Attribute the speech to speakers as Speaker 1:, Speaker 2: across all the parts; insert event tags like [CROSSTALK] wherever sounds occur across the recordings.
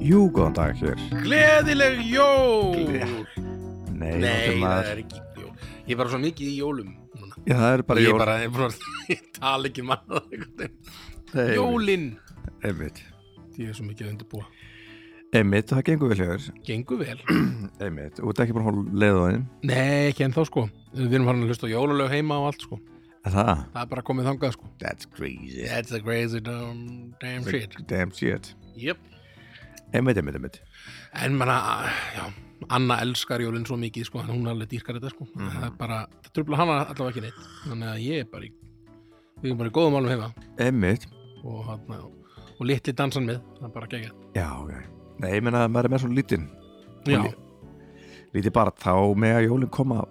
Speaker 1: Jú, góðan dag hér.
Speaker 2: Gleðileg jól!
Speaker 1: Gle- Nei,
Speaker 2: Nei,
Speaker 1: náttúrulega
Speaker 2: það
Speaker 1: maður-
Speaker 2: er ekki jól. Ég er bara svo mikið í jólum. núna.
Speaker 1: Já, það er bara
Speaker 2: ég
Speaker 1: jól.
Speaker 2: er bara, [LAUGHS] ég, er bara, ég tala ekki um mann.
Speaker 1: Nei,
Speaker 2: Jólin!
Speaker 1: Einmitt.
Speaker 2: Ég er svo mikið að undirbúa.
Speaker 1: Einmitt, það gengur vel hjá þér. [CLEARS THROAT]
Speaker 2: Gengur vel.
Speaker 1: Einmitt, og þetta er ekki bara hún leið á þeim.
Speaker 2: Nei, ekki ennþá sko. Við erum farin að hlusta á jólalög heima og allt sko.
Speaker 1: Það?
Speaker 2: Það er bara komið þangað sko.
Speaker 1: That's crazy.
Speaker 2: That's a crazy damn, damn shit.
Speaker 1: Damn shit.
Speaker 2: Yep.
Speaker 1: Einmitt, einmitt, einmitt.
Speaker 2: En manna, já, Anna elskar jólin svo mikið sko, þannig að hún er alveg dýrkar þetta sko.
Speaker 1: Mhm.
Speaker 2: Það er bara, það tröfla hana allavega ekki neitt. Þannig að ég er bara í, við erum bara í góðum álum heima.
Speaker 1: Einmitt.
Speaker 2: og, hana, og litli dansan með það er bara gegja
Speaker 1: Já, já. Nei, ég meina, maður er með svona lítinn.
Speaker 2: já,
Speaker 1: Lí- Lítið bara þá með að jólinn koma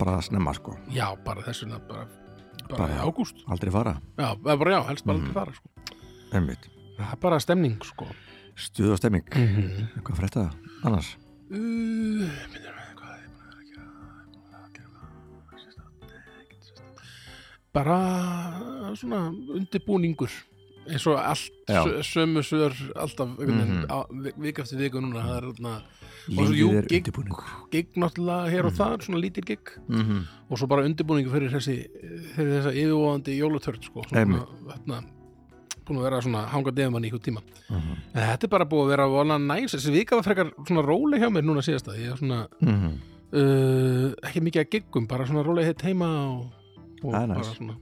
Speaker 1: bara snemma, sko.
Speaker 2: já, bara þess vegna bara, bara,
Speaker 1: Bara-
Speaker 2: í ágúst
Speaker 1: Aldrei fara.
Speaker 2: já, eða bara já, helst bara aldrei fara sko.
Speaker 1: Einmitt.
Speaker 2: það er bara stemning sko.
Speaker 1: Stuð og stemming.
Speaker 2: mm -hmm.
Speaker 1: Hvað fyrir þetta annars?
Speaker 2: uh, minnir mig, hvað er ég búin að gera? Ég er búin að gera það sérstakt, ekkert sérstakt. bara svona undirbúningur eins og allt
Speaker 1: Já.
Speaker 2: sö- sömu svör alltaf einhvern veginn,
Speaker 1: Mhm.
Speaker 2: á- vi- vika eftir viku núna það er þarna svo, jú,
Speaker 1: Lífið er
Speaker 2: gigg.
Speaker 1: undirbúning.
Speaker 2: gig náttúrulega hér og þar svona lítil gig
Speaker 1: Mm -hmm.
Speaker 2: og svo bara undirbúningu fyrir þessi fyrir þessa yfirvóðandi jólatörn sko, svona,
Speaker 1: Einmitt.
Speaker 2: þarna, búin að vera svona hanga defumann í ykkur tíma
Speaker 1: Mhm.
Speaker 2: en þetta er bara búið að vera vola næs þessi vika var frekar svona róleg hjá mér núna síðasta ég er svona,
Speaker 1: Mhm.
Speaker 2: uh, ekki mikið að giggum bara svona róleg hitt heima og, og
Speaker 1: Það er
Speaker 2: bara
Speaker 1: næs.
Speaker 2: svona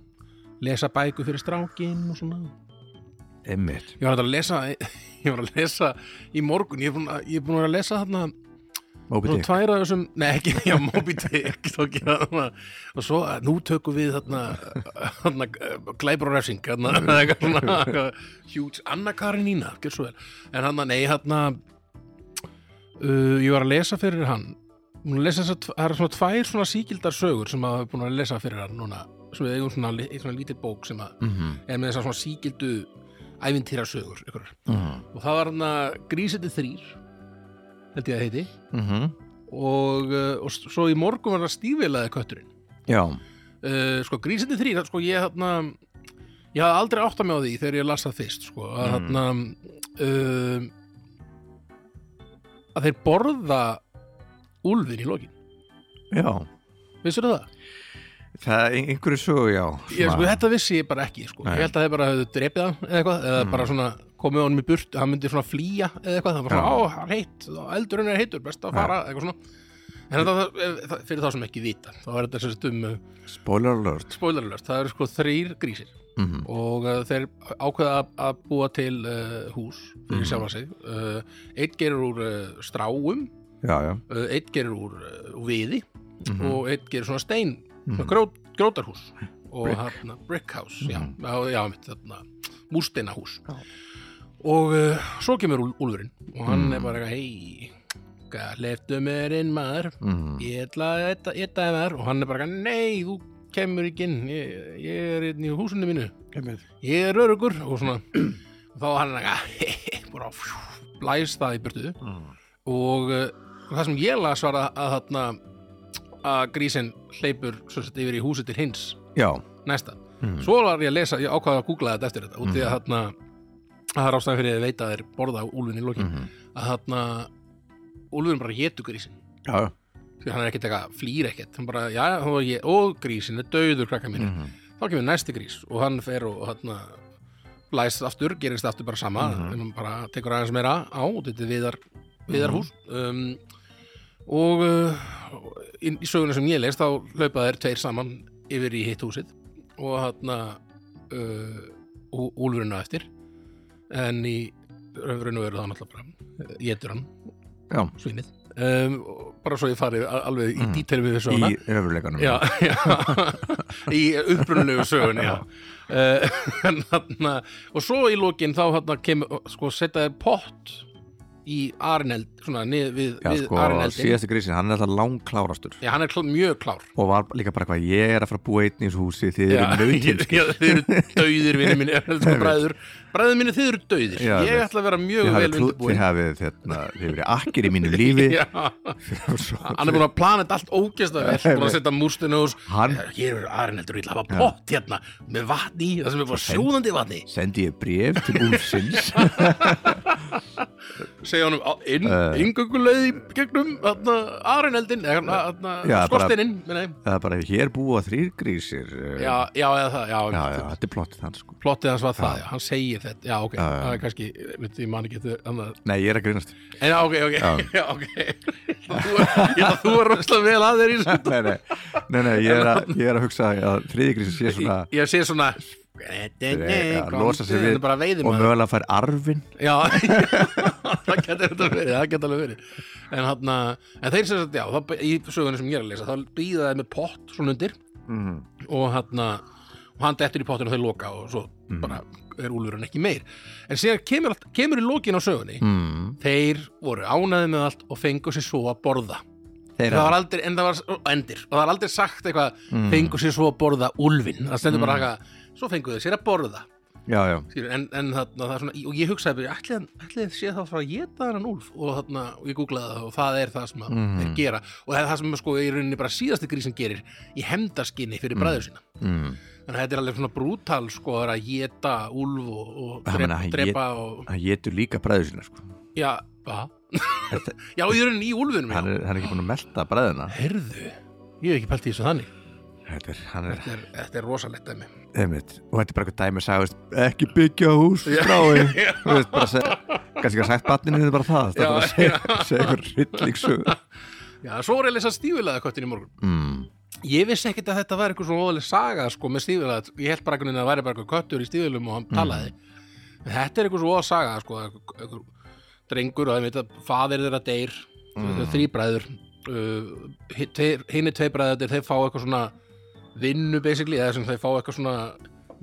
Speaker 2: lesa bæku fyrir strákin og svona
Speaker 1: Einmitt.
Speaker 2: ég var að lesa [LAUGHS] ég var að lesa í morgun ég er búin að, ég er búin að vera að lesa þarna
Speaker 1: Moby
Speaker 2: Svo
Speaker 1: Dick.
Speaker 2: tvær af þessum, nei ekki, [LAUGHS] já, Moby Dick tók ég það þarna. og svo eh, nú tökum við þarna, eh, þarna glæbur og refsing, þarna, [LAUGHS] eða eitthvað svona, eitthvað huge, Anna Karinína, gjör svo vel, en hann, nei, þarna, uh, ég var að lesa fyrir hann, Hún er að lesa þessa, tv- það er svona tvær svona síkildar sögur sem maður er búin að lesa fyrir hann núna, sem við eigum svona, li- svona lítið bók sem að,
Speaker 1: Mhm,
Speaker 2: er með þessar svona síkildu ævintýra sögur, ykkur,
Speaker 1: mhm,
Speaker 2: og það var hann að grísiti þrýr, held ég að heiti,
Speaker 1: mhm.
Speaker 2: og, uh, og s- svo í morgun var það stífilaði kötturinn
Speaker 1: Já,
Speaker 2: uh, sko grísindi þrýr sko, ég, þarna, ég hafði aldrei átt að með á því þegar ég las það fyrst sko,
Speaker 1: Mm.
Speaker 2: að, þarna, uh, að þeir borða úlfin í lokin
Speaker 1: já.
Speaker 2: vissir það?
Speaker 1: Það er einhverju sögu, já.
Speaker 2: Ég, sko,
Speaker 1: svona.
Speaker 2: þetta vissi ég bara ekki sko.
Speaker 1: Nei. Mm.
Speaker 2: ég held að þeir bara hefðu drepið hann eða, eitthvað, eða bara svona komið honum í burt hann myndi svona flýja eða eitthvað það var
Speaker 1: Já.
Speaker 2: svona, á, hann er heitt, eldurinn er heitur best að
Speaker 1: Já.
Speaker 2: fara, eitthvað svona en þetta, fyrir þá sem ekki vita þá er þetta sérst um uh,
Speaker 1: Spoiler alert.
Speaker 2: spoilerlöst, það eru sko þrýr grísir
Speaker 1: Mm
Speaker 2: og uh, þeir ákveða að, að búa til uh, hús fyrir
Speaker 1: Mhm.
Speaker 2: sjálfa sig uh, eitt gerir úr uh, stráum
Speaker 1: Já, já.
Speaker 2: uh, eitt gerir úr uh, úr viði
Speaker 1: Mhm.
Speaker 2: og eitt gerir svona stein mm
Speaker 1: Mhm.
Speaker 2: grót, grótarhús og
Speaker 1: Brick.
Speaker 2: hérna brick house
Speaker 1: Mhm.
Speaker 2: já, já, já mitt, þarna, múrsteinahús
Speaker 1: Já.
Speaker 2: og uh, svo kemur Úl- Úlfurinn og hann
Speaker 1: Mhm.
Speaker 2: er bara hei, leftu mér inn maður
Speaker 1: Mhm.
Speaker 2: ég ætla að etta- etta þeim þar og hann er bara, nei, þú kemur ekki inn ég, ég er inn í húsinu mínu ég er örugur og svona og þá er hann að [LAUGHS] bara fjú, blæs það í burtu
Speaker 1: Mhm.
Speaker 2: og uh, það sem ég las var að, að þarna að grísin hleypur svo sett yfir í húsi til hins
Speaker 1: Já.
Speaker 2: næsta,
Speaker 1: Mhm.
Speaker 2: svo var ég að lesa ég ákvaði að googla þetta eftir þetta út í að þarna að það er ástæðan fyrir að þeir veita að þeir borða úlfinn í lokin
Speaker 1: Mhm.
Speaker 2: að þarna úlfinn bara hétu grísin
Speaker 1: Já, já.
Speaker 2: því hann er ekkert eitthvað, flýr ekkert hann bara, já, og, ég, og grísin er döður krakka mínir,
Speaker 1: Mhm.
Speaker 2: þá kemur næsti grís og hann fer og hann læst aftur, gerist aftur bara sama mm hann bara tekur aðeins meira á og þetta er viðar, viðarhús um, og uh, í, í söguna sem ég leist þá hlaupa þær tveir saman yfir í hitt húsið og hann uh, og úlfurinn á eftir en í raunverinu eru það náttúrulega bara getur hann
Speaker 1: Já.
Speaker 2: svínið um, og bara svo ég fari a- alveg í
Speaker 1: Mhm.
Speaker 2: mm. dítel við þessu
Speaker 1: Í öfurleikanum.
Speaker 2: já,
Speaker 1: [LAUGHS]
Speaker 2: já. í upprunlegu sögun já. Uh, [LAUGHS] en, hana, og svo í lokin þá hana, kemur, sko, setja þér pott í Arneld svona, nið, við,
Speaker 1: Já,
Speaker 2: við
Speaker 1: sko,
Speaker 2: Arneldin
Speaker 1: síðasti grísin, hann er alltaf langklárastur.
Speaker 2: já, hann er klá, mjög klár
Speaker 1: Og var líka bara hvað, ég er að fara að búa einn í þessu húsi, þið
Speaker 2: Já,
Speaker 1: eru
Speaker 2: [LAUGHS]
Speaker 1: nautin.
Speaker 2: já, þið eru dauðir vinni
Speaker 1: [LAUGHS]
Speaker 2: mín sko,
Speaker 1: Einmitt.
Speaker 2: bræður, bræður mínu þið eru dauðir
Speaker 1: Já,
Speaker 2: ég
Speaker 1: einmitt.
Speaker 2: ætla að vera
Speaker 1: Þið
Speaker 2: mjög vel
Speaker 1: hafið, klú- þið
Speaker 2: undirbúin
Speaker 1: hafið, þérna, þið hafið akkir í
Speaker 2: [LAUGHS]
Speaker 1: mínu lífi. [LAUGHS]
Speaker 2: Já, [LAUGHS]
Speaker 1: Svo-
Speaker 2: hann er búin að plana þetta allt ógæsta vel
Speaker 1: [LAUGHS]
Speaker 2: búin að setja mústinu hús
Speaker 1: Hann-
Speaker 2: hér er Arneldur, ég ætla að hafa pott hérna [LAUGHS] með vatni, í, það sem er bara sjóðandi vatni
Speaker 1: Sendi ég bref til úlfsins
Speaker 2: segja honum á- inn,
Speaker 1: Eh.
Speaker 2: inngönguleið í gegnum þarna, aruneldin, eða þarna
Speaker 1: Já, bara-
Speaker 2: skorsteininn, minna ég.
Speaker 1: Það er bara hér búa þrýr grísir eh,
Speaker 2: já, já, eða það, já,
Speaker 1: já, já, þetta er plottið þann sko
Speaker 2: plottið hans var það, já, hann segir þetta, já, ok,
Speaker 1: Já, já.
Speaker 2: það er kannski, mitt, ég man ekki þetta, annað-
Speaker 1: Nei, ég er að
Speaker 2: [LAUGHS]
Speaker 1: grínast
Speaker 2: en já, ok, ok, [LAUGHS] já, ok, þú er, ég held að þú er rosalega vel að þér í þessu,
Speaker 1: nei, nei, nei, nei, ég er að, ég er að hugsa að þriðigrísir sé svona
Speaker 2: ég, ég sé svona, nei, nei, nei,
Speaker 1: að
Speaker 2: komdu,
Speaker 1: losa sig
Speaker 2: þetta
Speaker 1: við
Speaker 2: er bara
Speaker 1: og
Speaker 2: veiðum
Speaker 1: mögulega fær arfin
Speaker 2: Já, [LAUGHS] það getur þetta verið, það getur alveg verið En, hana, en þeir sem sagt, já, það, í sögunni sem ég er að lesa þá býða þeir með pott svona undir Mhm.
Speaker 1: mm.
Speaker 2: og, hana, og hann dettur í pottinu og þau loka og svo bara er úlfurinn ekki meir En síðan kemur, allt- kemur í lokin á sögunni
Speaker 1: Mm.
Speaker 2: Þeir voru ánæði með allt og fengu sér svo að borða
Speaker 1: Þeirra
Speaker 2: það var aldrei, en það var og endir og það var aldrei sagt eitthvað
Speaker 1: Mm.
Speaker 2: fengu sér svo að borða úlfin það stendur bara eitthvað, svo fengu þeir sér að borða
Speaker 1: Já, já,
Speaker 2: Skilur, en, en þarna, það er svona, og ég hugsaði bara, ætli, hann- ætli þið sé þá frá að geta þennan úlf og þarna, og ég googlaði það og það er það sem að
Speaker 1: Mhm.
Speaker 2: þeir gera og það er það sem sko, í rauninni bara síðasti grísin gerir í hemdarskinni fyrir bræður sína
Speaker 1: mm.
Speaker 2: þannig að þetta er alveg svona brútal sko, það er að geta úlf og, og
Speaker 1: Það meina,
Speaker 2: drepa,
Speaker 1: hann
Speaker 2: drepa og,
Speaker 1: hann getur líka bræður sína sko.
Speaker 2: já, hva? [LAUGHS] já, í rauninni í úlfunum
Speaker 1: hann,
Speaker 2: já.
Speaker 1: er, hann er ekki búin að melta bræðina
Speaker 2: herðu, ég hef ekki pælt í þessu þannig
Speaker 1: Þetta er, hann er,
Speaker 2: þetta er, þetta er rosalegt
Speaker 1: [LAUGHS]
Speaker 2: dæmi
Speaker 1: einmitt og þetta er bara eitthvað dæmi að sagði, veist, ekki byggja hús frái, þú veist, bara seg, kannski að sagt batninu þetta er bara það,
Speaker 2: Já,
Speaker 1: þetta er bara að segja, segja einhver rillingsugur
Speaker 2: já, svo er ég að lesa stífilega köttin í morgun
Speaker 1: mm.
Speaker 2: Ég vissi ekkit að þetta var eitthvað svona óðalega saga sko með stíðulega, ég held bara einhvern veginn að það væri bara eitthvað köttur í stíðulum og hann talaði en þetta er eitthvað svona óðalega saga sko, einhver- einhver drengur og það veit að faðir þeirra deyr, mm. þrýbræður uh, hinn er tveibræður þeir fá eitthvað svona vinnu basically, eða sem þeir fá eitthvað svona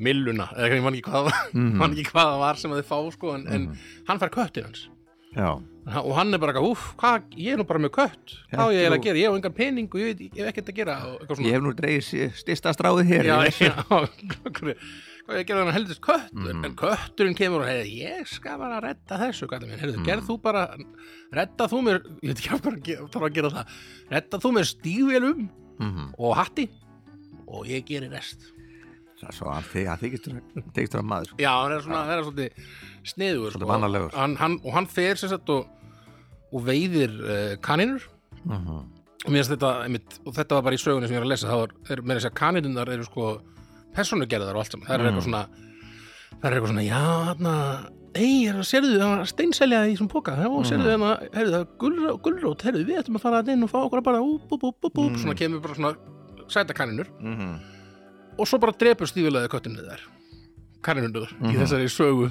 Speaker 2: milluna, eða ég man ekki hvað [LAUGHS] mm. man ekki hvað það var sem þeir fá sko en, en hann fær köttin hans
Speaker 1: Já,
Speaker 2: og hann er bara eitthvað, úf, hvað, ég er nú bara með kött hvað á ég er að gera, ég hef engan pening og ég, veit- ég hef ekkert að gera og eitthvað svona
Speaker 1: ég hef nú dreigð stista stráðið hér
Speaker 2: já,
Speaker 1: ég-
Speaker 2: já, [LAUGHS] hvað er að gera þannig heldist köttur en kötturinn kemur og hefði ég skal bara redda þessu gæti minn, heyrðu, gerð þú bara redda þú mér, [LAUGHS] ég veit ekki af hverju að gera- þarf að gera það, redda þú mér stífélum
Speaker 1: Mhm.
Speaker 2: og hatti og ég gerir rest
Speaker 1: Það er svo hann þy- hann þykist vera- þykist vera maður sko.
Speaker 2: já, hann er svona, hann er svolítið sniður
Speaker 1: Svolítið mannalegur.
Speaker 2: hann, hann, og hann fer sér sett og, og veiðir uh, kaninur
Speaker 1: Mhm.
Speaker 2: og, mér finnst þetta, einmitt, og þetta var bara í sögunni sem ég er að lesa þá er, er meira þess að kaninunnar eru sko personugerðar og allt saman það er eitthvað svona það er eitthvað svona, já, þarna ei, sérðu, það var steinselja í svona póka og sérðu, þarna, heyrðu, það er gulró- gulrót heyrðu, við ættum að fara að inn og fá okkur að bara úp, úp, úp, úp, úp, svona kemur bara svona sæta kaninur
Speaker 1: Mhm.
Speaker 2: og svo bara drepur stífilega köttinu þær kaninundur í þessari sögu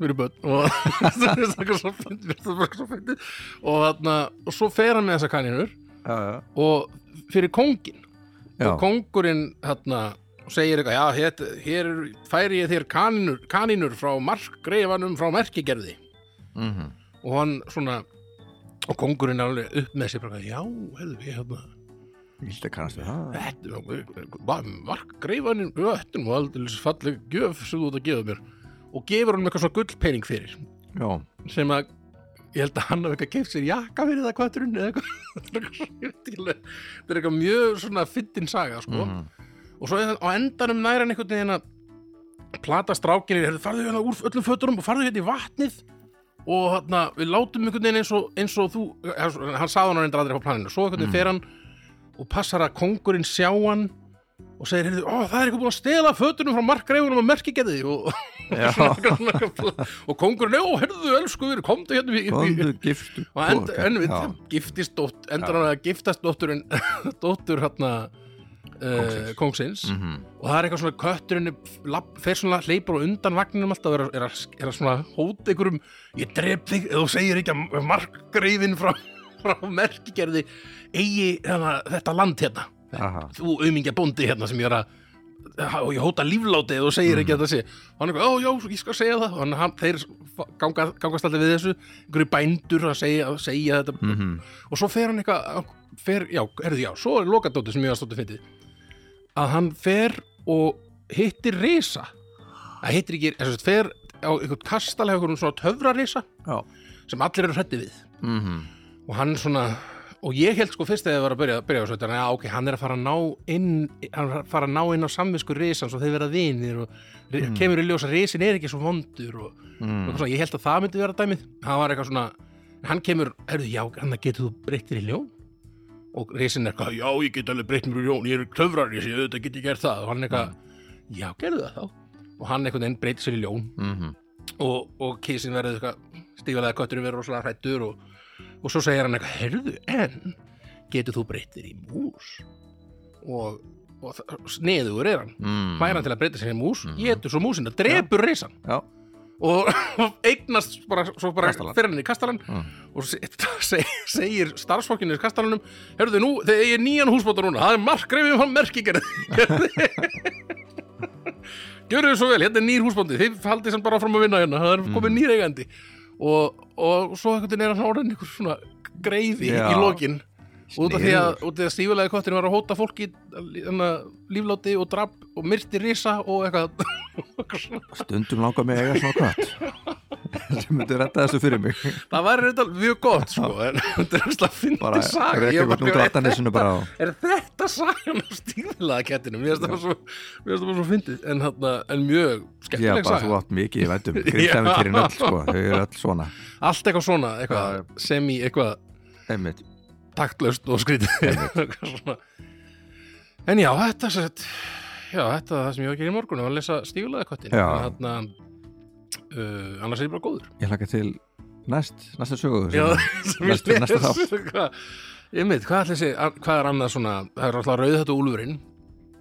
Speaker 2: fyrir börn og [LAUGHS] það er eitthvað svo fyndið, mér finnst það bara svo fyndið. og þarna, og svo fer hann með þessar kaninur
Speaker 1: Já, já.
Speaker 2: og fyrir kóngin
Speaker 1: Já.
Speaker 2: og kóngurinn hérna segir eitthvað, já, hér, hér er- færi ég þér kaninur, kaninur frá markgreifanum frá merkigerði
Speaker 1: Mhm.
Speaker 2: og hann svona og kóngurinn er alveg upp með sér bara, já, hefðu, ég hérna
Speaker 1: Ég held að kannast við það
Speaker 2: þetta, markgreifanum öttum og aldrei falleg gjöf sem þú ert að gefa mér og gefur hann eitthvað svona gullpening fyrir
Speaker 1: Já,
Speaker 2: sem að ég held að hann hafi eitthvað keift sér jakka fyrir það kvætturinn eða eitthvað Þetta er eitthvað- [LAUGHS] ég veit ekki alveg. þetta er eitthvað mjög svona fyndin saga sko.
Speaker 1: Mhm.
Speaker 2: og svo er- á endanum næra hann einhvern veginn að plata strákinni, herðu farðu hérna úr öllum fötunum og farðu hérna í vatnið og hérna, við látum einhvern veginn eins og, eins og þú, hann hann sagði hann reyndar aldrei á planinu,
Speaker 1: Mm.
Speaker 2: svo einhvern veginn fer hann og passar að kongurinn sjá hann og segir, heyrðu, ó, það er eitthvað búin að stela fötunum frá markgreifunum og merkigeði og, [LAUGHS]
Speaker 1: Já.
Speaker 2: og kongurinn, ó, heyrðu, elsku, við komdu hérna í- í-
Speaker 1: Góðu giftu
Speaker 2: og end,
Speaker 1: poka.
Speaker 2: en við
Speaker 1: Já.
Speaker 2: giftist dótt, endur hann að giftast dótturinn [LAUGHS] dóttur eh, hérna uh,
Speaker 1: Kóngsins.
Speaker 2: kongsins
Speaker 1: Mhm.
Speaker 2: og það er eitthvað svona kötturinn er- labb- fer svona hleypur á undan vagninum alltaf og er, að- er, að- er að svona hóta einhverjum ég drep þig eða þú segir ekki að markgreifin frá, [LAUGHS] frá merkigerði eigi hana, þetta land hérna
Speaker 1: Aha.
Speaker 2: þú aumingja bóndi hérna sem ég er að og ég hóta lífláti eða þú segir ekki að það sé og hann er eitthvað, ó já, ég skal segja það og hann, hann, þeir ganga, gangast alltaf við þessu einhverju bændur að segja, að segja þetta
Speaker 1: Mhm.
Speaker 2: og svo fer hann eitthvað fer, já, erðu, já, svo er lokadótið sem ég var stóttu fyndið að hann fer og hittir risa að hittir ekki, þess að fer á einhvern kastal hefur einhvern svona töfrarisa
Speaker 1: Já.
Speaker 2: sem allir eru hrætti við
Speaker 1: Mhm.
Speaker 2: og hann svona og ég held sko fyrst þegar ég var að byrja, byrja á þessu þetta, já ok, hann er að fara að ná inn hann er að fara að ná inn á samvisku risans og þeir vera vinir og mm. kemur í ljós að risin er ekki svo vondur og, og
Speaker 1: mm.
Speaker 2: svona, ég held að það myndi vera dæmið hann var eitthvað svona, hann kemur herðu, já, hann getur þú breyttir í ljón og risin er eitthvað, já, ég get alveg breytt mér í ljón, ég er töfrarís, ég auðvitað get ég gert það og hann eitthvað, já, gerðu það þá og hann einhvern veginn breytir sér í ljón
Speaker 1: mhm,
Speaker 2: og, og kísin verður eitthvað stífalega kötturinn verður rosalega hrættur og, og svo segir hann eitthvað, herðu, en getur þú breyttir í mús og, og það- sniðugur er hann
Speaker 1: mm.
Speaker 2: væri hann til að breyta sér í mús, getur svo músin að drepur reysan
Speaker 1: Já,
Speaker 2: og [LAUGHS] eignast bara, svo bara
Speaker 1: Kastalan.
Speaker 2: fyrir henni kastalan
Speaker 1: Mm.
Speaker 2: og se, [LAUGHS] se, segir starfsfólkinu í kastalanum, herðu nú, þegar ég er nýjan húsbóta núna, það er markgreifin frá merkigerð [LAUGHS] gjörðu þið svo vel, hérna er nýr húsbóndi þið haldið sem bara áfram að vinna hérna það er
Speaker 1: Mm.
Speaker 2: komið nýr eigandi og, og svo einhvern veginn er hann orðin einhver svona greifi
Speaker 1: Já.
Speaker 2: í lokin út af því að,
Speaker 1: Sniðugur.
Speaker 2: út af því að stífulega kottin var að hóta fólki hana, lífláti og drap og myrti risa og eitthvað, eitthvað svona
Speaker 1: stundum langar mig að eiga svona
Speaker 2: [LAUGHS]
Speaker 1: kvart sem myndi retta þessu fyrir mig
Speaker 2: Það væri reynda mjög gott sko en [LAUGHS] þetta er umslega að finna
Speaker 1: bara
Speaker 2: til saga
Speaker 1: reka
Speaker 2: Ég var
Speaker 1: eitthvað út
Speaker 2: bara,
Speaker 1: rattanesinu bara á
Speaker 2: Er þetta sagan af stíðlega kettinu? Mér finnst það bara svo, mér finnst það bara svo fyndið en, þarna, en mjög
Speaker 1: Já,
Speaker 2: skemmtileg
Speaker 1: bara þú
Speaker 2: saga
Speaker 1: átt mikið, ég
Speaker 2: [LAUGHS]
Speaker 1: veitum Grímsævintýrin öll, sko, þau eru öll svona
Speaker 2: Allt eitthvað svona, eitthvað sem í eitthvað
Speaker 1: Einmitt,
Speaker 2: taktlaust og skrítið [LAUGHS] Eitthvað svona. En já, þetta er sett Já, þetta er það sem ég var að gera í morgun og að lesa stíðlega kettinu
Speaker 1: Já.
Speaker 2: Þarna, uh, annars er ég bara góður
Speaker 1: ég hlaka til næst, næsta sögu sem-
Speaker 2: Já, [LAUGHS] sem ég
Speaker 1: næsta- næsta
Speaker 2: les. Hvað- Ég mynd, hvað, ætli sé- hvað er annað svona það er alltaf rauð þetta úlfurinn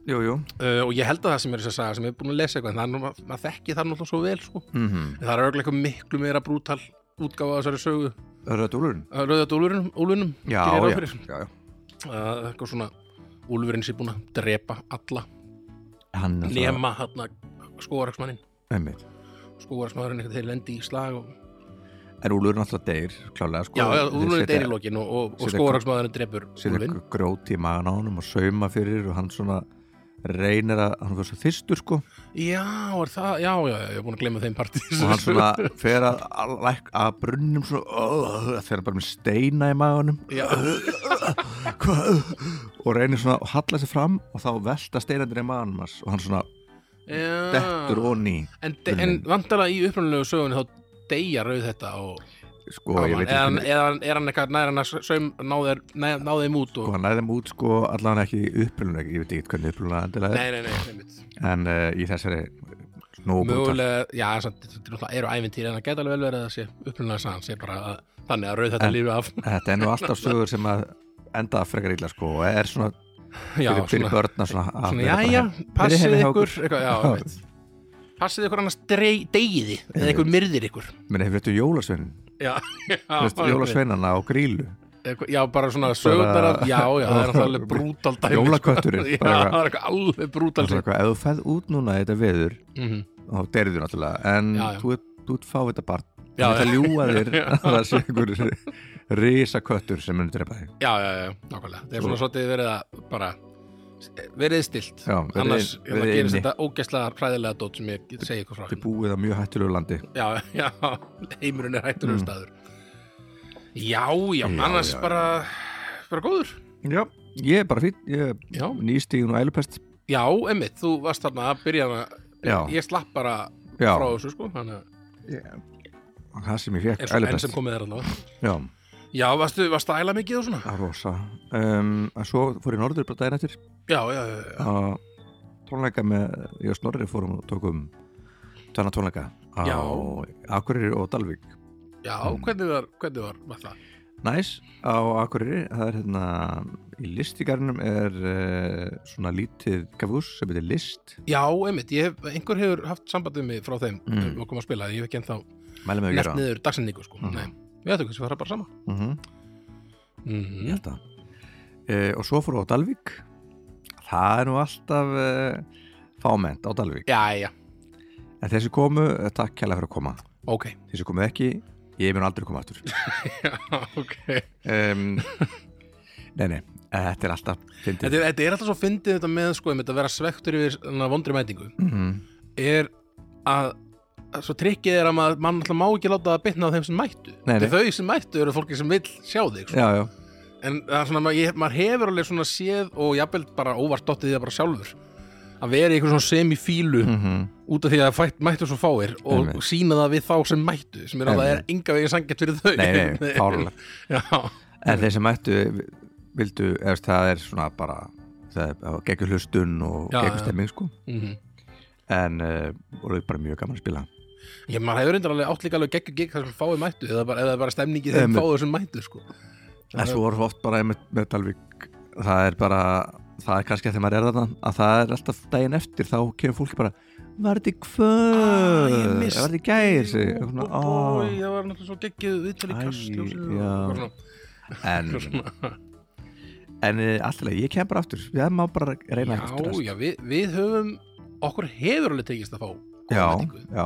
Speaker 1: Jú, jú
Speaker 2: uh, og ég held að það sem er þess að saga sem ég er búin að lesa eitthvað en það er nú, maður, maður þekki það náttúrulega svo vel sko.
Speaker 1: Mhm.
Speaker 2: en það er örglega eitthvað miklu meira brútal útgáfa af þessari sögu
Speaker 1: Rödd úlurinn
Speaker 2: uh, rauðat úlfunum, úlfunum
Speaker 1: Já,
Speaker 2: Gerir ráð
Speaker 1: já,
Speaker 2: fyrir.
Speaker 1: já, já
Speaker 2: uh, eitthvað svona úlfurinn sem er búin að drepa alla
Speaker 1: Hann er það,
Speaker 2: nema hérna skóaraksmannin
Speaker 1: einmitt
Speaker 2: skóaraksmannin eitthvað þeir lendi í slag og,
Speaker 1: En úlurinn alltaf deyr, klálega, sko
Speaker 2: já, já,
Speaker 1: Þeir
Speaker 2: úlfurinn
Speaker 1: setja-
Speaker 2: deyr í lokin og, og, og
Speaker 1: setja-
Speaker 2: skóaraksmannin drepur
Speaker 1: setja
Speaker 2: úlfinn
Speaker 1: grjót í magan á honum og sauma fyrir og hann svona reynir að, hann var svo þyrstur sko og
Speaker 2: já, er það, já, já, já, ég er búin að gleyma þeim partí
Speaker 1: hann svona fer að, að, læk- að brunnum svona, uh, þegar hann bara með steina í maganum
Speaker 2: [LAUGHS] já,
Speaker 1: Hvað? og reynir svona að halla sér fram og þá velta steinandir í maganum hans og hann svona
Speaker 2: já.
Speaker 1: dettur
Speaker 2: Ah.
Speaker 1: onni
Speaker 2: en, de- en vantala í upprunalegu sögunni þá deyja rauð þetta og
Speaker 1: sko,
Speaker 2: Gaman.
Speaker 1: ég veit
Speaker 2: eða hann,
Speaker 1: ekki,
Speaker 2: eða hann, er hann eitthvað nær hann að saum náði náði þeim út og
Speaker 1: sko, hann næði þeim út sko allavega ekki upprunlega, ég veit ekki hvernig upprunlega endilega
Speaker 2: nei,
Speaker 1: er,
Speaker 2: nei, nei, einmitt.
Speaker 1: en uh, í þessari snúbúta,
Speaker 2: mögulega, já, samt, þetta er náttúrulega- eru æfintýri en það geta alveg vel verið að það sé upprunalega sann sé bara að, þannig að rauð þetta
Speaker 1: En-
Speaker 2: lífi af
Speaker 1: þetta er nú alltaf sögur sem að enda frekar illa sko og er svona
Speaker 2: já,
Speaker 1: fyrir, fyrir
Speaker 2: svona,
Speaker 1: börna svona, að
Speaker 2: svona
Speaker 1: vera
Speaker 2: já,
Speaker 1: bara
Speaker 2: já,
Speaker 1: heim.
Speaker 2: passið
Speaker 1: heima hjá
Speaker 2: ykkur
Speaker 1: okkur.
Speaker 2: eitthvað,
Speaker 1: [LAUGHS]
Speaker 2: já,
Speaker 1: Já.
Speaker 2: einmitt. passið ykkur annars drey- deyið þið eða ykkur myrðir ykkur
Speaker 1: menn hefur þetta jólasvein
Speaker 2: [LAUGHS] já, já,
Speaker 1: jólasveinana á grílu
Speaker 2: eitthvað- já, bara svona sögundar af já, já, það er náttúrulega
Speaker 1: [LAUGHS]
Speaker 2: alveg brútal dæmi sko. [LAUGHS]
Speaker 1: Jólakötturinn,
Speaker 2: já,
Speaker 1: bara eitthvað.
Speaker 2: það er eitthvað alveg brútal
Speaker 1: Alltaf eitthvað, ef þú ferð út núna í þetta veður
Speaker 2: Mhm.
Speaker 1: þá deyrið þú náttúrulega en
Speaker 2: Já, já.
Speaker 1: þú ert- þú ert fá þetta barn
Speaker 2: Já,
Speaker 1: það
Speaker 2: já.
Speaker 1: ljúa
Speaker 2: [LAUGHS]
Speaker 1: þér
Speaker 2: Já.
Speaker 1: að það sé einhver risaköttur sem munir drepa þig
Speaker 2: já, já, já, nákvæmlega það er svona svolítið verið að bara verið stilt
Speaker 1: Já, verið-
Speaker 2: annars
Speaker 1: verið
Speaker 2: hérna, gerist
Speaker 1: inni.
Speaker 2: þetta ógæslega hræðilega dót sem ég get segja ykkur frá
Speaker 1: þið búið á mjög hættulegu landi
Speaker 2: já, já, heimurinn er hættur um staður já, já,
Speaker 1: Mm. Já,
Speaker 2: annars
Speaker 1: já, já.
Speaker 2: bara bara góður
Speaker 1: já, ég er bara fín ég er
Speaker 2: já,
Speaker 1: nýstíðin og ælupest
Speaker 2: já emmitt, þú varst þarna að byrja hana
Speaker 1: Já.
Speaker 2: ég slapp bara
Speaker 1: já,
Speaker 2: frá þessu sko þannig að-
Speaker 1: það sem ég fekk
Speaker 2: eins og enn
Speaker 1: ælupest
Speaker 2: sem komið er allavega
Speaker 1: já,
Speaker 2: já, varstu, varstu að æla mikið og svona
Speaker 1: að rosa um, en svo fór ég norður bara daginn eftir
Speaker 2: já, já, já, já,
Speaker 1: að tónleika með ég og Snorri fórum og tókum tvenna tónleika á
Speaker 2: Já.
Speaker 1: Akureyri og Dalvík
Speaker 2: já
Speaker 1: Mm.
Speaker 2: hvernig var, hvernig var, var það
Speaker 1: Næs á Akureyri, það er hérna í listigarnum er uh, svona lítið kafús sem heitir list
Speaker 2: já, emmitt, ég hef, einhver hefur haft samband við mig frá þeim
Speaker 1: Mm.
Speaker 2: um okkur að spila, ég hef ekki ennþá
Speaker 1: Mælum við að
Speaker 2: nett
Speaker 1: gera
Speaker 2: niður dagsinningu sko.
Speaker 1: Mhm.
Speaker 2: Nei, við ætlum kannski að fara bara saman
Speaker 1: mm
Speaker 2: mm
Speaker 1: Ég held að uh, Og svo fórum við á Dalvík Það er nú alltaf uh, fámennt á Dalvík
Speaker 2: Já, já,
Speaker 1: En þessi komu, eh, takk kjærlega fyrir að koma [LAUGHS]
Speaker 2: ok
Speaker 1: Þessi komu ekki, ég mun aldrei koma aftur
Speaker 2: Já, ok [LAUGHS]
Speaker 1: um, Nei, nei, eh, þetta er alltaf
Speaker 2: þetta,
Speaker 1: fyndið
Speaker 2: er- þetta er alltaf svo fyndið þetta með sko, einmitt að vera svektur yfir þarna vondri mætingu
Speaker 1: Mhm.
Speaker 2: er að, að svo trikkið er að maður, mann alltaf má ekki láta það bitna á þeim sem mættu
Speaker 1: Nei,
Speaker 2: Þetta er þau sem mættu eru fólki sem vill sjá þig sko.
Speaker 1: Já, já,
Speaker 2: en það er svona, ma- ég, maður hefur alveg svona séð og jafnvel bara óvart dottið því það bara sjálfur að vera í einhver svona semifílu
Speaker 1: mm -hmm.
Speaker 2: út af því að fætt, mættu svo fáir og
Speaker 1: Einmitt.
Speaker 2: sína það við þá sem mættu sem er að það er enga veginn sangett fyrir þau
Speaker 1: Nei,
Speaker 2: [LAUGHS]
Speaker 1: nei, fárlega
Speaker 2: Já,
Speaker 1: En þeir sem ættu, vildu, eða veist, það er svona bara það er geggjur hlustun og
Speaker 2: Já,
Speaker 1: geggjur
Speaker 2: já.
Speaker 1: stemming sko
Speaker 2: mhm
Speaker 1: en uh, voru bara mjög gaman að spila
Speaker 2: Já, maður hefur reyndar alveg átt líka alveg geggjur gig þar sem fáið mættu eða bara, eða bara stemningi þeim
Speaker 1: Einmitt.
Speaker 2: fáið sem mættu sko.
Speaker 1: En svo voru oft bara með, með Dalvik það er bara, það er kannski að þegar maður er þarna að það er alltaf daginn eftir þá kemur fólki bara, var þetta í
Speaker 2: Ah,
Speaker 1: kvöð
Speaker 2: ég
Speaker 1: var
Speaker 2: missti-
Speaker 1: þetta í gæðir sig
Speaker 2: Jú,
Speaker 1: eitthvað, svona,
Speaker 2: bói,
Speaker 1: "Ó."
Speaker 2: Það var náttúrulega svo geggjuð viðtal í
Speaker 1: Æ,
Speaker 2: kastljósinu
Speaker 1: já.
Speaker 2: og eitthvað svona.
Speaker 1: en,
Speaker 2: Eitthvað svona.
Speaker 1: en eh, allt í lagi, ég kem bara aftur við erum á bara að reyna að
Speaker 2: Já, já, við, við höfum okkur hefur alveg tekist að fá góða
Speaker 1: já,
Speaker 2: nýtingu.
Speaker 1: já,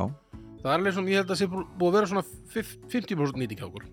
Speaker 2: Það er alveg svona, ég held að sé bú- búið að vera svona fif- 50% nýting hjá okkur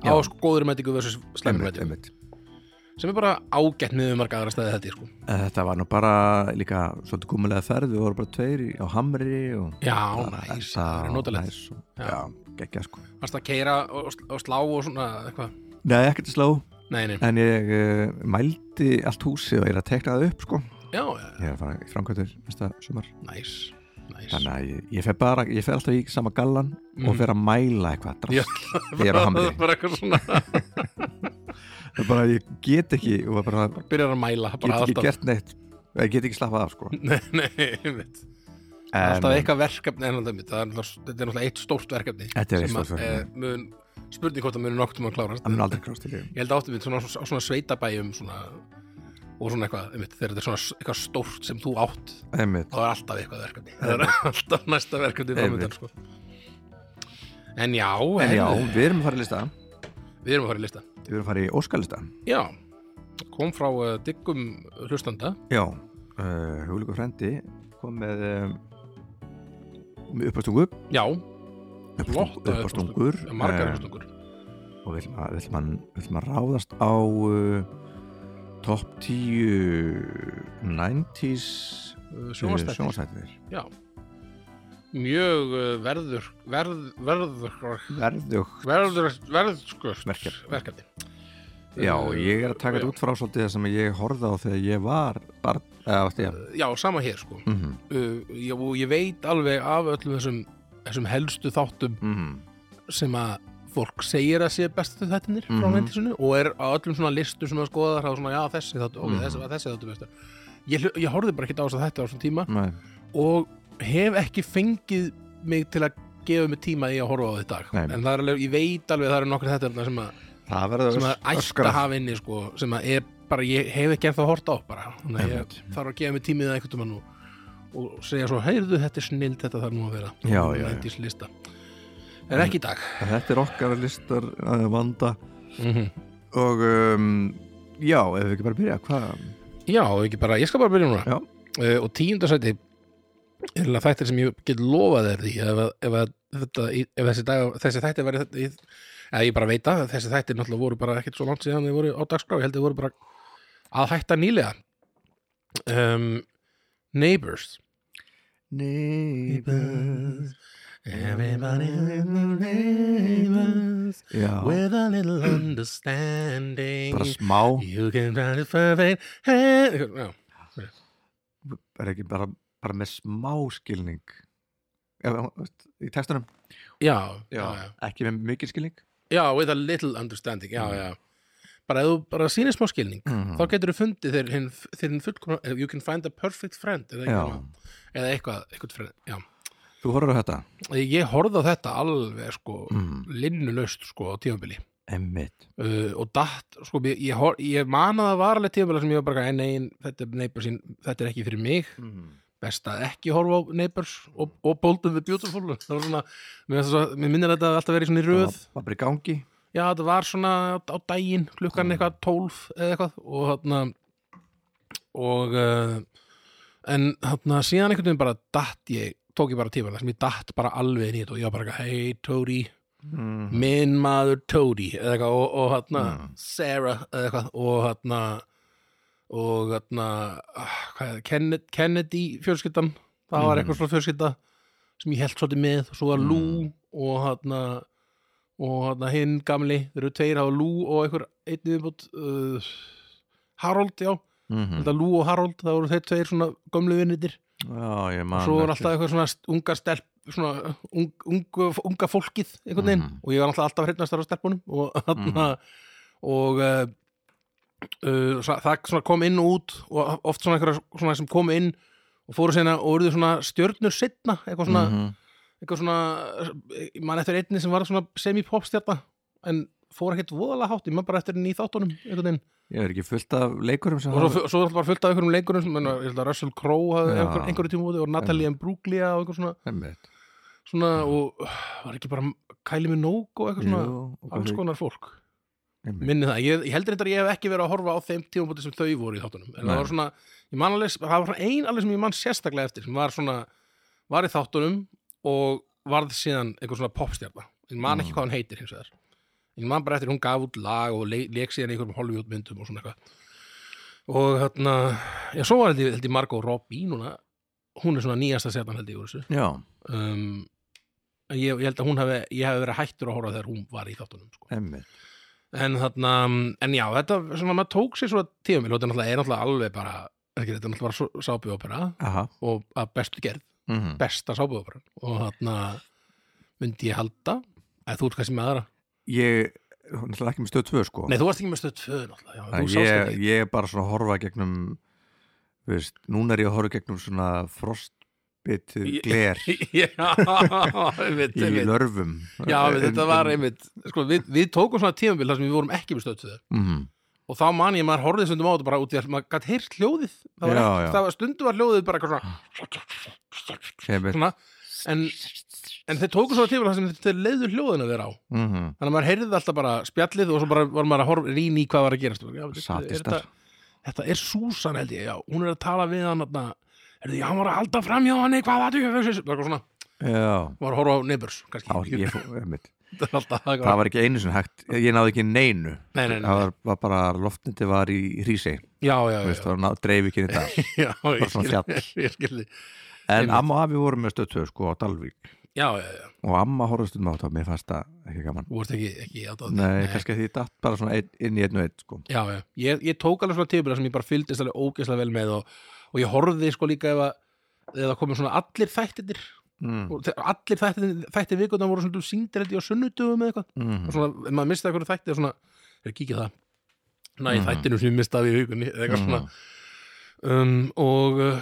Speaker 1: Já.
Speaker 2: á sko góður mætingu versus slæmur
Speaker 1: einmitt,
Speaker 2: mætingu
Speaker 1: einmitt.
Speaker 2: sem er bara ágætt niður marga aðra stæði þetta sko.
Speaker 1: En Eh, þetta var nú bara líka svolítið kummulega ferð, við vorum bara tveir í- á Hamri og
Speaker 2: Já, næs, það er notalegt
Speaker 1: næs og-
Speaker 2: Já.
Speaker 1: já, geggja sko
Speaker 2: Varst að keira og, og slá og svona eitthvað
Speaker 1: Nei, ekkert að slá,
Speaker 2: Nei, nei,
Speaker 1: en ég uh, mældi allt húsi og ég er að tekna það upp sko
Speaker 2: já, já,
Speaker 1: ég er að fara í framkvæmtur næsta sumar
Speaker 2: næs Næs
Speaker 1: þannig að ég, ég fer bara, ég fer alltaf í sama gallan og
Speaker 2: Mhm.
Speaker 1: fer að mæla eitthvað
Speaker 2: Já.
Speaker 1: drast, þegar ég er á hamri
Speaker 2: bara eitthvað
Speaker 1: [LAUGHS]
Speaker 2: svona
Speaker 1: Það er bara ég get ekki og bara
Speaker 2: byrjar að mæla
Speaker 1: get
Speaker 2: bara
Speaker 1: ekki gert neitt ég get ekki slappað af sko en,
Speaker 2: [LAUGHS] Nei, nei, einmitt. Mm, alltaf eitthvað verkefni en alltaf einmitt. Það er náttúrulega- þetta er náttúrulega eitt stórt verkefni
Speaker 1: Þetta er eitt
Speaker 2: sem
Speaker 1: stórt
Speaker 2: að,
Speaker 1: verkefni.
Speaker 2: eh, mun, spurning hvort það muni nokkuð að klárast
Speaker 1: það mun aldrei klást til
Speaker 2: ég held áttum við svona, á svona sveitabæjum svona, og svona eitthvað einmitt, þegar þetta er svona s- eitthvað stórt sem þú átt
Speaker 1: einmitt
Speaker 2: þá er alltaf eitthvað verkefni það er alltaf næsta verkefni framöndan
Speaker 1: Einmitt.
Speaker 2: sko. en já,
Speaker 1: en já,
Speaker 2: heyrðu,
Speaker 1: við erum að fara í lista
Speaker 2: við erum að fara í lista
Speaker 1: við erum að fara í óskalista
Speaker 2: já, kom frá uh, diggum hlustanda
Speaker 1: já, uh, hugleiku frendi kom með um, með uppastungu
Speaker 2: já,
Speaker 1: uppastungu,
Speaker 2: flotta
Speaker 1: uppastungur
Speaker 2: uppástungur, margar
Speaker 1: eh,
Speaker 2: uppástungur
Speaker 1: og vill maður vill man, vill man ráðast á uh, top 10 90s uh,
Speaker 2: sjónastættir
Speaker 1: sjónastættir
Speaker 2: Eh, Já Mjög uh, verður verð, verður
Speaker 1: verðug
Speaker 2: verður verðskust
Speaker 1: Verkefni.
Speaker 2: verkefni
Speaker 1: já,
Speaker 2: Uh,
Speaker 1: ég er að taka
Speaker 2: já.
Speaker 1: þetta út frá svolítið það sem ég horfði á þegar ég var barn, eða átti ég
Speaker 2: Já, sama hér sko
Speaker 1: mhm,
Speaker 2: uh, ég, og ég veit alveg af öllum þessum, þessum helstu þáttum
Speaker 1: mhm,
Speaker 2: sem að fólk segir að sé bestu þættinir frá
Speaker 1: Mhm.
Speaker 2: vendisinu og er á öllum svona listum sem að skoða það svona, já, þessi þáttu, ok,
Speaker 1: Mhm.
Speaker 2: þessi, var þessi þáttu bestur ég, hlu- ég horfði bara ekki á þess að þetta á þessum tíma
Speaker 1: nei,
Speaker 2: og hef ekki fengið mig til að gefa mig tíma í að horfa á þetta í dag
Speaker 1: Nei.
Speaker 2: en það er alveg, ég veit alveg að það eru nokkur þetta þarna sem að
Speaker 1: það verður
Speaker 2: sem að ætti að hafa inni sko, sem að er bara, ég hef ekki ennþá hort á bara, þannig að ég
Speaker 1: Einmitt.
Speaker 2: þarf að gefa mig tímið einhvern tímann og, og segja svo heyrðu þetta er snill, þetta þarf nú að vera
Speaker 1: Já, já, já.
Speaker 2: já. lista en ekki í dag
Speaker 1: þetta er okkar listar að vanda
Speaker 2: mm
Speaker 1: Mhm. og um, já, ef við ekki bara byrja hvað,
Speaker 2: já, og ekki bara, ég skal bara byrja núna
Speaker 1: Já.
Speaker 2: uh, og tíundasæti er alveg þættir sem ég get lofað þér því ef, að- ef, að þetta, ef þessi, dag, þessi þættir væri þetta ég, eða ég bara veit að þessi þættir náttúrulega voru bara ekkert svo langt síðan þeir voru á dagskrá, ég held þeir voru bara að hætta nýlega um, Neighbors
Speaker 1: neighbors
Speaker 2: Everybody in the neighbors
Speaker 1: já,
Speaker 2: With a little understanding
Speaker 1: bara smá
Speaker 2: You can find it perfect hand Já,
Speaker 1: er ekki bara, bara með smá skilning já, þú veist, í textunum
Speaker 2: já, já, já.
Speaker 1: ekki með mikið skilning
Speaker 2: Já, with a little understanding,
Speaker 1: Mm.
Speaker 2: já, já Bara ef þú bara sýnir smá skilning þá getur þú fundið þeir hinn þeir hinn fullkomna, eh, you can find a perfect friend eða,
Speaker 1: já,
Speaker 2: eitthvað, eða eitthvað, eitthvað friend, já
Speaker 1: þú horfður á þetta
Speaker 2: Ég horfði á þetta alveg, sko
Speaker 1: mm.
Speaker 2: linnulaust, sko, á tímabili
Speaker 1: emmitt
Speaker 2: uh, og datt, sko, ég, ég, hor- ég man að það var alveg tímabili sem ég var bara eitthvað, "Æ, nei, þetta er neighbors, þetta er ekki fyrir mig
Speaker 1: mm.
Speaker 2: best að ekki horfa á neighbors og, og Bolton the Beautiful það var svona, mér, finnst það svo, mér minnir að þetta alltaf verið svona í röð
Speaker 1: það var bara í gangi
Speaker 2: Já, þetta var svona á daginn, klukkan eitthvað tólf eða eitthvað og þarna og uh, en þarna síðan einhvern veginn bara datt ég, tók ég bara tíma sem ég datt bara alveg inn í þetta og ég var bara eitthvað, hei Tóri,
Speaker 1: mm.
Speaker 2: minn maður Tóri eða eitthvað og, og þarna
Speaker 1: Mm.
Speaker 2: Sarah eða eitthvað og þarna og þarna ah, hvað er, Kennedy, Kennedy fjölskyldan það var
Speaker 1: Mhm. Mhm.
Speaker 2: eitthvað svona fjölskylda sem ég held svolítið með og svo var hérna, Lou og þarna og þarna hinn gamli, þeir eru tveir á Lou og einhver, einn viðbútt uh, Harold, já, mm.
Speaker 1: Mhm.
Speaker 2: þetta Lú og Harold það voru þeir tveir svona gömlu vinnitir
Speaker 1: Já, ég man
Speaker 2: svo var
Speaker 1: ekki.
Speaker 2: alltaf eitthvað svona st- unga stelp svona ung, ungu, unga fólkið einhvern veginn
Speaker 1: Mhm.
Speaker 2: og ég var alltaf alltaf hreitnastar á stelpunum og [LAUGHS] þarna og uh, uh, sa- það svona kom inn og út og oft svona einhverja svona sem kom inn og fóru sérna og voruðu svona stjörnur setna eitthvað svona,
Speaker 1: Mhm.
Speaker 2: eitthvað svona eh, ég man eftir einni sem var svona semi-popstjarta en fór ekkert voðalega hátt ég man bara eftir henni í þáttunum einhvern veginn
Speaker 1: Ég er ekki fullt af leikurum sem
Speaker 2: og svo, fu- svo er alltaf bara fullt af einhverjum leikurum sem, menna, ég held að Russell Crowe hafði
Speaker 1: Já. Mhm.
Speaker 2: einhver, einhverju tíma úti og Natalie Imbruglia og eitthvað svona
Speaker 1: Einmitt.
Speaker 2: svona og [SIGHS] uh, var ekki bara Kylie Minogue og eitthvað svona
Speaker 1: Jú, og
Speaker 2: alls
Speaker 1: hvað-
Speaker 2: konar fólk,
Speaker 1: einmitt.
Speaker 2: minni það ég, ég heldur þetta að ég hef ekki verið að horfa á þeim tímabóti sem þau voru í þáttunum,
Speaker 1: Nei.
Speaker 2: en það var svona ég man alveg, það var svona ein alveg sem ég man sérstaklega eftir sem var svona, var í þáttunum og varð síðan einhver svona popstjarna, ég man ekki
Speaker 1: Mm.
Speaker 2: hvað hann heitir hins vegar, ég man bara eftir hún gaf út lag og leik, leik síðan í einhverjum Hollywood myndum og svona eitthvað og hérna, já svo var held ég, held ég Margot Robbie núna, hún er svona nýjasta setan held ég úr þessu
Speaker 1: Já,
Speaker 2: um, en ég, ég held að hún hefði ég hefði verið hættur að horfa þegar hún var í þáttunum sko.
Speaker 1: emmi
Speaker 2: en þarna, um, en já, þetta svona, maður tók sér svona tíumil og þetta náttúrulega er náttúrulega alveg bara ekki, þetta er náttúrulega bara sábjóopera
Speaker 1: Aha
Speaker 2: og að bestu gerð,
Speaker 1: mm
Speaker 2: besta sábjóopera og þarna myndi ég halda að þú ert kannski með aðra
Speaker 1: Ég, hún er ekki með stöð 2 sko
Speaker 2: nei, þú varst ekki með stöð tvö náttúrulega já,
Speaker 1: Að
Speaker 2: þú sást
Speaker 1: ég,
Speaker 2: þetta ekki. [LAUGHS]
Speaker 1: ég er bara svona að horfa gegnum þú veist, núna er ég að horfa gegnum svona frostbitið
Speaker 2: Ég- [LAUGHS]
Speaker 1: gler
Speaker 2: já, einmitt,
Speaker 1: í
Speaker 2: einmitt
Speaker 1: lörfum
Speaker 2: já, einmitt, þetta var einmitt sko, við, við tókum svona tíumil þar sem við vorum ekki með stöð tvö
Speaker 1: mm,
Speaker 2: og þá man ég maður horfið stundum á þetta bara út í að maður gætt heyrt hljóðið það var,
Speaker 1: Já,
Speaker 2: ekki,
Speaker 1: já.
Speaker 2: það var stundum var hljóðið bara eitthvað svona,
Speaker 1: einmitt
Speaker 2: svona en, en þeir tóku svona tíma þar sem þeir leiðu hljóðin að vera á
Speaker 1: mm
Speaker 2: þannig að maður heyrði alltaf bara spjallið og svo bara var maður að horfa rýn í hvað var að gerast Já, er
Speaker 1: Sadistar.
Speaker 2: þetta, þetta er Susan held ég, já, hún er að tala við hann þarna, er já, hann var að halda fram hjá hann hvað það er eitthvað svona,
Speaker 1: Já,
Speaker 2: var að horfa á Neighbors kannski,
Speaker 1: á, ég, fó-
Speaker 2: [LAUGHS]
Speaker 1: einmitt
Speaker 2: Þetta er alltaf,
Speaker 1: Það var ekki einu sinni hægt, ég náði ekki neinu
Speaker 2: Nei, nei, nei.
Speaker 1: Það var, var bara, loftindi var í hrísi
Speaker 2: já, já,
Speaker 1: þú
Speaker 2: já,
Speaker 1: veist, það var ná, dreif ekki í
Speaker 2: [LAUGHS]
Speaker 1: dag
Speaker 2: já, já ég
Speaker 1: svona
Speaker 2: skilði, [LAUGHS] ég skilði
Speaker 1: En amma og afi voru með stöð 2 sko á Dalvík
Speaker 2: já, já, já,
Speaker 1: og amma horfðist um á þetta og mér fannst það ekki gaman
Speaker 2: þú vorst ekki, ekki aðdáandi.
Speaker 1: Nei, kannski að því datt bara svona ein, inn í einn og einn sko.
Speaker 2: Já, já, ég, ég tók alveg svona tíðbila sem ég bara fylgdist alveg ógeðslega vel með og, og ég horfði sko líka ef að ef það komið svona allir þættir
Speaker 1: mm.
Speaker 2: og þe- allir þættir, þættir vikundar voru svona síndir held ég á sunnudöfum eða eitthvað og
Speaker 1: Mm.
Speaker 2: svona, ef maður mistið eitthvað þætti svona, er kíkja það Næ,
Speaker 1: Mhm.
Speaker 2: þættinu sem ég mistaði í vikunni eða eitthvað svona um, og uh,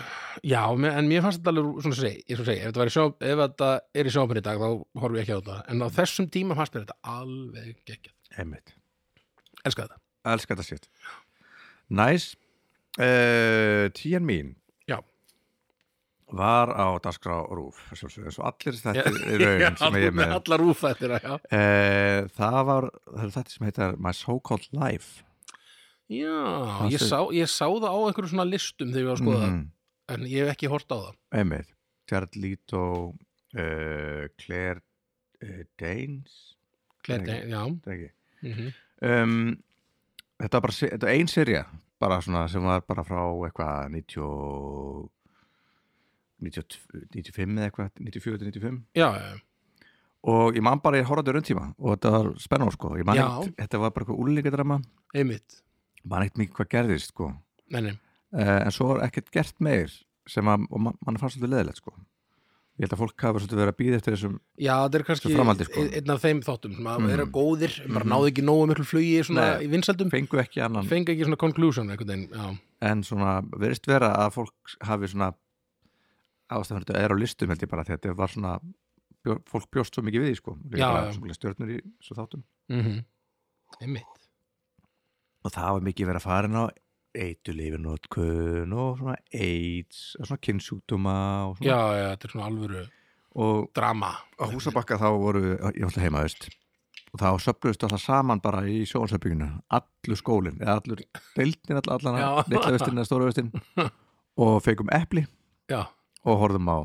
Speaker 2: já, me- en mér fannst þetta alveg svona segi, ég svo segi, ef þetta, væri sjá, ef þetta er í sjófinn í dag þá horfði ég ekki á þetta en á þessum tíma fannst mér þetta alveg geggjað
Speaker 1: Einmitt,
Speaker 2: Elska þetta,
Speaker 1: elska þetta sétt Næs uh, Tían mín
Speaker 2: Já.
Speaker 1: Var á Dasgrá Rúf að sjálfsögðu, eins og allir þetta er
Speaker 2: [LAUGHS] Já,
Speaker 1: raun sem
Speaker 2: þú
Speaker 1: ég er
Speaker 2: með
Speaker 1: með uh,
Speaker 2: allar úfættir já.
Speaker 1: Það var, það er þetta sem heitar My So-Called Life
Speaker 2: Já,
Speaker 1: Það
Speaker 2: ég
Speaker 1: sé-
Speaker 2: sá, ég sá það á einhverju svona listum þegar ég var að skoða
Speaker 1: Mhm,
Speaker 2: það en ég hef ekki hort á það
Speaker 1: Einmitt, Jared Leto uh, Claire uh, Danes
Speaker 2: Kleti,
Speaker 1: Nei.
Speaker 2: já,
Speaker 1: þetta ekki
Speaker 2: mm
Speaker 1: um, þetta var bara se- þetta var ein serja bara svona sem var bara frá eitthvað 90 og- 92 95 eða eitthvað 94 til 95
Speaker 2: já, já, já.
Speaker 1: og ég man bara ég horfði raun tíma og þetta var spennum sko ég man
Speaker 2: Já.
Speaker 1: eitt, þetta var bara eitthvað úrlingadrama
Speaker 2: einmitt
Speaker 1: man eitt mikið hvað gerðist sko
Speaker 2: Nei, nei,
Speaker 1: uh, en svo var ekkert gert meir sem að, og man, man fannst svolítið leðilegt sko ég held að fólk hafa svolítið verið að býða eftir þessum
Speaker 2: já, það er kannski
Speaker 1: Svo framhaldið, sko.
Speaker 2: ein- einn af þeim þáttum sem að
Speaker 1: Mhm.
Speaker 2: vera góðir, bara náðu ekki nógu miklu flugi svona
Speaker 1: Nei.
Speaker 2: í vinsældum,
Speaker 1: fengu ekki annan
Speaker 2: fengi ekki svona conclusion einhvern veginn, já,
Speaker 1: en svona verist vera að fólk hafi svona ástæðan þetta er á listum held ég bara því að þetta var svona bjó, fólk bjóst svo mikið við því sko Líka
Speaker 2: Já,
Speaker 1: bara
Speaker 2: já.
Speaker 1: svona stjörnur í svo þáttum
Speaker 2: mhm einmitt,
Speaker 1: og það var mikið verið að farin á eitulífin og kun og svona AIDS og svona kynnsjúkdóma og,
Speaker 2: já,
Speaker 1: svona.
Speaker 2: já, þetta er svona alvöru
Speaker 1: og
Speaker 2: drama,
Speaker 1: á húsabakka þá voru ég var alltaf heima veist og þá söfluðist alltaf saman bara í sjónsöpbygginu allur skólinn, eða allur deildin all, allan
Speaker 2: Já.
Speaker 1: að litla vestin eða stóra
Speaker 2: [LAUGHS]
Speaker 1: vestin og feikum epli
Speaker 2: já,
Speaker 1: og horfðum á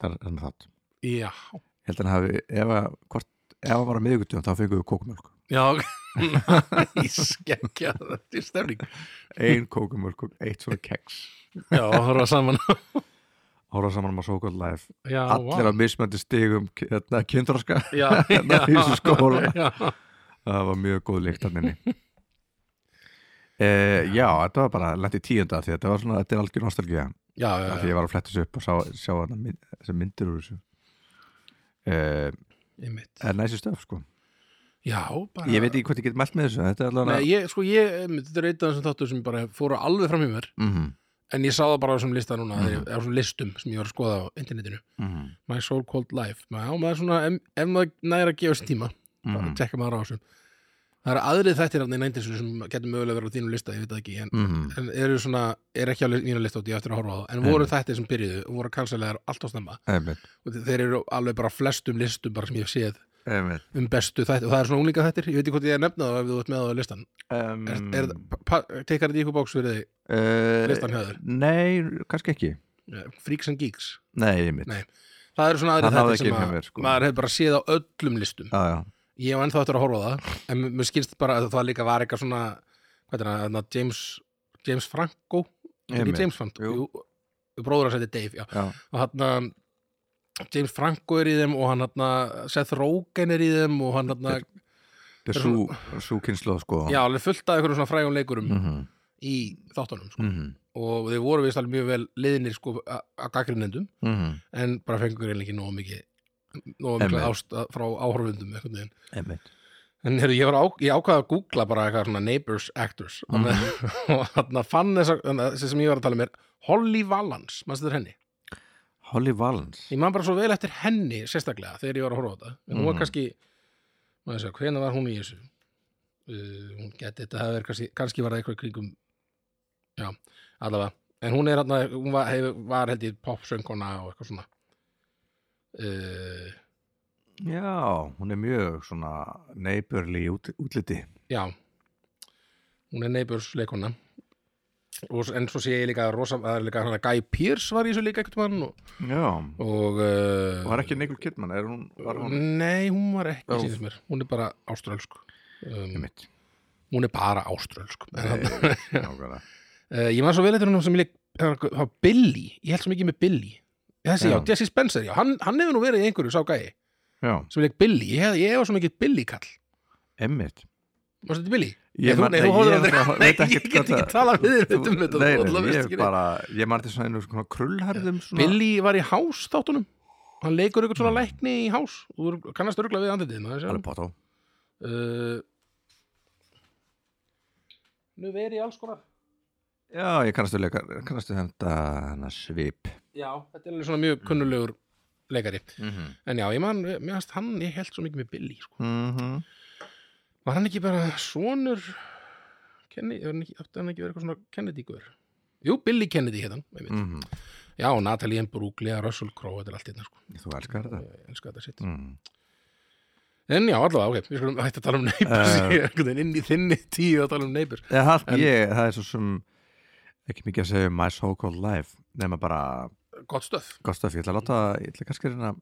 Speaker 1: þennan þátt
Speaker 2: já
Speaker 1: Ég held að hann hafi, ef að hvort, ef að var að miðvikudum þá fengum við kókumjölk
Speaker 2: já, [LAUGHS] ég skekkja þetta er stefning,
Speaker 1: ein
Speaker 2: [LAUGHS]
Speaker 1: kókumjölk og eitt svona keks
Speaker 2: já, horfa saman
Speaker 1: horfa saman um að sókvæld life
Speaker 2: já,
Speaker 1: allir á mismöndi stigum hérna,
Speaker 2: [LAUGHS]
Speaker 1: [LAUGHS] kynþroska
Speaker 2: já,
Speaker 1: Hérna í þessu skóla.
Speaker 2: já, [LAUGHS]
Speaker 1: það var mjög góð líkt hann inni Eh, já, þetta var bara lent í tíunda því þetta var svona, þetta er algjör nostalgía
Speaker 2: já, já,
Speaker 1: af því
Speaker 2: já,
Speaker 1: ég var að fletta þessu upp og sá, sjá þarna mynd- þessar myndir úr þessu eh,
Speaker 2: einmitt
Speaker 1: er næsi stöf sko
Speaker 2: já, bara
Speaker 1: ég veit ekki hvort ég get mælt með þessu þetta er allan
Speaker 2: Nei, ég, sko, ég, einmitt, þetta er eitt af þessum þáttur sem bara fóru alveg fram hjá mér
Speaker 1: Mhm,
Speaker 2: en ég sá það bara á þessum lista núna, mm
Speaker 1: Mhm.
Speaker 2: á þessum listum sem ég var að skoða á internetinu
Speaker 1: mhm,
Speaker 2: My So Called Life maður, já, maður svona, ef, ef maður næra að gefa sér tíma bara
Speaker 1: mhm,
Speaker 2: tekka maður á þessum það eru aðrið þættir af neina eindisu sem getur mögulega verið á þínum lista, ég veit það ekki en,
Speaker 1: mhm,
Speaker 2: en eru svona, er ekki á li- mínu lista út ég á eftir að horfa á það, en voru þættir sem byrjuðu og voru kansalegar allt á snemma
Speaker 1: einmitt,
Speaker 2: og þe- þeir eru alveg bara á flestum listum bara sem ég hef séð
Speaker 1: einmitt.
Speaker 2: um bestu þættir og það er svona unglinga þættir, ég veit ekki hvort ég er nefnað ef þú ert með á listan
Speaker 1: Um,
Speaker 2: er, er, pa- pa- tekar þetta í ykkur bóks fyrir þig
Speaker 1: eh,
Speaker 2: listan hjá þér?
Speaker 1: nei, kannski ekki
Speaker 2: Eh, Freaks and Geeks
Speaker 1: nei, einmitt
Speaker 2: Nei. það eru svona aðrið
Speaker 1: Það náði
Speaker 2: þættir
Speaker 1: ekki
Speaker 2: sem
Speaker 1: inn hjá
Speaker 2: að
Speaker 1: mér, sko.
Speaker 2: maður hefur bara séð á öllum listum
Speaker 1: Já, já.
Speaker 2: ég hef ennþá eftir að horfa á það en mér- mér skilst bara að það líka var eitthvað svona hvað er það, þarna James James Franco, Er ekki
Speaker 1: Einmitt.
Speaker 2: James Franco
Speaker 1: Jú.
Speaker 2: jú, bróður að setja Dave já.
Speaker 1: já,
Speaker 2: og hann James Franco er í þeim og hann hann Seth Rogen er í þeim og hann hann
Speaker 1: þetta er svo, svo kynslu sko
Speaker 2: já, alveg fullt af einhverjum svona frægum leikurum
Speaker 1: mhm,
Speaker 2: í þáttunum sko.
Speaker 1: mhm,
Speaker 2: og þeir voru vist alveg mjög vel liðinir sko a- að gaggrinendum
Speaker 1: mhm,
Speaker 2: en bara fengur eiginlega ekki nóg mikið nóg mikið
Speaker 1: Einmitt.
Speaker 2: ást að- frá áhorfundum einhvern veginn
Speaker 1: einmitt
Speaker 2: En heyrðu, ég, var á, ég ákvaði að googla bara eitthvað svona neighbors actors mm
Speaker 1: Mhm.
Speaker 2: [LAUGHS] og þannig að fann þess að þessi sem ég var að tala um er Holly Valance, mannstu þér henni?
Speaker 1: Holly Valens
Speaker 2: Ég man bara svo vel eftir henni sérstaklega þegar ég var að horfa á þetta en hún var
Speaker 1: Mhm.
Speaker 2: kannski, maður þess að hvena var hún í þessu? Uh, hún geti þetta hefur kannski, kannski var það eitthvað í kringum já, allavega en hún er hann hún var, hef, var held ég popsönguna og eitthvað svona uh,
Speaker 1: já, hún er mjög svona neighborly í út, útliti
Speaker 2: Já Hún er neighbors leikona og, En svo sé ég líka rosa, það er líka hana Guy Pearce var í þessu líka ekkert mann og,
Speaker 1: já,
Speaker 2: og Mm. uh,
Speaker 1: var ekki Nicole Kidman er hún, var hún
Speaker 2: Nei, hún var ekki
Speaker 1: Já.
Speaker 2: síðan mér Hún er bara áströlsk um,
Speaker 1: einmitt
Speaker 2: [LAUGHS]
Speaker 1: Eh,
Speaker 2: Hún er bara áströlsk En hann-
Speaker 1: Nákvæmlega.
Speaker 2: Eh, Ég var svo vel eftir hún sem ég leik það var Billy, ég held svo mikið með Billy Þessi, já,
Speaker 1: Já.
Speaker 2: Jesse Spencer, já, hann, hann hefur nú verið í einhverju sá gæi
Speaker 1: Já,
Speaker 2: sem leik Billy, ég, hef- ég var svo mikið Billy kall
Speaker 1: emmitt
Speaker 2: Varstu þetta Billy?
Speaker 1: Ég,
Speaker 2: Nei, þú-
Speaker 1: man-
Speaker 2: nei, þú horfir
Speaker 1: ég
Speaker 2: aldrei-
Speaker 1: náttúrulega
Speaker 2: Nei,
Speaker 1: veit
Speaker 2: [LAUGHS] ég
Speaker 1: ekkert
Speaker 2: get
Speaker 1: hvað
Speaker 2: ekki
Speaker 1: það-
Speaker 2: talað við þér
Speaker 1: Þú-
Speaker 2: um þetta þú
Speaker 1: Nei,
Speaker 2: allavega
Speaker 1: nei,
Speaker 2: veist
Speaker 1: ég
Speaker 2: ekki
Speaker 1: er
Speaker 2: neitt.
Speaker 1: bara Ég man til svona einu svona krullharðum svona
Speaker 2: Billy var í hás þáttunum hann leikur ykkur svona lækni í hás og þú eru- kannast örgla við andlitið maður sér.
Speaker 1: Alveg potó
Speaker 2: uh, Nú verið í alls konar
Speaker 1: Já, ég kannastu leika Kannastu þetta hana svip
Speaker 2: Já, þetta er alveg svona mjög kunnulegur leikari
Speaker 1: Mhm.
Speaker 2: en já, ég man, mér hans hann ég held svo mikið með Billy sko.
Speaker 1: Mhm.
Speaker 2: var hann ekki bara sonur Kennedy, var hann ekki, átti hann ekki verið eitthvað svona Kennedy guður Jú, Billy Kennedy hérna mm.
Speaker 1: Mhm.
Speaker 2: Já, Natalie M. Bruglia, Russell Crowe þetta er allt hérna, sko.
Speaker 1: Þú elskar þetta
Speaker 2: ég elska þetta sitt
Speaker 1: Mhm.
Speaker 2: En já, allavega, ok, við skulum hætti að tala um neighbors
Speaker 1: Eh.
Speaker 2: Ég er einhvern veginn inn í þinni tíu að tala um neighbors
Speaker 1: Eða það- ég- Það er svo sem ekki mikið að segja um my so-called life nema bara
Speaker 2: Gott stöf
Speaker 1: gott stöf ég ætla að láta ég ætla kannski að reyna að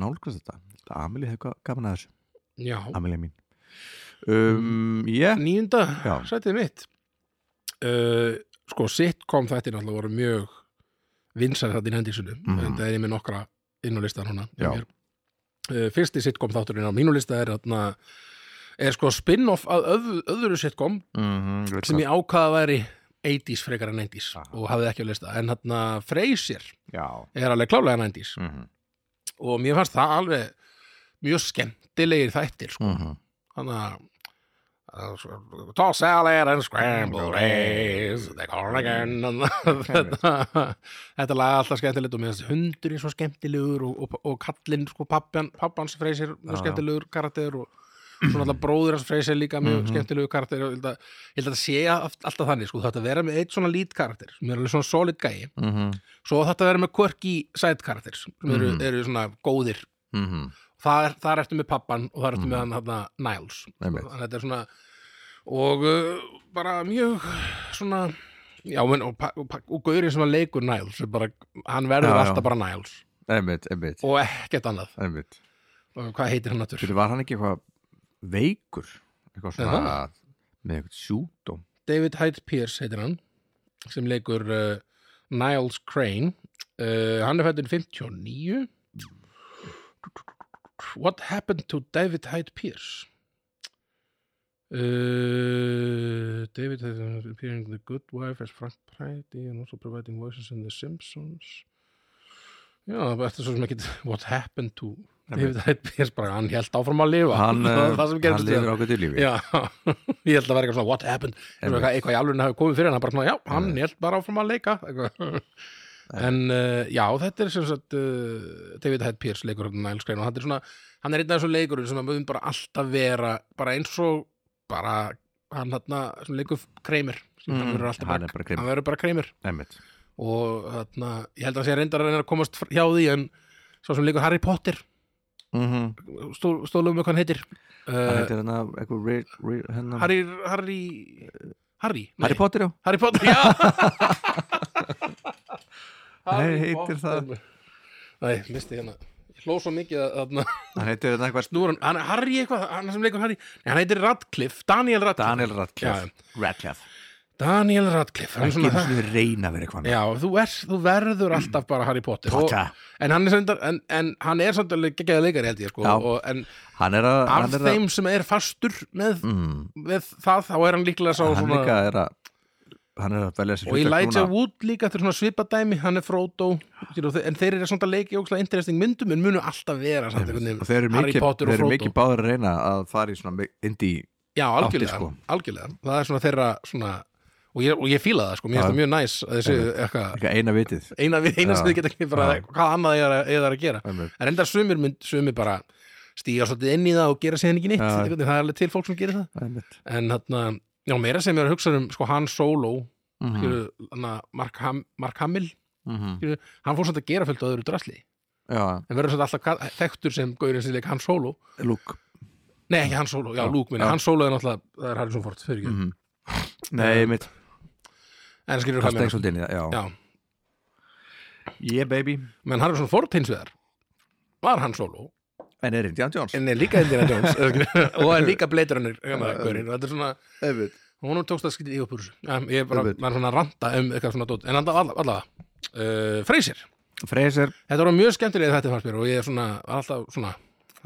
Speaker 1: nálgast þetta Þetta Amelie hefur ga- gaman að þessu
Speaker 2: Já,
Speaker 1: Amelie mín um,
Speaker 2: Mm.
Speaker 1: yeah.
Speaker 2: nýjunda,
Speaker 1: Já.
Speaker 2: sætið mitt uh, Sko, sitcom þetta er alltaf voru mjög vinsar þetta í hendísunu
Speaker 1: Mhm.
Speaker 2: en það er ég með nokkra inn á listan húnna
Speaker 1: Já.
Speaker 2: uh, Fyrsti sitcom þátturinn á mínu lista er þarna er sko spin-off að öð, öðru sitcom
Speaker 1: mm -hmm,
Speaker 2: sem ég ákvaða væri 80s frekar en 90s
Speaker 1: Aha.
Speaker 2: og hafði ekki á lista en þarna Frasier
Speaker 1: Já
Speaker 2: er alveg klálega 90s
Speaker 1: Mhm.
Speaker 2: og mér fannst það alveg mjög skemmtilegir þættir sko.
Speaker 1: Mhm.
Speaker 2: þannig að að svo- toss salad and scrambled eggs they call it again
Speaker 1: Mm.
Speaker 2: and þetta, [LAUGHS] þetta lag er alltaf skemmtilegt og mér finnst hundurinn svo skemmtilegur og, og, og kallinn sko pappan, pappans freysir mjög
Speaker 1: Já, já.
Speaker 2: skemmtilegur karakter og svona alltaf bróður hans freysir líka mjög
Speaker 1: Mhm.
Speaker 2: skemmtilegur karakter og ég held að, ég held að sé aft- alltaf þannig sko þetta vera með eitt svona lít karakter sem er alveg svona solid gæi
Speaker 1: Mhm.
Speaker 2: svo þetta vera með quirky side karakter sem eru,
Speaker 1: Mhm.
Speaker 2: eru svona góðir
Speaker 1: Mhm.
Speaker 2: þar, þar ertu með pappan og þar ertu
Speaker 1: Mhm.
Speaker 2: með hann þarna Niles
Speaker 1: Einmitt.
Speaker 2: þannig að þetta er svona og uh, bara mjög svona já, menn, og, pa- og, pa- og gaurið sem að leikur Niles er bara, hann verður
Speaker 1: Já, já.
Speaker 2: alltaf bara Niles
Speaker 1: Einmitt, einmitt,
Speaker 2: og ekkert annað
Speaker 1: einmitt.
Speaker 2: og hvað heitir hann
Speaker 1: Fyrir
Speaker 2: aftur?
Speaker 1: var hann ekki eitthvað veikur eitthvað svona með eitthvað sjúkdóm
Speaker 2: David Hyde Pierce heitir hann sem leikur uh, Niles Crane uh, hann er fættur 59 What happened to David Hyde Pierce? Uh, David has been appearing in The Good Wife as Frank Pride and also providing voices in The Simpsons Já, það er svo sem ekki What happened to David Hyde bara, hann held áfram að lifa
Speaker 1: hann,
Speaker 2: [LAUGHS] Það var
Speaker 1: eh,
Speaker 2: það sem
Speaker 1: hann
Speaker 2: gerðist við
Speaker 1: lifir ágættu lífi
Speaker 2: Já, [LAUGHS] ég held að vera eitthvað svona what happened eitthvað,
Speaker 1: Einmitt.
Speaker 2: eitthvað í alveg hafi komið fyrir hann bara svona, já, hann
Speaker 1: Einmitt.
Speaker 2: held bara áfram að leika eitthvað. en uh, já, þetta er sem sagt uh, David Hyde Pierce leikur hann Niles Crane og hann er svona, hann er einn af þessum leikur sem að mögum bara alltaf vera bara eins og bara hann hann sem leikur kreimir sem Mm-hmm.
Speaker 1: Mm,
Speaker 2: hann verður alltaf
Speaker 1: hann
Speaker 2: bara,
Speaker 1: er bara Kramer.
Speaker 2: hann verður bara kreimir
Speaker 1: Einmitt.
Speaker 2: og þarna, ég held að hann sé reyndar að reyna að komast fr- hjá því en svo sem leikur Harry Potter Mm-hmm.
Speaker 1: Mhm.
Speaker 2: stó, stólum með hvað hann heitir
Speaker 1: Hann
Speaker 2: uh,
Speaker 1: heitir hérna eitthvað re- re- hérna-
Speaker 2: Harry Harry Harry, nei.
Speaker 1: Harry Potter, já
Speaker 2: Harry Potter, [LAUGHS] já
Speaker 1: Nei, heitir það.
Speaker 2: Nei, misti hérna Ég hló svo mikið að þarna
Speaker 1: Hann heitir hérna eitthvað
Speaker 2: Snúran, hann Harry eitthvað, hann sem leikur Harry Nei, hann heitir Radcliffe, Daniel Radcliffe
Speaker 1: Daniel Radcliffe
Speaker 2: Já,
Speaker 1: Radcliffe
Speaker 2: Daniel Radcliffe hann
Speaker 1: Ekki einu
Speaker 2: svona,
Speaker 1: sinni reyna að vera eitthvað annað.
Speaker 2: Já, þú, er, þú verður alltaf bara Harry Potter
Speaker 1: Potter.
Speaker 2: En hann er samt en, en hann er samt alveg geggjaði leikari held ég sko,
Speaker 1: Já.
Speaker 2: og, En
Speaker 1: Hann er að
Speaker 2: af
Speaker 1: hann er að-
Speaker 2: þeim sem er fastur með,
Speaker 1: mm,
Speaker 2: með það, þá er hann líklega sá
Speaker 1: Hann
Speaker 2: svona,
Speaker 1: líka er að Hann er að velja sér
Speaker 2: og Elijah Wood líka þetta er svona svipadæmi, hann er Frodo skilur, þe- en þeir eru samt að leiki ókslega interesting myndum en munu alltaf vera samt
Speaker 1: Og
Speaker 2: einhvern veginn
Speaker 1: þeir eru
Speaker 2: Harry
Speaker 1: mikið,
Speaker 2: Potter
Speaker 1: þeir
Speaker 2: og
Speaker 1: eru
Speaker 2: Frodo.
Speaker 1: mikið báður að reyna að fara í svona mi- indie
Speaker 2: já, algjörlega,
Speaker 1: áttir, sko.
Speaker 2: algjörlega það er svona þeirra svona, og, ég, og ég fíla það sko, mér
Speaker 1: Já.
Speaker 2: finnst það mjög næs að þessi eitthvað,
Speaker 1: eitthvað eina vitið
Speaker 2: eina, eina sem
Speaker 1: Já.
Speaker 2: þið geta ekki bara
Speaker 1: Já.
Speaker 2: hvað annað ég er, að- ég er að gera
Speaker 1: Einmitt.
Speaker 2: en enda sumir, mynd, sumir bara stíga svolítið inn í það og gera sér ekki neitt
Speaker 1: Já.
Speaker 2: einhvern veginn, það er alveg til fólk sem gerir það
Speaker 1: Einmitt.
Speaker 2: en þarna, já, meira sem ég er að hugsa um sko, hann solo,
Speaker 1: Mhm,
Speaker 2: mm. hana, Mark, Ham, Mark Hamill
Speaker 1: mhm.
Speaker 2: skilur, hann fór samt að gera fullt á öðru drasli
Speaker 1: Já,
Speaker 2: en verður þetta alltaf ka- þekktur sem gaurið sem leik hann solo
Speaker 1: lúk
Speaker 2: nei ekki hann solo, já,
Speaker 1: Já,
Speaker 2: Luke minni,
Speaker 1: já.
Speaker 2: hann solo er náttúrulega það er Harrison Ford, fyrir ekki
Speaker 1: Mhm. Nei, mitt
Speaker 2: en skilur
Speaker 1: Það
Speaker 2: hvað
Speaker 1: steg
Speaker 2: mér
Speaker 1: svolítið inn í það, já
Speaker 2: já.
Speaker 1: Yeah, baby
Speaker 2: menn Harrison Ford hins vegar var hann solo
Speaker 1: En er Indiana Jones
Speaker 2: en er líka Indiana Jones eða skilur,
Speaker 1: [LAUGHS]
Speaker 2: og er líka Blade Runner hérna, gaurinn, og þetta er svona,
Speaker 1: Einmitt.
Speaker 2: honum tókst að skytið í uppur ég er bara,
Speaker 1: Einmitt.
Speaker 2: maður er svona að ranta um eitthvað svona dót en allavega, allavega, uh, Freysir
Speaker 1: Fraser
Speaker 2: Þetta var mjög skemmtilega þetta fannst mér og ég er svona alltaf svona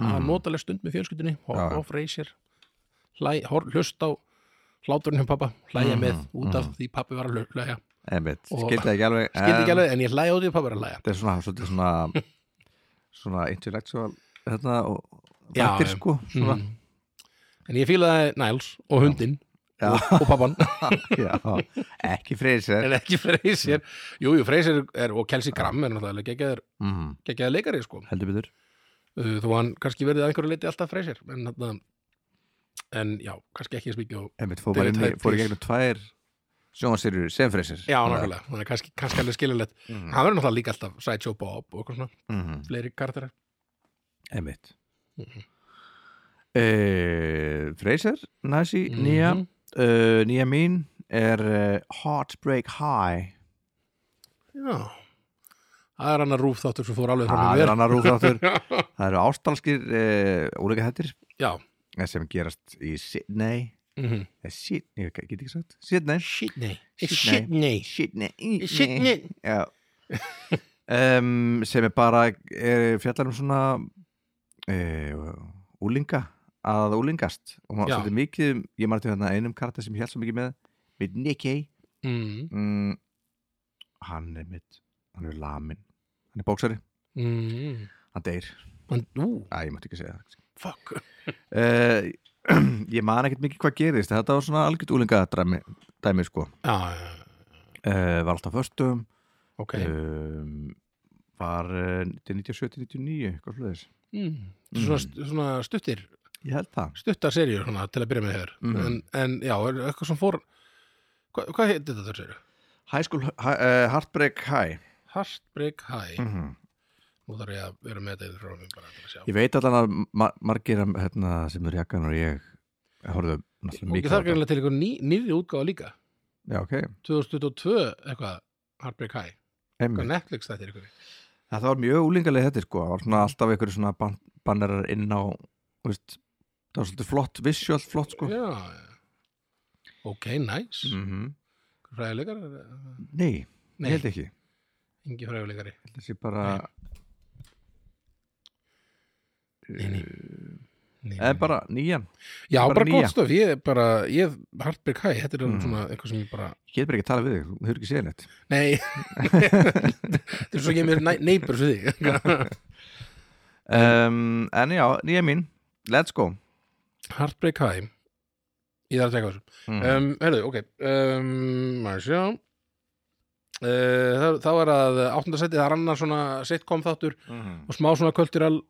Speaker 2: að notaleg stund með fjölskyldinni
Speaker 1: Mhm. Já.
Speaker 2: horfa á freysir hlust á hláturinn hjá pappa hlæja
Speaker 1: Mhm.
Speaker 2: með út af því pappi var að hlu- hlæja
Speaker 1: Einmitt,
Speaker 2: Og-
Speaker 1: skildi ekki alveg
Speaker 2: skildi ekki
Speaker 1: en
Speaker 2: alveg en ég hlæja út í pappi var að hlæja
Speaker 1: Þetta er svona, svolítið svona svona intellectual þetta og
Speaker 2: Já,
Speaker 1: þetta
Speaker 2: já.
Speaker 1: sko svona,
Speaker 2: mm. en ég fílaði Niles og hundinn
Speaker 1: Já.
Speaker 2: og, og pappan
Speaker 1: [LAUGHS] [LAUGHS] já, ekki freysir
Speaker 2: en ekki freysir jú, jú, freysir er og Kelsey Graham er náttúrulega geggjaður-
Speaker 1: mm,
Speaker 2: geggjaður leikari sko
Speaker 1: heldur betur
Speaker 2: Uh, þó hann kannski verðið að einhverju leiti alltaf freysir en, þarna- en já, kannski ekki eins mikið og
Speaker 1: Einmitt, fór, bara inn í,
Speaker 2: David
Speaker 1: fór í
Speaker 2: Hyde
Speaker 1: gegnum tvær sjónvarsýrjur sem freysir
Speaker 2: Já, nákvæmlega, þannig að kannski, kannski alveg skiljanlegt
Speaker 1: Mhm.
Speaker 2: Mm. Hann verður náttúrulega líka alltaf Sideshow Bob og eitthvað svona,
Speaker 1: mm,
Speaker 2: fleiri karakterar
Speaker 1: Einmitt
Speaker 2: Mhm.
Speaker 1: uh, Fraser, næsi, nýja
Speaker 2: Mhm.
Speaker 1: uh, nýja mín er uh, Heartbreak High
Speaker 2: Já Það er hann að rúf þáttur sem fór alveg fram
Speaker 1: það
Speaker 2: í
Speaker 1: er
Speaker 2: mér
Speaker 1: annar
Speaker 2: [LAUGHS]
Speaker 1: rúfþáttur það eru ástalskir uh, úleika hættir
Speaker 2: Já,
Speaker 1: Eh, sem gerast í Sydney
Speaker 2: mm -hmm.
Speaker 1: Eh, Sydney, ég get ekki sagt Sydney
Speaker 2: Sydney
Speaker 1: Sydney.
Speaker 2: Sydney
Speaker 1: Sydney,
Speaker 2: Sydney
Speaker 1: Já um, sem er bara er, fjallar um svona uh, úlinga að úlingast og maður
Speaker 2: Já.
Speaker 1: svolítið mikið um- ég marði hérna einum karta sem ég held svo mikið með með Nicky
Speaker 2: mm,
Speaker 1: mm, hann er mitt, hann er lamin hann er bóksari,
Speaker 2: mm.
Speaker 1: hann deyr
Speaker 2: Hann, ú,
Speaker 1: að ég mátti ekki segja það
Speaker 2: fuck
Speaker 1: uh, [CLEARS THROAT] ég man ekkert mikið hvað gerist þetta var svona algjört úlinga dæmi, dæmi sko,
Speaker 2: Já, já, já,
Speaker 1: uh, var alltaf föstum
Speaker 2: ok
Speaker 1: um, var uh, 97-99 eitthvað sluðis
Speaker 2: mm. svona, svona stuttir
Speaker 1: ég held það
Speaker 2: stuttar serjur svona, til að byrja með þér
Speaker 1: Mhm.
Speaker 2: en, en já, er eitthvað sem fór Hva, Hvað heitir þetta serjur?
Speaker 1: High School hi, uh, Heartbreak High
Speaker 2: Heartbreak High
Speaker 1: -hmm.
Speaker 2: Nú þarf ég að vera með þetta yfir frá mér bara til að sjá.
Speaker 1: ég veit allan að mar margir af, hérna, sem eru jakkan og ég horfðu náttúrulega
Speaker 2: Og ekki
Speaker 1: mikið
Speaker 2: það
Speaker 1: á þetta.
Speaker 2: greinlega til einhver ný, nýri útgáfa líka.
Speaker 1: já ok,
Speaker 2: 2022 eitthvað, Heartbreak High.
Speaker 1: Mm.
Speaker 2: Hvað
Speaker 1: einmitt
Speaker 2: Netflix þetta er ykkur.
Speaker 1: þetta var mjög úlingalið þetta sko það var svona alltaf einhverju svona ban bannerar inn á þú veist, það var svolítið flott visual flott sko
Speaker 2: Já, já. Ok, nice. Mm.
Speaker 1: mm
Speaker 2: Fræðilegar?
Speaker 1: nei,
Speaker 2: Nei.
Speaker 1: ég held ekki Ég
Speaker 2: Engi fræðilegari.
Speaker 1: held þessi bara
Speaker 2: Nei, nei.
Speaker 1: Uh, Eh, eða bara nýjan
Speaker 2: Já,
Speaker 1: bara
Speaker 2: bara,
Speaker 1: nýja.
Speaker 2: gott stöf, ég er bara, ég, Hartberg Hæ, þetta er
Speaker 1: Mm.
Speaker 2: svona eitthvað sem ég bara,
Speaker 1: ég get bara ekki að tala við þig, þú hefur ekki séð neitt
Speaker 2: nei, [LAUGHS] þetta er svo ég er mér neybur svo því. [LAUGHS]
Speaker 1: um, en já, nýja mín let's go
Speaker 2: Hartberg Hæ, ég þarf að teka þessu.
Speaker 1: mm.
Speaker 2: Um, herðu, ok, um, maður sjá. Uh, þá, þá er að áttundarsætið, það er annar svona sitcom þáttur
Speaker 1: Mhm.
Speaker 2: og smá svona kultural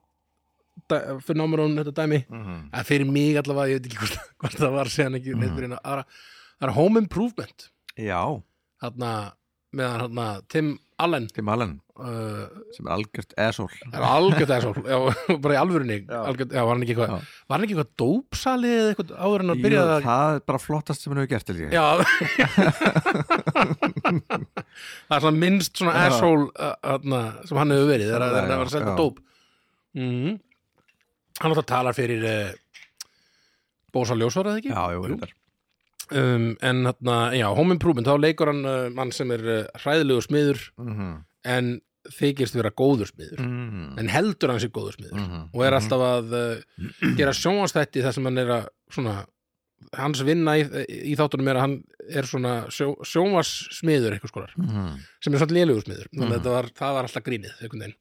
Speaker 2: fenómerón þetta dæmi.
Speaker 1: Mhm.
Speaker 2: En fyrir mig allavega, ég veit ekki hvort, hvort það var séðan ekki
Speaker 1: Mhm.
Speaker 2: mm. neitt fyrir hérna aðra. Það er Home Improvement.
Speaker 1: já,
Speaker 2: hérna, meðan hérna Tim Allen
Speaker 1: Tim Allen
Speaker 2: uh,
Speaker 1: sem er algjört esól
Speaker 2: er
Speaker 1: [LAUGHS]
Speaker 2: algjörð þessu, já, bara í alvörunni
Speaker 1: Já.
Speaker 2: algjörð, já, var hann ekki eitthvað
Speaker 1: Já.
Speaker 2: var hann ekki eitthvað dópsalið eða eitthvað áður en að
Speaker 1: Jú,
Speaker 2: byrja að
Speaker 1: það er bara flottast sem hann hefur gert til ég
Speaker 2: Já
Speaker 1: [LAUGHS]
Speaker 2: Það er svona minnst svona
Speaker 1: Já.
Speaker 2: asshole uh, hana, sem hann hefur verið þegar
Speaker 1: Já,
Speaker 2: þegar hann
Speaker 1: já,
Speaker 2: var að
Speaker 1: já.
Speaker 2: senda dóp mm Hann alltaf talar fyrir uh, Bósa Ljósvar eða ekki?
Speaker 1: já, jú,
Speaker 2: Jú.
Speaker 1: reyndar.
Speaker 2: um, En hérna, já, Home Improvement þá leikur hann uh, mann sem er uh, hræðilegu smiður
Speaker 1: Mhm.
Speaker 2: en þykist vera góður smiður
Speaker 1: Mhm.
Speaker 2: en heldur hann sér góður smiður
Speaker 1: Mhm.
Speaker 2: og er alltaf að uh, gera sjónvastætti þar sem hann er að svona, hans vinna í, í þáttunum er að hann er svona sjó, sjónvassmiður eitthvað skolar
Speaker 1: Mhm.
Speaker 2: sem er svona lélugur smiður
Speaker 1: Mhm.
Speaker 2: þannig að þetta var, það var alltaf grínið einhvern veginn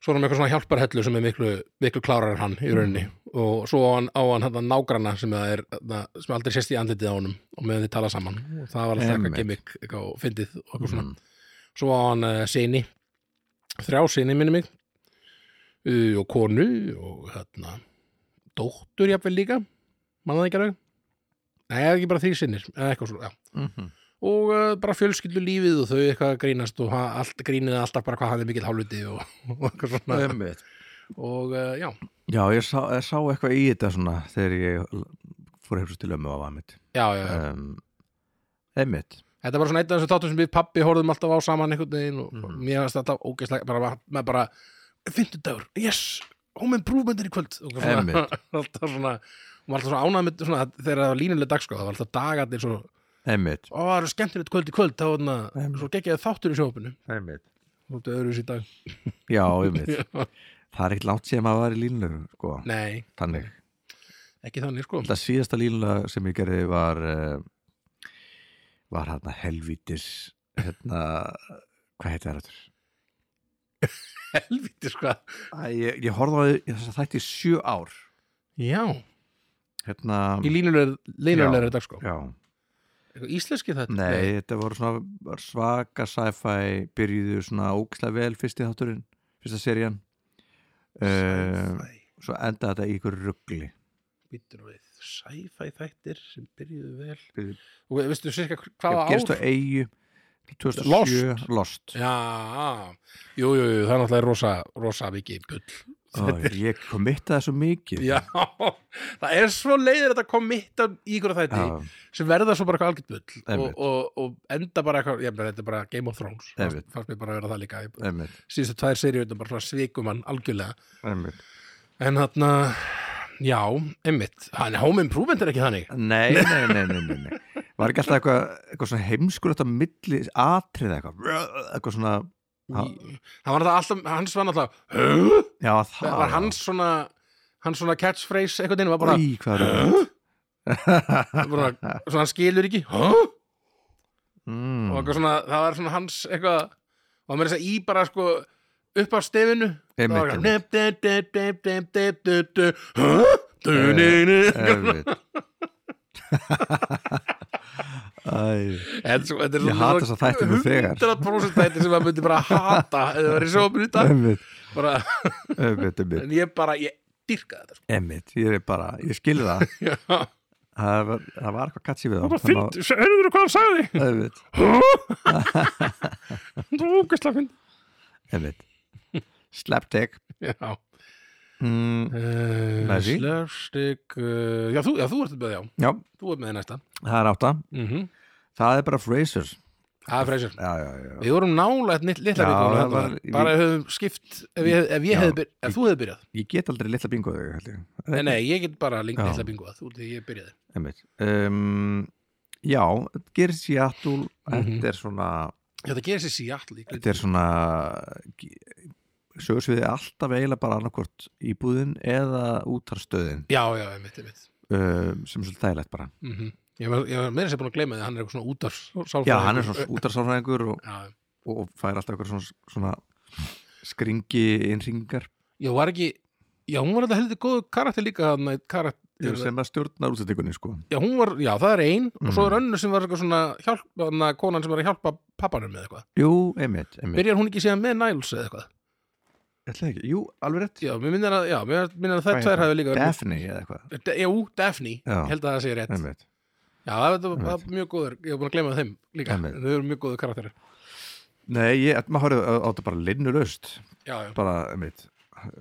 Speaker 2: svo er hann með eitthvað svona hjálparhellu sem er miklu, miklu klárar en hann í rauninni
Speaker 1: Mhm.
Speaker 2: og svo á hann, á hann hann nágrana sem, það er, það, sem aldrei sést í andlitið á honum og meðan þið tala saman og það var alltaf
Speaker 1: Einmitt.
Speaker 2: eitthvað gimmick eitthvað fyndið og eitthvað svona
Speaker 1: Mhm.
Speaker 2: svo á hann uh, sinni þrjá sinni minni mig uh, og konu og hérna dóttur jafnvel líka manna það ekki alveg nei, það er ekki bara þrý sinnir eða eitthvað svo, já
Speaker 1: Mhm.
Speaker 2: og uh, bara fjölskyldu lífið og þau eitthvað að grínast og hann- allt, gríniði alltaf bara hvað hann er mikill hálfuti og, [LAUGHS] og eitthvað svona
Speaker 1: Einmitt.
Speaker 2: og uh, já,
Speaker 1: já, ég sá, ég sá eitthvað í þetta svona þegar ég l- fór hefnst til ömmu á aðmitt
Speaker 2: já, já, já.
Speaker 1: um, einmitt
Speaker 2: þetta er bara svona einn af þessu tátum sem við pappi horfðum alltaf á saman einhvern veginn og
Speaker 1: Mhm.
Speaker 2: mér varst þetta ógeðslega bara, með bara, fyndudagur, yes home improvement er í kvöld og eitthvað svona,
Speaker 1: Einmitt.
Speaker 2: [LAUGHS] alltaf svona hún var alltaf svona ánæð með svona, þegar það var línuleg dagskóð það var alltaf dagarnir svo,
Speaker 1: einmitt
Speaker 2: ó, það eru skemmtilegt kvöld í kvöld þá var þarna,
Speaker 1: Einmitt.
Speaker 2: svo gekkjaði þáttur í sjófinu
Speaker 1: einmitt
Speaker 2: þú ertu öðruðs í dag
Speaker 1: já, einmitt það er ekkert langt sér maður var í línulegur sko,
Speaker 2: [LAUGHS] nei,
Speaker 1: þannig
Speaker 2: ekki þannig
Speaker 1: [LAUGHS]
Speaker 2: sko
Speaker 1: Þetta síðasta líla sem ég gerði var uh, var hérna helvítis hérna, hvað heitir það þetta?
Speaker 2: helviti sko,
Speaker 1: Ég, ég horfði á því- ég þess að þætti í sjö ár
Speaker 2: já
Speaker 1: hérna,
Speaker 2: í línuleg, línulegri sko. dagskóð
Speaker 1: já,
Speaker 2: íslenski þetta
Speaker 1: nei, þetta voru svona var svaka sci-fi byrjuðu svona ógislega vel fyrsti þátturinn fyrsta serían uh,
Speaker 2: Sci-fi.
Speaker 1: svo endaði þetta í ykkur ruggli
Speaker 2: býtur við sci-fi þættir sem byrjuðu vel
Speaker 1: Byrjuðu-
Speaker 2: og veistu cirka hvaða ár
Speaker 1: gerist á eigu 2007, Lost
Speaker 2: já, jú, jú, jú, það er náttúrulega rosa, rosa mikið bull
Speaker 1: Ó, ég komitta það svo mikið
Speaker 2: já, [LAUGHS] það er svo leiðir að komitta í ykkur þætti
Speaker 1: Já,
Speaker 2: sem verða svo bara eitthvað algjörn bull
Speaker 1: Einmitt.
Speaker 2: og, og, og enda bara eitthvað, ég meina þetta er bara Game of Thrones fannst,
Speaker 1: Einmitt.
Speaker 2: fannst mér bara að vera það líka Ég-
Speaker 1: einmitt,
Speaker 2: síðustu tvær seriðunum bara svona svikum hann algjörlega
Speaker 1: einmitt
Speaker 2: en þarna, já, einmitt hann home improvement er ekki þannig
Speaker 1: Nei, nei, nei, nei, nei, nei. Var ekki alltaf eitthvað, eitthvað svona heimskulegt á milli atrið eitthvað eitthvað svona, Ha-
Speaker 2: hann var alltaf, hans var náttúrulega
Speaker 1: já það
Speaker 2: það var hans svona hans svona catchphrase einhvern veginn var bara,
Speaker 1: bara, Í, hvað er það?
Speaker 2: bara svona hann skilur ekki Hå? og
Speaker 1: mm, [LAUGHS]
Speaker 2: eitthvað svona, það var svona hans eitthvað og hann verið þess að í bara sko upp af stefinu það
Speaker 1: Einmitt, Eh,
Speaker 2: var eitthvað,
Speaker 1: einmitt.
Speaker 2: nep, dep, dep, dep, dep, dep, dep, dep, hå? Du, ni, ni. [LAUGHS]
Speaker 1: Einmitt. Æ,
Speaker 2: En svo- þetta er
Speaker 1: Ég
Speaker 2: svona
Speaker 1: hata þessa þætti nú þegar.
Speaker 2: 100% þætti sem maður myndi bara hata eða það verið svo að bryta
Speaker 1: einmitt,
Speaker 2: bara,
Speaker 1: einmitt, einmitt,
Speaker 2: en ég bara, ég dyrka þetta sko.
Speaker 1: einmitt ég er bara, ég skilði það
Speaker 2: Já. það
Speaker 1: það var, það var eitthvað katsi við þá
Speaker 2: var fint, hörðu þú hvað hann
Speaker 1: [LAUGHS]
Speaker 2: sagði
Speaker 1: einmitt,
Speaker 2: Hå? það var ógæslega fint
Speaker 1: einmitt slapdick
Speaker 2: Já
Speaker 1: mm, Næsi.
Speaker 2: Slöfstik uh, já, þú, já, þú ert með, já,
Speaker 1: já,
Speaker 2: þú ert með næsta
Speaker 1: það er átta
Speaker 2: mm -hmm.
Speaker 1: það er bara Frasers
Speaker 2: Það er freysir
Speaker 1: já, já, já,
Speaker 2: Við vorum nálægt nýtt litla
Speaker 1: Já,
Speaker 2: vikunum
Speaker 1: það var-
Speaker 2: hérna. Bara höfum skipt Ef, ég, ef, ég
Speaker 1: Já.
Speaker 2: hefði, byr- ef þú hefði byrjað
Speaker 1: ég get aldrei litla bingo þegar held ég
Speaker 2: Nei, nei, ég get bara lengt
Speaker 1: Já.
Speaker 2: litla bingoða Þú ert því ég byrjaði
Speaker 1: Einmitt. Um, já, gerir Seattle
Speaker 2: Mhm.
Speaker 1: þetta er svona
Speaker 2: Já, það gerir sér Seattle í
Speaker 1: þetta er svona sögursviðið er alltaf eiginlega bara annarkvort íbúðin eða útarstöðin
Speaker 2: já, já, einmitt, einmitt
Speaker 1: um, sem er svolítið þægilegt bara
Speaker 2: mm ég, var, ég var meira sér búin að gleyma því að hann er eitthvað svona útars
Speaker 1: Mhm. Já, hann er svona útarsálfræðingur og,
Speaker 2: já,
Speaker 1: og fær alltaf eitthvað svona, svona skringi innringar
Speaker 2: ég var ekki já, hún var þetta heldur góð karakter líka þarna, einn karakter,
Speaker 1: sem að stjórnar útsettingunni sko
Speaker 2: já, hún var, já, það er ein og svo er
Speaker 1: Mhm.
Speaker 2: önnur sem var eitthvað svona hjálp, hana, konan sem var að hjálpa pappanum með eitthvað
Speaker 1: Jú, einmitt, einmitt
Speaker 2: byrjar hún ekki síðan með Niles eða eitthvað
Speaker 1: Ætli það ekki. Jú, alveg rétt
Speaker 2: já, mér minnir að, já, mér minnir að það
Speaker 1: Hvað
Speaker 2: tvær
Speaker 1: heitir
Speaker 2: hafi líka verið-
Speaker 1: Daphne eða eitthvað
Speaker 2: De, jú, Daphne,
Speaker 1: Já.
Speaker 2: ég held að það sé rétt
Speaker 1: Einmitt
Speaker 2: Já, það var, það var
Speaker 1: Einmitt.
Speaker 2: mjög góður, ég hef búin að gleyma þeim líka,
Speaker 1: Einmitt.
Speaker 2: en þau eru mjög góður karakterir
Speaker 1: Nei, ég, maður horfði á á þetta bara linnulaust
Speaker 2: Já, já,
Speaker 1: bara, einmitt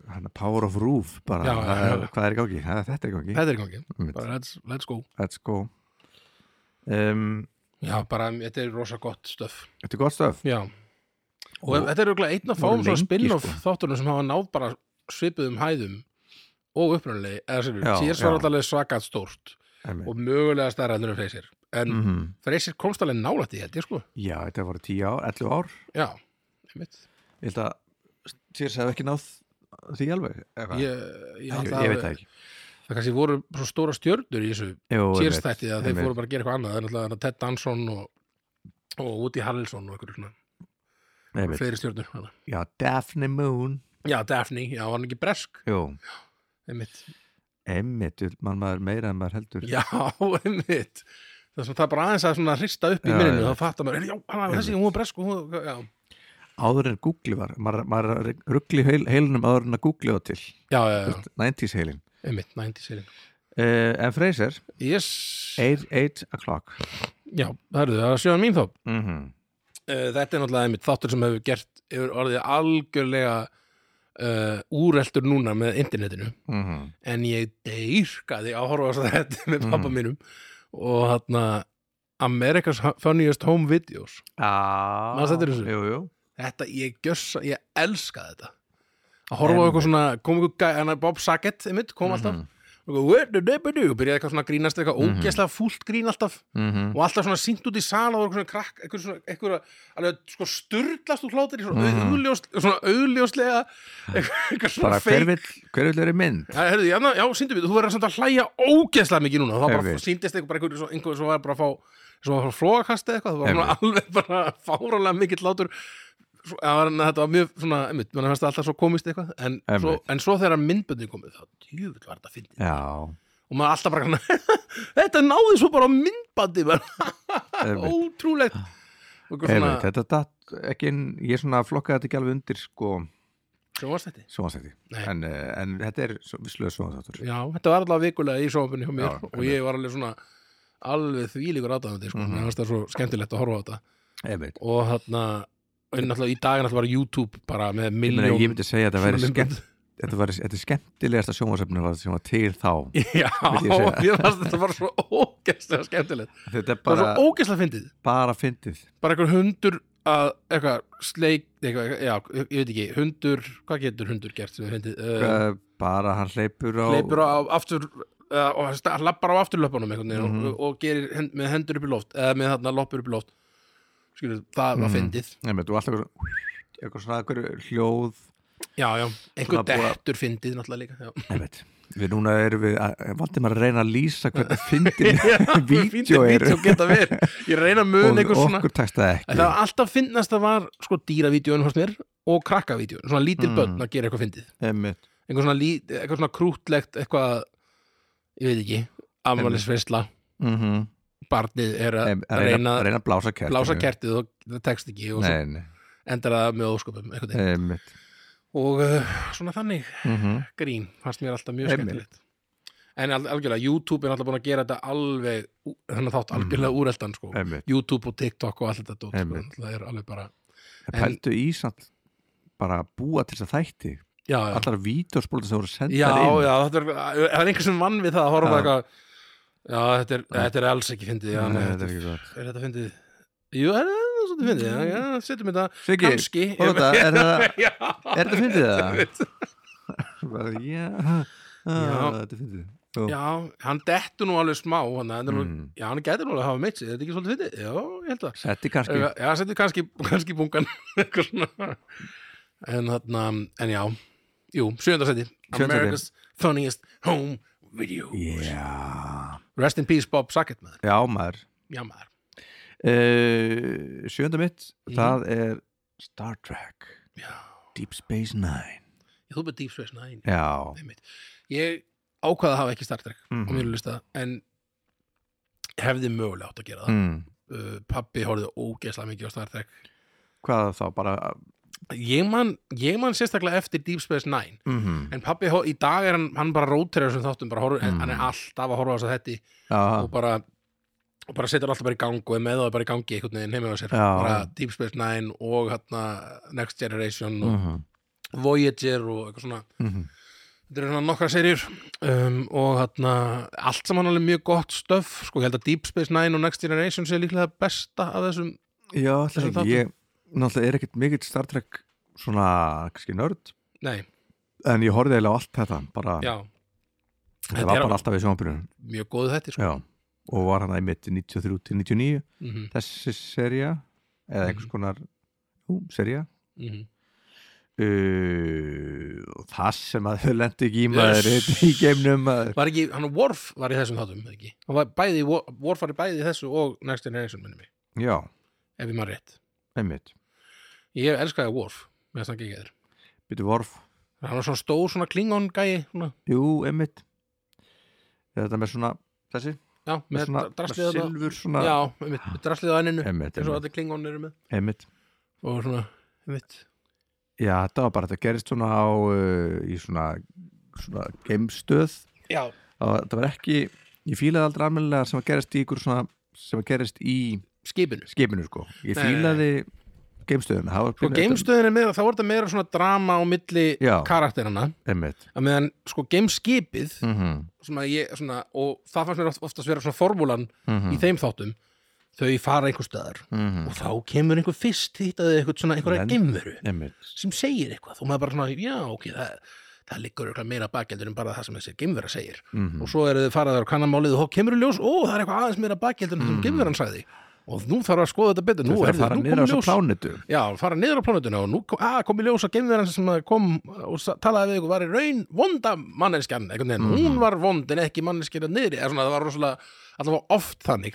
Speaker 1: hann er power of roof bara,
Speaker 2: Já,
Speaker 1: það
Speaker 2: já,
Speaker 1: er,
Speaker 2: já.
Speaker 1: hvað er í gangi, það, þetta er í gangi
Speaker 2: þetta er í gangi
Speaker 1: einmitt,
Speaker 2: bara let's, let's go
Speaker 1: let's go um,
Speaker 2: Já, bara, þetta er rosa gott stöf
Speaker 1: Þetta er gott stöf
Speaker 2: Já, og
Speaker 1: Og-
Speaker 2: þetta er örugglega einn af fáum
Speaker 1: voru
Speaker 2: svona
Speaker 1: lengi,
Speaker 2: spin-off
Speaker 1: sko.
Speaker 2: þáttunum sem hafa náð bara svipuðum hæðum og upprunalegi, eða sem við,
Speaker 1: Já,
Speaker 2: síðan svo
Speaker 1: já.
Speaker 2: alveg svakat stórt
Speaker 1: einmitt.
Speaker 2: og mögulega stærra heldur en freysir en mm.
Speaker 1: Mhm.
Speaker 2: freysir komst alveg nálætt í held ég sko
Speaker 1: Já, þetta voru 10 ár, 11 ár
Speaker 2: Já, einmitt
Speaker 1: Ég held að Týrs hefði ekki náð því alveg eitthvað.
Speaker 2: Ég, ég,
Speaker 1: ég,
Speaker 2: held
Speaker 1: ég veit
Speaker 2: að
Speaker 1: það ekki
Speaker 2: það kannski voru svo stóra stjörnur í þessu
Speaker 1: Jú,
Speaker 2: Cheers
Speaker 1: einmitt,
Speaker 2: þætti að þeir
Speaker 1: einmitt.
Speaker 2: fóru bara að gera eitthvað annað það er náttúrulega þarna Ted Danson og, og Woody Harrelson og einhverju svona
Speaker 1: Einmitt.
Speaker 2: fleiri stjórnur hana.
Speaker 1: Já, Daphne Moon
Speaker 2: Já, Daphne, já, var hann ekki bresk
Speaker 1: Jú,
Speaker 2: einmitt.
Speaker 1: einmitt, vill mann maður meira en maður heldur
Speaker 2: Já, [LAUGHS] einmitt það, sem, það er bara aðeins að svona hrista upp í
Speaker 1: Já,
Speaker 2: minninu
Speaker 1: já.
Speaker 2: þá fattar maður, já, hann var þessi, hún var bresk og hún, já.
Speaker 1: Áður en Google var, maður, maður ruggli heil, heilinum áður en að Google var til
Speaker 2: já, já, já,
Speaker 1: 90s heilin
Speaker 2: einmitt, 90 serið
Speaker 1: uh, En Freyser,
Speaker 2: Yes,
Speaker 1: 8, 8 o'clock
Speaker 2: já, það eru þau, það er sjöðan mín þá
Speaker 1: mm
Speaker 2: Eh, Þetta er náttúrulega einmitt þáttur sem hefur gert hefur orðið algjörlega uh, úreltur núna með internetinu
Speaker 1: -hmm.
Speaker 2: en ég deyrkaði að horfa á þetta með
Speaker 1: Mm.
Speaker 2: pappa mínum og þarna America's Funniest Home Videos
Speaker 1: ah,
Speaker 2: Manstu eftir þessu?
Speaker 1: Jú, jú
Speaker 2: þetta, ég gjössa, ég elska þetta að horfa á eitthvað svona kom eitthvað, gæ- hann er Bob Saget, einmitt, kom alltaf og eitthvað, "Where the dip a do?" og byrjaði eitthvað svona að grínast eitthvað
Speaker 1: Mhm.
Speaker 2: ógeðslega fúlt grín alltaf
Speaker 1: mm -hmm.
Speaker 2: og alltaf svona sínt út í sal og eitthvað svona krakk, eitthvað svona, eitthvað alveg sko sturdlast úr hlátri svona,
Speaker 1: Mhm.
Speaker 2: augljóst, svona augljóslega eitthvað, eitthvað svona
Speaker 1: Bara hver
Speaker 2: fake
Speaker 1: vill, hver vill eru mynd
Speaker 2: Já, herrðu, já, ná- já, sýndu við, þú verður samt að hlæja ógeðslega mikið núna, þá bara
Speaker 1: Einmitt.
Speaker 2: sýndist eitthvað bara einhverju, svo- einhverju svo var bara að fá svo var að fá flóakast eitthvað, það var svona alveg bara fárálega mikill látur svo, ja, var, en þetta var mjög svona, einmitt, mann fannst það alltaf svo komist eitthvað, en, svo,
Speaker 1: Einmitt.
Speaker 2: en svo þegar myndböndin komið, þá djúvill var þetta fyndið
Speaker 1: Já,
Speaker 2: og maður alltaf bara, svona, [LAUGHS] þetta náði svo bara á myndbandi, bara,
Speaker 1: einmitt,
Speaker 2: ótrúlegt og eitthvað svona,
Speaker 1: einmitt Þetta datt ekki inn, ég svona flokkaði þetta ekki alveg undir sko
Speaker 2: svo varst þetta
Speaker 1: sjónastætti
Speaker 2: Nei.
Speaker 1: en, eh, en þetta er svo- vissulega sjónastættur
Speaker 2: Já, þetta var allavega vikulega í sjónvapinni hjá mér
Speaker 1: Já,
Speaker 2: og ég var alveg svona alveg þvílíkur aðdáðandi, sko,
Speaker 1: Mhm.
Speaker 2: mér fannst það svo skemmtilegt að horfa á þetta
Speaker 1: Einmitt.
Speaker 2: og þarna og náttúrulega í daginn náttúrulega var YouTube bara með
Speaker 1: Ég, meina,
Speaker 2: miljón
Speaker 1: ég myndi segja að þetta væri
Speaker 2: svona
Speaker 1: skemmt
Speaker 2: myndbönd.
Speaker 1: þetta, væri, þetta er skemmtilegasta sjónasöfnum sem var til þá
Speaker 2: [LAUGHS] Já,
Speaker 1: ég segja.
Speaker 2: [LAUGHS] mér fannst þetta bara svo ógeðslega skemmtilegt
Speaker 1: þetta er
Speaker 2: bara,
Speaker 1: bara,
Speaker 2: bara svo ógeðslega fyndið
Speaker 1: bara fyndið
Speaker 2: bara einhver hundur að eitthvað sleik eitthvað, já, ég veit ekki, hundur hvað getur hundur gert sem er fyndið uh,
Speaker 1: uh, bara hann hleypur á
Speaker 2: leipur á aftur uh, og sta- lappar á afturlöpunum einhvern veginn
Speaker 1: Mhm.
Speaker 2: og, og gerir hend, með hendur upp í loft eða með þarna loppur upp í loft skilur, það var
Speaker 1: Mhm.
Speaker 2: fyndið
Speaker 1: Einmitt, og alltaf eitthvað, eitthvað svona eitthvað hljóð
Speaker 2: já, já, einhver
Speaker 1: Svona búa-
Speaker 2: dettur fyndið náttúrulega líka, já
Speaker 1: Einmitt. við núna erum við valdum að reyna að lýsa hvernig [LAUGHS]
Speaker 2: [LAUGHS] Já,
Speaker 1: fyndið vídeo
Speaker 2: fínir
Speaker 1: er
Speaker 2: vídeó geta verið ég reyna að mun
Speaker 1: og
Speaker 2: einhver svona
Speaker 1: okkur tekst það
Speaker 2: En
Speaker 1: ekki
Speaker 2: það var alltaf fyndnast að var sko dýravídeóin hos mér og krakkavídeóin, svona lítil
Speaker 1: Mm.
Speaker 2: börn að gera eitthvað fyndið
Speaker 1: Einmitt.
Speaker 2: eitthvað svona, lít, eitthvað svona krútlegt eitthvað, ég veit ekki afmælisveisla,
Speaker 1: Mhm.
Speaker 2: barnið er að
Speaker 1: Em- að
Speaker 2: reyna
Speaker 1: að
Speaker 2: að
Speaker 1: reyna að blása kertinu
Speaker 2: blása kertið og það tekst ekki og svo
Speaker 1: Nei, nei,
Speaker 2: endar það með ósköpum einhvern veginn.
Speaker 1: einmitt
Speaker 2: og uh, svona þannig
Speaker 1: Mhm.
Speaker 2: grín, fannst mér alltaf mjög
Speaker 1: Einmitt.
Speaker 2: skemmtilegt en al- algjörlega, YouTube er alltaf búin að gera þetta alveg, þannig þátt
Speaker 1: Mm.
Speaker 2: algjörlega úreldan sko,
Speaker 1: einmitt
Speaker 2: YouTube og TikTok og allt þetta dót, sko,
Speaker 1: Einmitt.
Speaker 2: það er alveg bara En-
Speaker 1: Pældu í samt bara að búa til þess að þætti
Speaker 2: já, já.
Speaker 1: allar vídeospólur sem voru sendar
Speaker 2: já,
Speaker 1: inn
Speaker 2: já, þetta er, það er einhver sem vann við það að horfa
Speaker 1: Já.
Speaker 2: eitthvað já, þetta er, þetta er alls ekki fyndið já, nei,
Speaker 1: Nei, þetta
Speaker 2: þetta
Speaker 1: er Mm.
Speaker 2: er,
Speaker 1: ekki gott
Speaker 2: er þetta fyndið jú, er þetta svolítið fyndið já, já, setjum þetta,
Speaker 1: Siggi,
Speaker 2: kannski
Speaker 1: horfðu þetta, er
Speaker 2: [LAUGHS]
Speaker 1: þetta-
Speaker 2: já,
Speaker 1: er þetta fyndið það?
Speaker 2: þetta er-
Speaker 1: [LAUGHS] Bara, Já, ha, ha, þetta er fyndið Jú.
Speaker 2: já, hann dettur nú alveg smá hann, hann, mm.
Speaker 1: Mm.
Speaker 2: já, hann getur nú alveg að hafa meitt sig þetta er ekki svolítið fyndið, já, ég held það
Speaker 1: Setti kannski
Speaker 2: [LAUGHS] já, setjum kannski, kannski bungan eitthvað svona en, þarna, en já, jú, sjöndasæti
Speaker 1: Sjöunda sæti.
Speaker 2: America's Funniest Home Videos
Speaker 1: yeah.
Speaker 2: Rest in Peace Bob Sackett maður
Speaker 1: Já, maður
Speaker 2: Já maður,
Speaker 1: uh, Sjönda mitt,
Speaker 2: Mhm.
Speaker 1: það er Star Trek
Speaker 2: já,
Speaker 1: Deep Space Nine
Speaker 2: ég þú byrði Deep Space Nine
Speaker 1: Já,
Speaker 2: einmitt. Ég ákvaða að hafa ekki Star Trek
Speaker 1: Mhm.
Speaker 2: á mínu lista en hefði mögulega átt að gera það
Speaker 1: mm.
Speaker 2: uh, Pappi horfði ógeðslega mikið á Star Trek
Speaker 1: hvað þá bara
Speaker 2: Ég man, ég man sérstaklega eftir Deep Space Nine
Speaker 1: mm -hmm.
Speaker 2: En pappi, hor- í dag er hann, hann bara rótreður sem þáttum, bara horfður,
Speaker 1: Mm.
Speaker 2: hann er alltaf að horfa á þess að þetta
Speaker 1: Já,
Speaker 2: og bara, og bara setur alltaf bara í gang og er með það bara í gangi einhvern veginn heima á sér
Speaker 1: Já.
Speaker 2: bara Deep Space Nine og hérna Next Generation og
Speaker 1: mhm,
Speaker 2: Voyager og eitthvað svona
Speaker 1: mhm.
Speaker 2: þetta eru svona nokkra serjur um, og hérna allt saman alveg mjög gott stöf sko, ég held að Deep Space Nine og Next Generation sé líklega besta af þessum
Speaker 1: Já, alltaf
Speaker 2: Þessum
Speaker 1: ekki
Speaker 2: þáttum.
Speaker 1: Ég náttúrulega er ekkert mikill Star Trek svona, kannski nörd
Speaker 2: nei,
Speaker 1: en ég horfði eiginlega á allt þetta bara,
Speaker 2: já,
Speaker 1: þetta
Speaker 2: þetta
Speaker 1: var
Speaker 2: er
Speaker 1: bara alltaf í sjónbyrjunum
Speaker 2: mjög góðu þetta sko.
Speaker 1: Já, og var hann einmitt 93 til 99
Speaker 2: mm -hmm,
Speaker 1: þessi serja eða
Speaker 2: Mhm.
Speaker 1: einhvers konar jú, serja uh, og það sem að þau lendi ekki í maður
Speaker 2: Yes.
Speaker 1: yes. í geimnum maður
Speaker 2: var ekki, hann Worf var í þessum þáttum eða ekki, hann var bæði, í Wo- Worf var í bæði í þessu og Next Generation minni mig,
Speaker 1: Já,
Speaker 2: ef ég maður rétt
Speaker 1: einmitt,
Speaker 2: ég elskaði Worf, með þess að ekki eður
Speaker 1: byttu vorf
Speaker 2: hann var svona stór, svona klingon gæi svona,
Speaker 1: Jú, einmitt þetta með svona, þessi
Speaker 2: já, með,
Speaker 1: svona,
Speaker 2: dra-
Speaker 1: með
Speaker 2: draslið þarna-
Speaker 1: silfur svona
Speaker 2: já, með draslið á enninu
Speaker 1: einmitt,
Speaker 2: eins og
Speaker 1: einmitt,
Speaker 2: allir klingon eru með
Speaker 1: einmitt
Speaker 2: og svona, mitt
Speaker 1: Já, þetta var bara, þetta gerist svona á uh, í svona, svona geimstöð
Speaker 2: já,
Speaker 1: það var, það var ekki, ég fílaði aldrei almennilega sem að gerist í ykkur svona sem að gerist í
Speaker 2: skipinu
Speaker 1: skipinu sko ég
Speaker 2: Nei, nei,
Speaker 1: fílaði geimstöðuna það var
Speaker 2: sko geimstöðin er meira, þá er þetta meira svona drama á milli
Speaker 1: Já.
Speaker 2: karakterana
Speaker 1: einmitt
Speaker 2: að meðan sko geimskipið
Speaker 1: mm -hmm.
Speaker 2: svona, ég, svona, og það fannst mér oft, oftast vera svona formúlan
Speaker 1: mhm. Mm.
Speaker 2: í þeim þáttum þau fara einhver stöðar og þá kemur einhver fyrst hýttaði einhver svona einhverja
Speaker 1: Lend-
Speaker 2: geimveru
Speaker 1: einmitt
Speaker 2: sem segir eitthvað og maður bara svona, já ok það, það liggur eitthvað meira bakgjaldur en bara það sem þessi geimvera segir
Speaker 1: Mhm.
Speaker 2: og svo eru þau farað á kannamálið og þá kemur í ljós, ó það er eitthvað aðeins meira bakgjaldur en það sem geimveran sagði og nú þarf að skoða þetta betur, nú
Speaker 1: það
Speaker 2: er
Speaker 1: er Mhm. að fara niður á þessu plánetu
Speaker 2: Já, fara niður á plánutuna og nú kom, að, kom í ljós að geimverðan sem að kom og sa- talaði við ykkur var í raun vonda manneskjan einhvern
Speaker 1: Mhm.
Speaker 2: veginn, hún var vond en ekki manneskjan að niðri, eða svona það var rosalega allavega oft þannig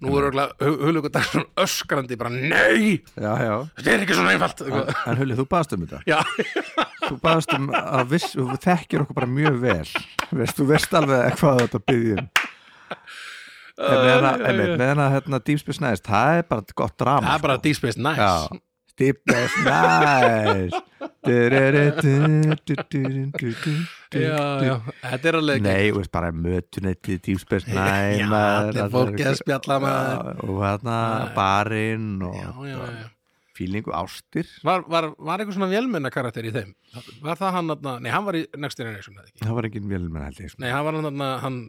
Speaker 2: Nú
Speaker 1: Mhm.
Speaker 2: er auðvitað hulugur dag svona öskrandi bara nei,
Speaker 1: já, já
Speaker 2: þetta er ekki svona einfalt eitthvað.
Speaker 1: en Hulli, þú baðast um þetta
Speaker 2: Já,
Speaker 1: þú baðast um að viss, þú þekkir okkur bara mjög vel veist, þú veist alveg hvað þetta byggjum en meðan að, einmitt, meðan að hérna, Deep Space Nine, það er bara gott drama sko.
Speaker 2: það er bara Deep Space Nine
Speaker 1: Já. Deep Space Nine
Speaker 2: já, já, þetta er alveg
Speaker 1: Nei, þú veist bara mötunetti Deep Space Nine
Speaker 2: Já,
Speaker 1: maður,
Speaker 2: allir
Speaker 1: það
Speaker 2: fólkið
Speaker 1: er-
Speaker 2: að spjalla, maður.
Speaker 1: Já, Og hérna barinn og
Speaker 2: Já, já, já.
Speaker 1: fílingu ástir
Speaker 2: Var, var, var eitthvað svona vélmenna karakter í þeim? Var það hann, þarna- nei, hann var í Next Generation eða ekki?
Speaker 1: Það var engin vélmenn held ég sko.
Speaker 2: Nei, hann var hann þarna, hann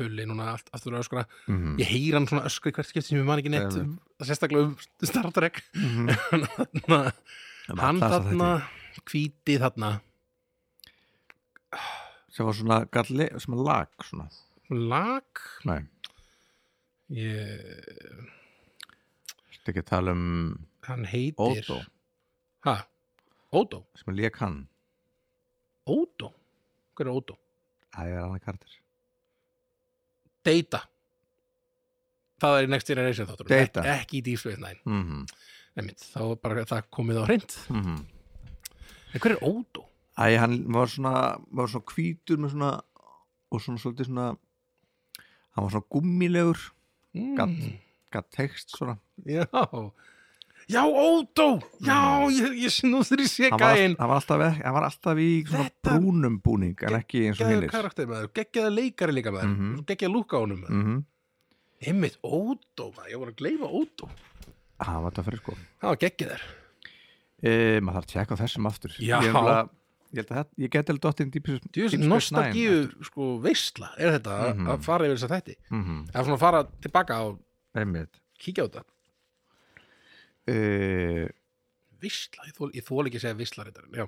Speaker 2: hulli núna allt, aftur að öskra
Speaker 1: Mhm.
Speaker 2: Ég heyr hann svona öskri hvert skipti sem ég man ekki neitt
Speaker 1: Nei,
Speaker 2: um, sérstaklega um Star Trek
Speaker 1: Mhm.
Speaker 2: En þarna,
Speaker 1: var
Speaker 2: hann
Speaker 1: klasa
Speaker 2: þarna hvíti þarna
Speaker 1: sem var svona galli, sem að lag svona.
Speaker 2: lag
Speaker 1: Nei,
Speaker 2: ég,
Speaker 1: þetta ekki að tala um
Speaker 2: hann heitir
Speaker 1: Ódó
Speaker 2: ha, Ódó,
Speaker 1: sem að lék hann
Speaker 2: Ódó hver er Ódó?
Speaker 1: Það er annar kartir
Speaker 2: Data það er í Next Generation þáttur
Speaker 1: Data.
Speaker 2: Ek, ekki í Deep Space Nine
Speaker 1: mm -hmm.
Speaker 2: Einmitt, þá er bara það komið á hreint en hver er
Speaker 1: mhm.
Speaker 2: Ódó?
Speaker 1: Æ, hann var svona, var svona hvítur með svona og svona svolítið svona hann var svona gummilegur Gatt. gatt tekst svona
Speaker 2: Mm. Já Já, Ódó, já, ég, ég sé nú þegar ég sé
Speaker 1: hann var, all,
Speaker 2: gæinn
Speaker 1: hann, var alltaf, ek- hann var alltaf í svona
Speaker 2: Þetta-
Speaker 1: brúnum búning en ekki eins og
Speaker 2: Geggjaður
Speaker 1: hinnir
Speaker 2: karakter maður, geggjaður leikari líka maður mm
Speaker 1: Mhm.
Speaker 2: Geggjaður lúka á honum maður
Speaker 1: mm -hmm.
Speaker 2: Einmitt, Ódó maður, ég voru að gleyma Ódó
Speaker 1: hann var þetta fyrir sko
Speaker 2: Það var geggjaður
Speaker 1: e, maður þarf að tjekka á þessum aftur
Speaker 2: Já.
Speaker 1: ég, nefnilega- ég, held að þetta- ég get alveg dottinn dýpis
Speaker 2: Djúvis, nostalgíu, sko, veistla er þetta
Speaker 1: Mhm.
Speaker 2: að fara yfir þess að þetta
Speaker 1: mm -hmm.
Speaker 2: Það er svona að fara tilbaka og
Speaker 1: einmitt
Speaker 2: kíkja á þetta
Speaker 1: e,
Speaker 2: Veistla, ég þól, ég þól ekki að segja veistla þetta Já,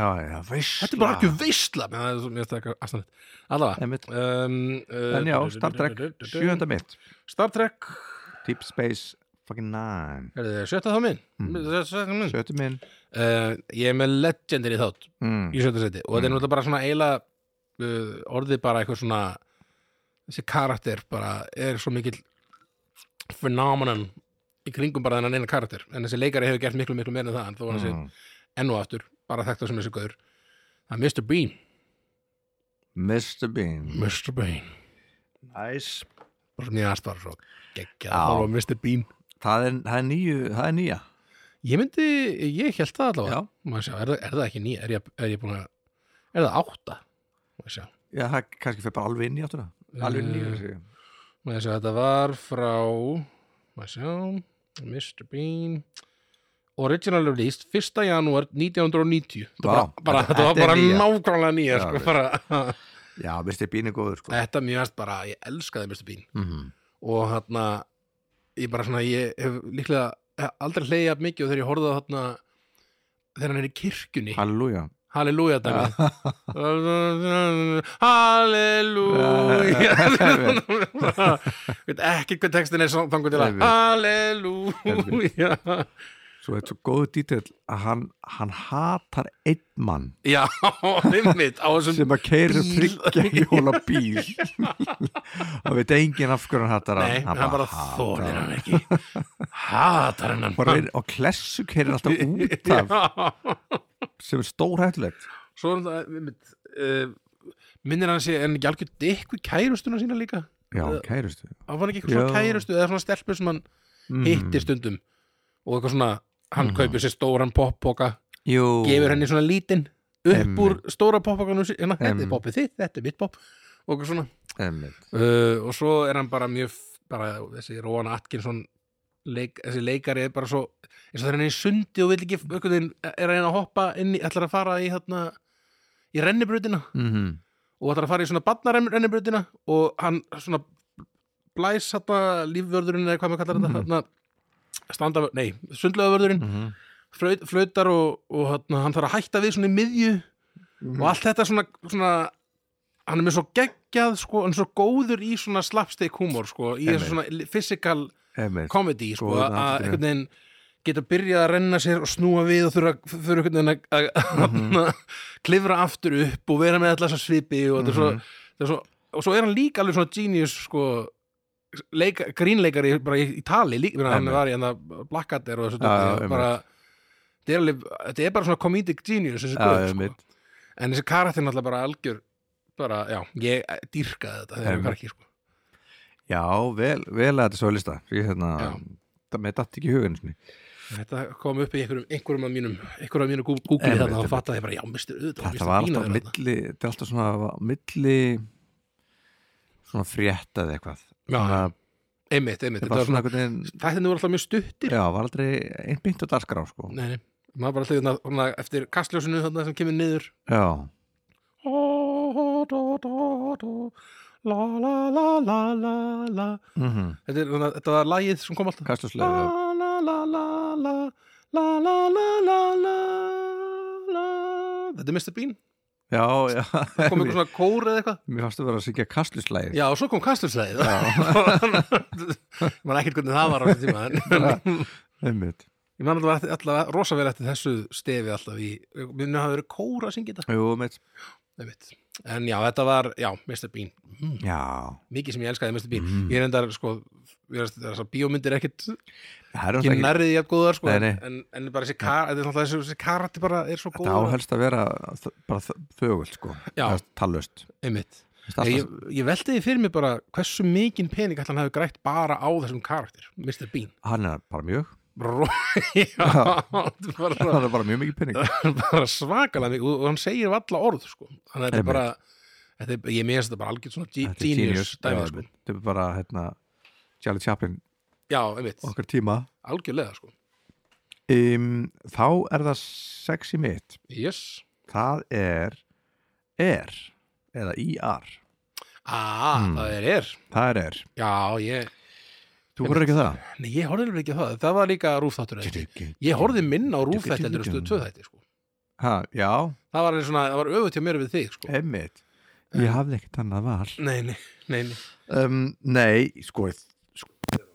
Speaker 1: já, já, veist
Speaker 2: þetta er bara ekki veistla menn það er svo mjög stakka aðstæðan Allavega
Speaker 1: einmitt
Speaker 2: um, uh,
Speaker 1: en já, Star Trek, sjönda mitt
Speaker 2: Star Trek,
Speaker 1: Deep Space fucking nine
Speaker 2: er þetta sjötta þá minn?
Speaker 1: Mm.
Speaker 2: Sjötta minn
Speaker 1: sjöttu minn
Speaker 2: uh, ég er með legendary þátt
Speaker 1: mm.
Speaker 2: í sjönda seti og þetta er náttúrulega bara svona eiginlega uh, orðið bara eitthvað svona þessi karakter bara er svo mikill phenomenon í kringum bara þennan eina karakter en þessi leikari hefur gert miklu miklu meira en það en þó var þessi
Speaker 1: Mm.
Speaker 2: enn og aftur bara þekkt sem þessi gauður það er Mr. Bean
Speaker 1: Mr. Bean
Speaker 2: Mr. Bean
Speaker 1: nice.
Speaker 2: bara svona ég aðstvar svo geggjað
Speaker 1: Já.
Speaker 2: að horfa á Mr. Bean
Speaker 1: það, er, það, er nýju, það er nýja
Speaker 2: ég myndi, ég held það allavega
Speaker 1: Já.
Speaker 2: Má ég sjá, er, það- er það ekki nýja, er ég, er ég búin að er það átta Má ég sjá.
Speaker 1: Já, það kannski fyrir bara alveg inn í áttuna Alveg inn í
Speaker 2: Eh.
Speaker 1: nýju
Speaker 2: Má ég sjá, þetta var frá Má ég sjá Mr. Bean Original released 1. janúar 1990 Þetta
Speaker 1: Vá,
Speaker 2: bara, bara,
Speaker 1: þetta-
Speaker 2: þetta
Speaker 1: þetta
Speaker 2: var
Speaker 1: er
Speaker 2: bara
Speaker 1: nýja.
Speaker 2: nákvæmlega nýja
Speaker 1: Já,
Speaker 2: sko,
Speaker 1: veist.
Speaker 2: bara, [LAUGHS]
Speaker 1: Já, Mr. Bean er góður sko.
Speaker 2: Þetta mjög aðst bara, ég elskaði Mr. Bean
Speaker 1: mm -hmm.
Speaker 2: og hérna ég bara svona, ég hef líklega hef aldrei hleyja mikið og þegar ég horfði á hérna þegar hann er í kirkjunni
Speaker 1: Halleluja
Speaker 2: Halleluja dæmið [LAUGHS] Halleluja [LAUGHS] Veit ekki hvað textin er svo- þangur til að
Speaker 1: Nei,
Speaker 2: Halleluja
Speaker 1: Svo þetta er svo góðu dítill að hann, hann hatar einn mann
Speaker 2: Já, [LAUGHS] einmitt á þessum
Speaker 1: sem að keira
Speaker 2: Bíl.
Speaker 1: tryggja
Speaker 2: [LAUGHS]
Speaker 1: hjóla bíl það veit enginn af hverju hann hattar hann
Speaker 2: Nei, hann bara þórir hann ekki Hatar hann
Speaker 1: Bara reynir- og klessu keirir
Speaker 2: [LAUGHS]
Speaker 1: alltaf út af
Speaker 2: Já.
Speaker 1: sem er stórhættulegt
Speaker 2: Svo er það einmitt, eh, minnir hann sig en gjálkjör dikku kærustuna sína líka
Speaker 1: já, kærustu
Speaker 2: hann var ekki eitthvað svona
Speaker 1: Já. Mhm.
Speaker 2: kærustu eða svona stelpur sem hann hittir stundum og eitthvað svona, hann kaupir sér stóran poppoka
Speaker 1: jú,
Speaker 2: gefur henni svona lítinn upp
Speaker 1: Einmitt.
Speaker 2: úr stóra poppakanum sí- hérna, þetta er
Speaker 1: Einmitt.
Speaker 2: poppið þitt, þetta er mitt popp og eitthvað svona
Speaker 1: einmitt.
Speaker 2: uh, og svo er hann bara mjög f- bara þessi Róan Atkinson leik, þessi leikari er bara svo eins og það er hann í sundi og vil ekki einhvern veginn er að reyna að hoppa inn í, ætlar að fara í hérna, í rennibrutina
Speaker 1: Mhm.
Speaker 2: og ætlar að fara í svona badnarennibrutina og hann svona blæs hérna lífvörðurinn eða hvað maður kallar þetta hérna, standa, nei, sundlaugavörðurinn
Speaker 1: Mhm.
Speaker 2: flaut, flautar og, og hann, hann þarf að hætta við svona í miðju
Speaker 1: Mhm.
Speaker 2: og allt þetta svona, svona hann er með svo geggjað sko, hann er svo góður í svona slapstick humor sko, í þessu svona li- physical
Speaker 1: einmitt
Speaker 2: comedy sko,
Speaker 1: Góður
Speaker 2: að
Speaker 1: andlitinu.
Speaker 2: einhvern veginn geta byrjað að renna sér og snúa við og þurfa þurfa einhvern veginn að- að að [LAUGHS] klifra aftur upp og vera með allar þessa svipi og þetta er svo,
Speaker 1: Mhm.
Speaker 2: þetta er svo og svo er hann líka alveg svona genius sko, leika, grínleikari bara í, í tali líka, hann
Speaker 1: Einmitt.
Speaker 2: var í hérna hann að blakkater og þessu
Speaker 1: Já, já,
Speaker 2: dóti
Speaker 1: einmitt.
Speaker 2: og bara þetta er, alveg, þetta er bara svona comedic genius þessi
Speaker 1: Já,
Speaker 2: guð,
Speaker 1: einmitt.
Speaker 2: sko. en þessi karakter náttúrulega bara algjör bara, já, ég dýrkaði þetta þegar ég var
Speaker 1: Einmitt.
Speaker 2: ekki, sko
Speaker 1: já, vel, vel að þetta er svo lista ég hérna,
Speaker 2: Já.
Speaker 1: það með datt ekki í hugin sinni.
Speaker 2: Þetta kom upp í einhverjum, einhverjum af mínum einhverjum af mínum Gú- Google
Speaker 1: Einmitt,
Speaker 2: þarna og
Speaker 1: einmitt.
Speaker 2: fattaði ég bara, já, mistur auðvitað
Speaker 1: þetta var
Speaker 2: Mr. Bean
Speaker 1: alltaf
Speaker 2: er þarna.
Speaker 1: milli þetta er alltaf svona milli svona fréttað eitthvað
Speaker 2: Já,
Speaker 1: Svona-
Speaker 2: Einmitt,
Speaker 1: Þetta
Speaker 2: einmitt, þetta
Speaker 1: var svona
Speaker 2: var svona
Speaker 1: einhvern veginn
Speaker 2: Þættinni voru alltaf mjög stuttir
Speaker 1: Já, var aldrei einn beint á dagskrá sko.
Speaker 2: Nei, nei, maður bara alltaf hérna, hérna, eftir kastljósinu þarna sem kemur niður
Speaker 1: Já,
Speaker 2: La la la la la la
Speaker 1: mm
Speaker 2: Þetta, er, þarna- þetta var lagið sem kom alltaf La
Speaker 1: kastuslega
Speaker 2: la la la la La la la la la la Þetta er Mr. [LAUGHS] Bean
Speaker 1: Já, já
Speaker 2: Kom einhver svona kór eða eitthvað
Speaker 1: Mér fannst að vera að syngja kastuslega
Speaker 2: Já, og svo kom kastljóslegið Ég [LAUGHS] man ekkert hvernig það var á þessum tíma en-
Speaker 1: Einmitt
Speaker 2: Ég man alltaf alltaf rosa vel eftir þessu stefi alltaf í Minni hafa verið kóra að syngja þetta
Speaker 1: Jú, mitt
Speaker 2: Einmitt. En já, þetta var, já, Mr. Bean mm,
Speaker 1: Já,
Speaker 2: Mikið sem ég elskaði Mr. Bean
Speaker 1: Mm.
Speaker 2: Ég er endar, sko, ég er þessar bíómyndir ekkit
Speaker 1: það er
Speaker 2: Ekki
Speaker 1: náttúrulega ekki
Speaker 2: nærðið jafn góðar, sko
Speaker 1: Nei, nei.
Speaker 2: En, en bara þessi kar, þetta er náttúrulega þessi, þessi karati bara er svo
Speaker 1: Þetta
Speaker 2: góð
Speaker 1: áhelst að vera þ- bara þ- þögult sko
Speaker 2: Já.
Speaker 1: Tallust
Speaker 2: Einmitt Ég, ég veldi því fyrir mig bara hversu mikinn pening ætli hann hafi grætt bara á þessum karakter Mr. Bean
Speaker 1: Hann er bara mjög
Speaker 2: [LAUGHS] Ró- Já, þetta er bara
Speaker 1: Það er bara mjög mikið penning
Speaker 2: bara svakalega mikið og, og hann segir valla orð sko. þannig að þetta er bara þetta er, ég meðast þetta bara algjört svona ge-
Speaker 1: Þetta er
Speaker 2: genius dæmið
Speaker 1: Já,
Speaker 2: sko.
Speaker 1: einmitt. Þetta er bara hérna Charlie Chaplin
Speaker 2: já, einmitt,
Speaker 1: okkar tíma
Speaker 2: algjörlega sko.
Speaker 1: um, Þá er það sexy mitt
Speaker 2: yes,
Speaker 1: Það er er eða IR
Speaker 2: ah,
Speaker 1: Mm.
Speaker 2: það er er
Speaker 1: Það er er
Speaker 2: já, ég,
Speaker 1: Þú voru ekki það?
Speaker 2: nei, ég horfði alveg ekki á það það var líka rúfþáttur eða ekki. ég horfði minna á rúfþætt heldur en stuð tvö þætti sko.
Speaker 1: ha, Já,
Speaker 2: það var alveg svona, það var öfut hjá mér við þig
Speaker 1: Eh.
Speaker 2: sko.
Speaker 1: einmitt Ég hafði ekkert annað val
Speaker 2: nei, nei, nei, nei.
Speaker 1: um, Nei, sko, sko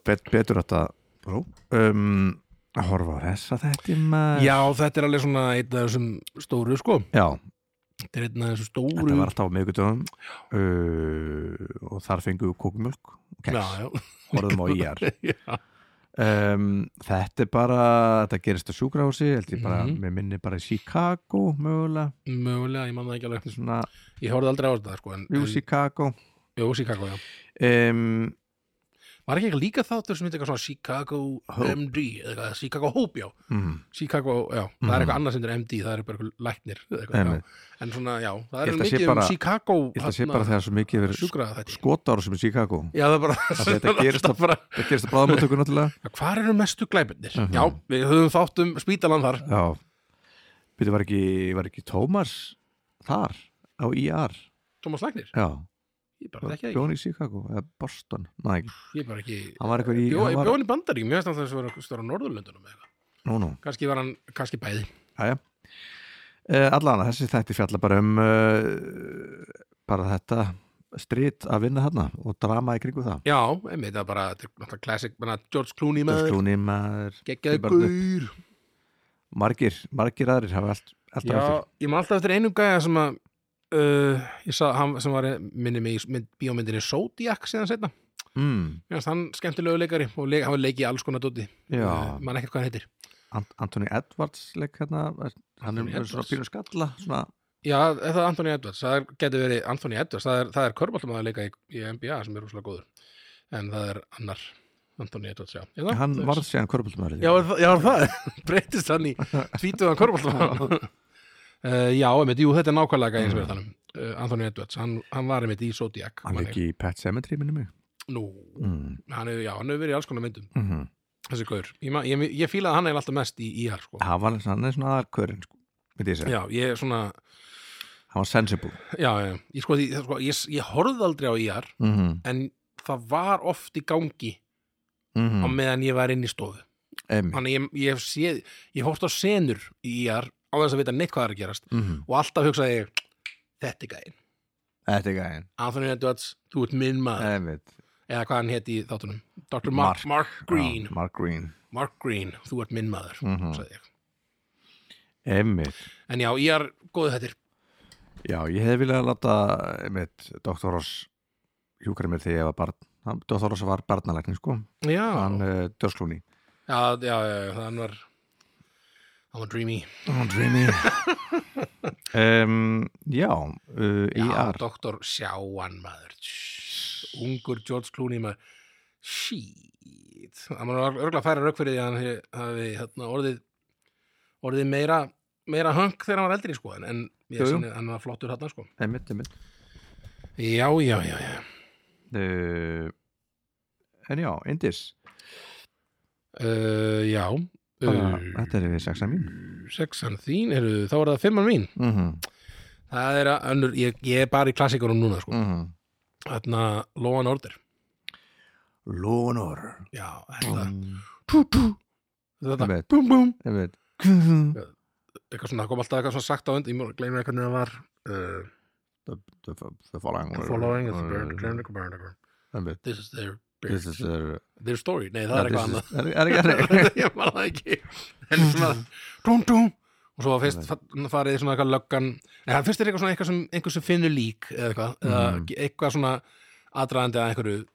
Speaker 1: bet, Betur þetta Ró. um, að horfa á þessa þetta maður
Speaker 2: Já, þetta er alveg svona einn af þessum stóru sko
Speaker 1: Já,
Speaker 2: Þetta er einn af þessum
Speaker 1: þetta
Speaker 2: stóru
Speaker 1: var alltaf á miðgudum uh, og þar fengu kókumjölk og
Speaker 2: Já,
Speaker 1: keks,
Speaker 2: já,
Speaker 1: horfum á E IR
Speaker 2: [LAUGHS] já,
Speaker 1: um, Þetta er bara þetta gerist á sjúkrahúsi, held ég bara
Speaker 2: Mhm.
Speaker 1: mér minni bara í Chicago mögulega
Speaker 2: mögulega, ég man það ekki alveg eftir
Speaker 1: svona,
Speaker 2: Ég horfði aldrei á þetta sko en,
Speaker 1: jú,
Speaker 2: en,
Speaker 1: Chicago
Speaker 2: Jú, Chicago, já
Speaker 1: um,
Speaker 2: Var ekki eitthvað líka þáttur sem heit eitthvað svona Chicago
Speaker 1: Hope.
Speaker 2: MD eða eitthvað, Chicago Hope, já
Speaker 1: mm,
Speaker 2: Chicago, já, það er eitthvað annað sem er MD það er bara eitthvað læknir eða eitthvað,
Speaker 1: Mhm. einmitt.
Speaker 2: já. En svona, já, það
Speaker 1: Ég
Speaker 2: er
Speaker 1: held að sé
Speaker 2: mikið um
Speaker 1: bara-
Speaker 2: Chicago
Speaker 1: Ég held að sé
Speaker 2: þarna,
Speaker 1: bara þegar svo mikið verið
Speaker 2: sjúkraða þetta
Speaker 1: skotára sem í Chicago
Speaker 2: Já, það er bara
Speaker 1: þetta
Speaker 2: [LAUGHS] það er
Speaker 1: gerist
Speaker 2: alltaf bara
Speaker 1: Það gerist að bráðamóttöku náttúrulega
Speaker 2: Hvar eru mestu glæbirnir?
Speaker 1: Mhm.
Speaker 2: Já, við höfum þátt um spítalan þar
Speaker 1: Já Býtu, var ekki, var ekki Tómas þar á IR
Speaker 2: Thomas Læknir,
Speaker 1: Já,
Speaker 2: ég bara þekki það
Speaker 1: Bjón í Chicago eða Boston, næ, ekki.
Speaker 2: ekki Ég bara ekki
Speaker 1: hann var eitthvað í
Speaker 2: Bjó,
Speaker 1: hann var,
Speaker 2: Bjón í Bandaríkjum, ég veist að það var stóra Norðurlöndunum eða eitthvað
Speaker 1: Nú, nú,
Speaker 2: Kannski var hann, kannski bæði
Speaker 1: aðja Eh, Allan, þessi þætti fjalla bara um uh, bara þetta strit að vinna þarna og drama í kringu það
Speaker 2: Já, einmitt, það er bara, þetta er náttúrulega classic menna, George Clooney
Speaker 1: George
Speaker 2: maður,
Speaker 1: Clooney maður,
Speaker 2: geggjaði
Speaker 1: Ég bara-
Speaker 2: guður
Speaker 1: margir, margir aðrir hafa allt, allt
Speaker 2: Já,
Speaker 1: eftir
Speaker 2: ég maður alltaf eftir einum gæja sem að uh, ég sá, hann sem var minni mig í mynd, bíómyndinni Zodiac síðan setna,
Speaker 1: mm,
Speaker 2: Mér hann skemmtilegu leikari og leik, hann var leikið í alls konar dóti
Speaker 1: Já,
Speaker 2: Man ekkert hvað hann heitir
Speaker 1: Ant Anthony Edwards leik hérna, hann
Speaker 2: Anthony
Speaker 1: er með svona
Speaker 2: Edwards.
Speaker 1: pínu skalla svona,
Speaker 2: Já, er það er Anthony Edwards, það er, getur verið Anthony Edwards, það er, það er körbáltamaður leika í, í NBA sem er rúslega góður en það er annar Anthony Edwards, já Ég, það-
Speaker 1: hann
Speaker 2: það er-
Speaker 1: varð síðan körbultumæri
Speaker 2: Já, er það- já, er það [LAUGHS] breytist hann í tvítuðan [LAUGHS] körbáltamaður uh, Já, einmitt, jú, þetta er nákvæmlega eins og verið þannig uh, Anthony Edwards, hann, hann var einmitt í Zodiac
Speaker 1: hann
Speaker 2: man
Speaker 1: leik í Pet Sematary minni mig
Speaker 2: ég. Nú,
Speaker 1: mm.
Speaker 2: hann hefur, já, hann hefur verið í alls konar myndum
Speaker 1: Mm
Speaker 2: þessi gaur, ég, ma- ég, ég fílaði hann eiginlega alltaf mest í IR sko.
Speaker 1: hann, var, hann er svona aðalkörinn sko, myndi ég segja,
Speaker 2: já, ég er svona
Speaker 1: hann var sensible
Speaker 2: já, já, ég, sko, ég, sko, ég, ég horfði aldrei á E IR
Speaker 1: mm -hmm.
Speaker 2: en það var oft í gangi
Speaker 1: Mm
Speaker 2: á meðan ég var inn í stofu þannig ég, ég hef séð, ég hórt á senur í IR á þess að vita neitt hvað er að gerast
Speaker 1: mhm.
Speaker 2: og alltaf hugsaði ég þetta er gæðin,
Speaker 1: Þetta er gæðin
Speaker 2: Anthony Edwards þú ert minn maður,
Speaker 1: Einmitt.
Speaker 2: eða hvað hann héti í þáttunum Dr. Mark, Mark, Green
Speaker 1: Já, Mark Green
Speaker 2: Mark Green, þú ert minn maður
Speaker 1: Mhm.
Speaker 2: sagði ég,
Speaker 1: Einmitt.
Speaker 2: en já, IR, góðu þetta
Speaker 1: Já, ég hefði viljað að láta einmitt, Dr. Ross hjúkari mér þegar ég var barn Hann- Dr. Ross var barnalækni sko
Speaker 2: já,
Speaker 1: hann uh, dörslúni
Speaker 2: Já, já, já, já, hann var hann var dreamy
Speaker 1: oh, [LAUGHS] dreamy um, Já, uh,
Speaker 2: Já,
Speaker 1: IR
Speaker 2: doktor Sjáan maður Tss, ungur George Clooney maður shit hann var örgulega að færa rauk fyrir því að hann he- hafi hérna, orðið orðið meira, meira hunk þegar hann var eldri sko en- en ég,
Speaker 1: Jú, jú.
Speaker 2: sinni, hann var flottur hann sko
Speaker 1: Einmitt, einmitt
Speaker 2: Já, já, já, já
Speaker 1: uh, En já, Indis
Speaker 2: uh, Já
Speaker 1: Bara,
Speaker 2: uh,
Speaker 1: Þetta er við sexa mín
Speaker 2: sexan þín, heyrðu, þá er það fimman mín
Speaker 1: mm -hmm.
Speaker 2: það er að önnur, ég, ég er bara í klassikurum núna sko,
Speaker 1: mm -hmm.
Speaker 2: þarna Law and Order
Speaker 1: Law and Order
Speaker 2: Já, þetta tú, tú, þetta,
Speaker 1: Mm, Einmitt.
Speaker 2: búm, búm
Speaker 1: Einmitt.
Speaker 2: eitthvað svona, það kom alltaf eitthvað svona sagt á und ég gleymið hvernig það var uh,
Speaker 1: The, the, the following Mm,
Speaker 2: the following is the bird, gleymir eitthvað bird, eitthvað.
Speaker 1: Einmitt.
Speaker 2: this is their bird,
Speaker 1: This is the
Speaker 2: their story nei, það er eitthvað annað
Speaker 1: Er er ekki [LAUGHS]
Speaker 2: [LAUGHS]
Speaker 1: annað
Speaker 2: ég var það ekki en svona,
Speaker 1: [LAUGHS]
Speaker 2: dum, dum og svo var fyrst fa- farið í svona eitthvað löggan en það fyrst er eitthvað svona eitthvað sem einhver sem finnur lík eða eitthvað,
Speaker 1: Mhm.
Speaker 2: eða eitthvað svona aðdraðandi að einhverju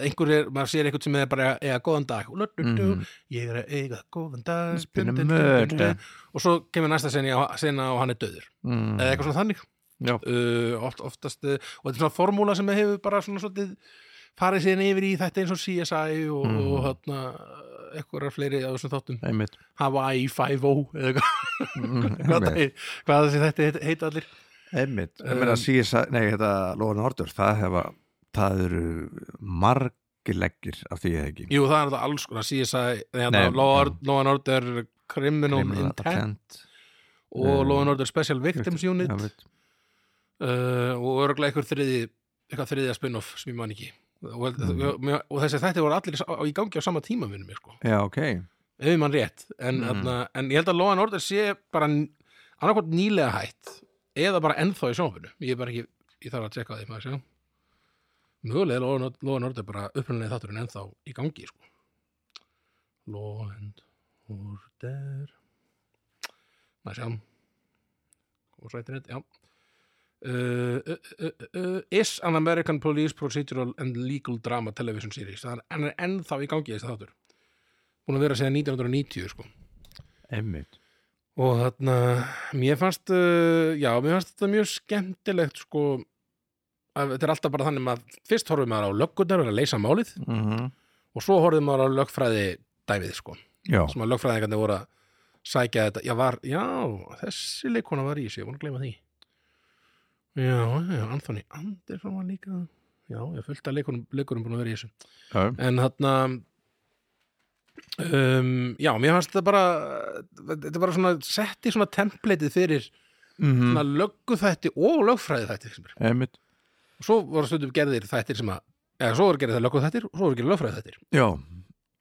Speaker 2: einhver er, maður sér eitthvað sem er bara eiga góðan dag Lú, lú, lú,
Speaker 1: Mhm.
Speaker 2: ég er að eiga góðan dag
Speaker 1: Spinna
Speaker 2: Dun, dun, dun, dun, dun,
Speaker 1: murder.
Speaker 2: dun. og svo kemur næsta sena, sena og hann er döður
Speaker 1: Mm.
Speaker 2: eða eitthvað svona þannig
Speaker 1: Já.
Speaker 2: uh, oft, oftast, uh, og þetta er svona formúla sem hefur bara svona svolítið farið síðan yfir í þetta eins og CSI og,
Speaker 1: Mhm.
Speaker 2: og hérna eitthvað fleiri á þessum þáttum
Speaker 1: Einmitt.
Speaker 2: Hawaii 5-0 eða hvað,
Speaker 1: Mm,
Speaker 2: hvað,
Speaker 1: Einmitt.
Speaker 2: það- hvað þessi þetta heit- heita allir
Speaker 1: Einmitt.
Speaker 2: Um,
Speaker 1: Ég meina CSI, nei þetta Law and Order, það hefa það eru margir leggir af því eða ekki.
Speaker 2: Jú, það er þetta alls konar CSI,
Speaker 1: Nei,
Speaker 2: þegar Law and Order Criminal
Speaker 1: Criminal
Speaker 2: Intent
Speaker 1: Intent.
Speaker 2: og
Speaker 1: um,
Speaker 2: Law and Order Special Victims Unit
Speaker 1: Einmitt.
Speaker 2: uh, og örgulega einhver þriði eitthvað þriðja spin-off sem ég man ekki og,
Speaker 1: Mhm.
Speaker 2: og, og þessi þætti voru allir á, í gangi á sama tíma minnum ég sko,
Speaker 1: Já, ok.
Speaker 2: ef ég man rétt en,
Speaker 1: Mhm.
Speaker 2: mm. en ég held að Law and Order sé bara annarkvort nýlega hætt eða bara ennþá í sjónfinu ég er bara ekki, ég þarf að tjekka á því maður sjá mögulega er Law and Order- Law and Order bara upprunlega þátturinn ennþá í gangi sko Law and Order Næ, sjá Og svo eitthvað, já Uh, uh, uh, uh, is an American Police Procedural and Legal Drama Television Series það er enn- ennþá í gangi þessi þáttur búin að vera síðan 1990 sko
Speaker 1: einmitt
Speaker 2: og þarna mér fannst, uh, já, mér fannst þetta mjög skemmtilegt sko að þetta er alltaf bara þannig að fyrst horfum maður á löggunar og að leysa málið
Speaker 1: mm
Speaker 2: og svo horfum maður á lögfræði dæmið sko,
Speaker 1: já,
Speaker 2: sem að lögfræðingarnir voru að sækja þetta, já, var, já þessi leikona var í sig, ég voru að gleyma því já, já, Anthony Anderson var líka já, ég fullt að leikurum, leikurum búin að vera í þessu
Speaker 1: já,
Speaker 2: en þarna um, já, mér fannst þetta bara þetta er bara svona setti svona templateið fyrir
Speaker 1: mhm,
Speaker 2: svona löggu þætti og lögfræði þætti sem er.
Speaker 1: einmitt
Speaker 2: og svo voru stundum gerðir þættir sem að eða svo voru gerðir það löggu þættir og svo voru gerðir lögfræði þættir
Speaker 1: já,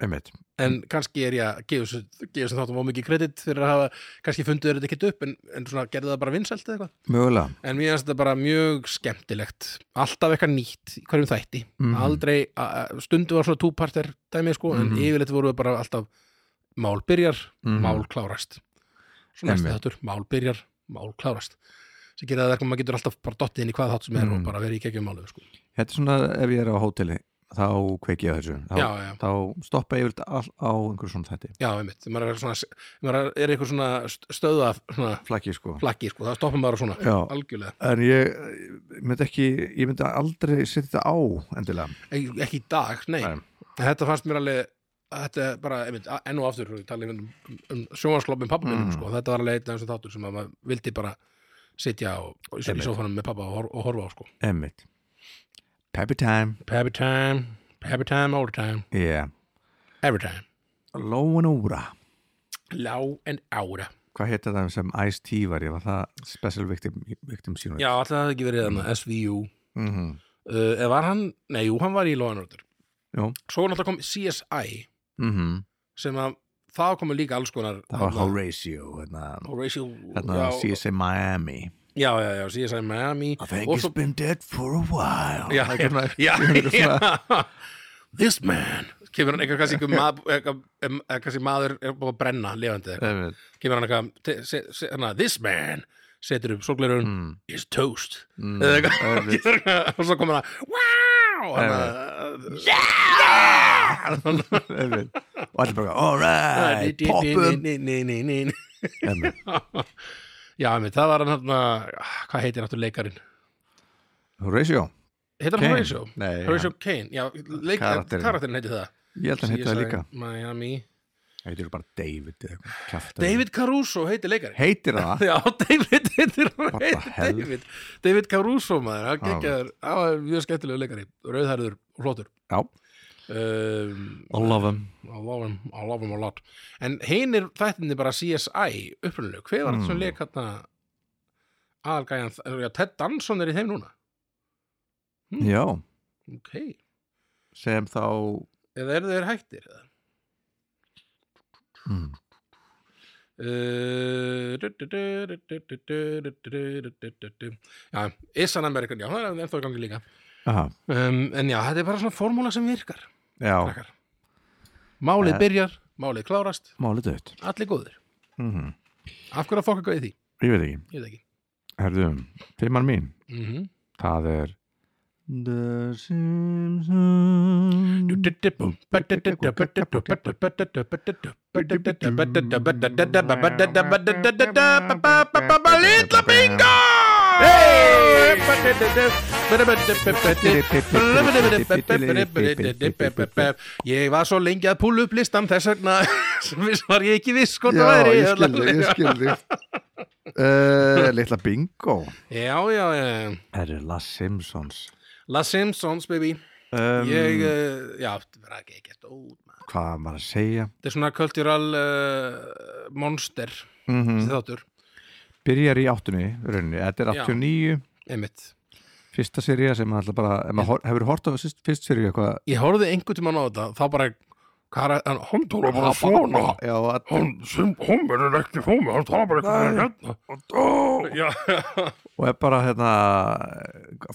Speaker 1: einmitt
Speaker 2: en kannski er ég að gefa þessu- gefa þessum þáttum á mikið kredit fyrir að hafa kannski fundið þeir þetta ekkert upp en, en svona gerði það bara vinsælt eða eitthvað
Speaker 1: mögulega,
Speaker 2: en mér finnst þetta bara mjög skemmtilegt alltaf eitthvað nýtt í hverjum þætti
Speaker 1: Mhm.
Speaker 2: aldrei, a- a- stundu var svona túparter dæmi sko,
Speaker 1: Mhm.
Speaker 2: en yfirleitt voru við bara alltaf mál byrjar,
Speaker 1: Mhm.
Speaker 2: mál klárast svo næstu
Speaker 1: Einmitt.
Speaker 2: þáttur, mál byrjar mál klárast sem gerir það verkum að maður getur alltaf bara dottið inn í hvað þátt sem er
Speaker 1: Mhm.
Speaker 2: og bara verið í geggjum málu sko.
Speaker 1: þetta er svona ef ég er á hóteli þá kveiki ég á þessu
Speaker 2: já,
Speaker 1: þá,
Speaker 2: já,
Speaker 1: þá stoppa ég vilt all á einhverjum svona þætti
Speaker 2: já, einmitt Þegar maður er, svona, maður er eitthvað svona st- stöða svona
Speaker 1: flakki sko
Speaker 2: plakki, sko, það stoppar maður á svona
Speaker 1: Já.
Speaker 2: algjörlega,
Speaker 1: en ég, ég myndi ekki ég myndi aldrei setja þetta á endilega
Speaker 2: ekki, ekki í dag, nei.
Speaker 1: Nei.
Speaker 2: þetta fannst mér alveg þetta er bara, einmitt, a- enn og aftur ég tala um, um sjónvarskloppin pappa
Speaker 1: Mm.
Speaker 2: mm. sko. þetta var alveg einn af þessum þáttur sem að maður vildi bara sitja á, í, í
Speaker 1: Einmitt.
Speaker 2: sófanum með pappa og, hor og horfa á sko.
Speaker 1: einmitt Peppy time,
Speaker 2: Pappy time, Pappy time, all the time
Speaker 1: yeah
Speaker 2: every time,
Speaker 1: Lóan Óra
Speaker 2: lá and ára
Speaker 1: hvað hétt þetta sem Ice-T var ég var það special victim, victim sínum
Speaker 2: já, alltaf hafði ekki verið þarna, SVU uh,
Speaker 1: mm
Speaker 2: eða var hann, nei, jú, hann var í Lóanröður
Speaker 1: Jú.
Speaker 2: svo náttúrulega kom CSI
Speaker 1: -hmm.
Speaker 2: sem að það komu líka alls konar
Speaker 1: það var
Speaker 2: þarna,
Speaker 1: Horatio hérna,
Speaker 2: Horatio
Speaker 1: hérna
Speaker 2: já,
Speaker 1: CSI Miami
Speaker 2: já, já, já, CSI Miami
Speaker 1: I think
Speaker 2: og
Speaker 1: he's
Speaker 2: svo
Speaker 1: been dead for a while
Speaker 2: já,
Speaker 1: Það er
Speaker 2: já,
Speaker 1: svona-
Speaker 2: [LAUGHS]
Speaker 1: [LAUGHS]
Speaker 2: já,
Speaker 1: svona-
Speaker 2: já. this man kemur hann eitthvað kannski einhver maður eitthvað- em- eh, kannski maður er búið að brenna lifandi eða eitthvað.
Speaker 1: Einmitt.
Speaker 2: kemur hann eitthvað te- se- se- hérna, this man setur upp sorgleirun
Speaker 1: Mm,
Speaker 2: is toast
Speaker 1: mm,
Speaker 2: eða eitthvað
Speaker 1: einmitt.
Speaker 2: [LAUGHS] Kemur hann- og svo komur hann
Speaker 1: Eh,
Speaker 2: wow hann að- yeah
Speaker 1: Einmitt. og allir bara
Speaker 2: [LAUGHS]
Speaker 1: alright, poppum
Speaker 2: Ni- ni- ni- ni- ni-
Speaker 1: Einmitt.
Speaker 2: já, einmitt, það var hann hérna hvað heitir náttúrulega leikarin
Speaker 1: Horatio
Speaker 2: heitir hann
Speaker 1: Kane.
Speaker 2: Horatio
Speaker 1: Nei,
Speaker 2: Horatio Kane, já, leik,
Speaker 1: Karakterinn.
Speaker 2: karakterin heiti það
Speaker 1: ég held að hann heita það
Speaker 2: CSI
Speaker 1: líka
Speaker 2: Miami
Speaker 1: hann heitir bara David eða eitthvað, kjaftaði.
Speaker 2: David Caruso heitir leikari
Speaker 1: heitir það
Speaker 2: [LAUGHS] Já, David heitir
Speaker 1: the
Speaker 2: hann heitir
Speaker 1: hell?
Speaker 2: David David Caruso maður, hann
Speaker 1: Já.
Speaker 2: gekkjaður hann var mjög skemmtilegu leikari, rauðhærður og flottur
Speaker 1: já,
Speaker 2: um,
Speaker 1: I love him
Speaker 2: I love him, I love him a lot En hinir þættinni bara CSI upprunalegu, hver var þetta sem
Speaker 1: Mm.
Speaker 2: leik hérna aðalgæjan, já, Ted Danson er í þeim núna
Speaker 1: já,
Speaker 2: Ok,
Speaker 1: sem þá
Speaker 2: eða eru þeir hættir eða?
Speaker 1: mm.
Speaker 2: Eh, Já, Isan Amerikan, já, það er ennþá í gangi líka
Speaker 1: Aha,
Speaker 2: um, En já, þetta er bara svona formúla sem virkar
Speaker 1: já,
Speaker 2: krakkar. Málið
Speaker 1: Eh.
Speaker 2: byrjar, málið klárast,
Speaker 1: málið dött
Speaker 2: allir góðir
Speaker 1: mm
Speaker 2: Af hverju að fokka gauði því?
Speaker 1: ég veit ekki,
Speaker 2: Ég veit ekki
Speaker 1: herðum fimmann mín,
Speaker 2: Mhm.
Speaker 1: það er The
Speaker 2: [LAUGHS]
Speaker 1: Simpsons
Speaker 2: Litla bingo! Ég var svo lengi að púla upp listan þess vegna [LAUGHS] sem viss var ég ekki viss hvort það væri
Speaker 1: skildi
Speaker 2: [LAUGHS]
Speaker 1: uh, Litla bingo
Speaker 2: Já, já, já
Speaker 1: Það eru Las Simpsons
Speaker 2: La Simpsons, baby
Speaker 1: um,
Speaker 2: Ég, eh, já, það verða ekki ekkert út maður.
Speaker 1: Hvað á maður að segja
Speaker 2: Þetta er svona kultúral uh, monster
Speaker 1: mm
Speaker 2: þessi þáttur,
Speaker 1: Byrjar í áttunni, rauninni, þetta er
Speaker 2: Já.
Speaker 1: 89
Speaker 2: einmitt
Speaker 1: Fyrsta serið sem maður alltaf bara ef maður hor- hefur hort á fyrst, fyrst serið eitthvað
Speaker 2: Ég horfði einhvern tímann á þetta þá bara, hvað er hann, hann tóra bara svona
Speaker 1: Já, að-
Speaker 2: hann, sem, hann verður ekki fómi hann tóra bara eitthvað hérna
Speaker 1: og
Speaker 2: Já,
Speaker 1: er bara hérna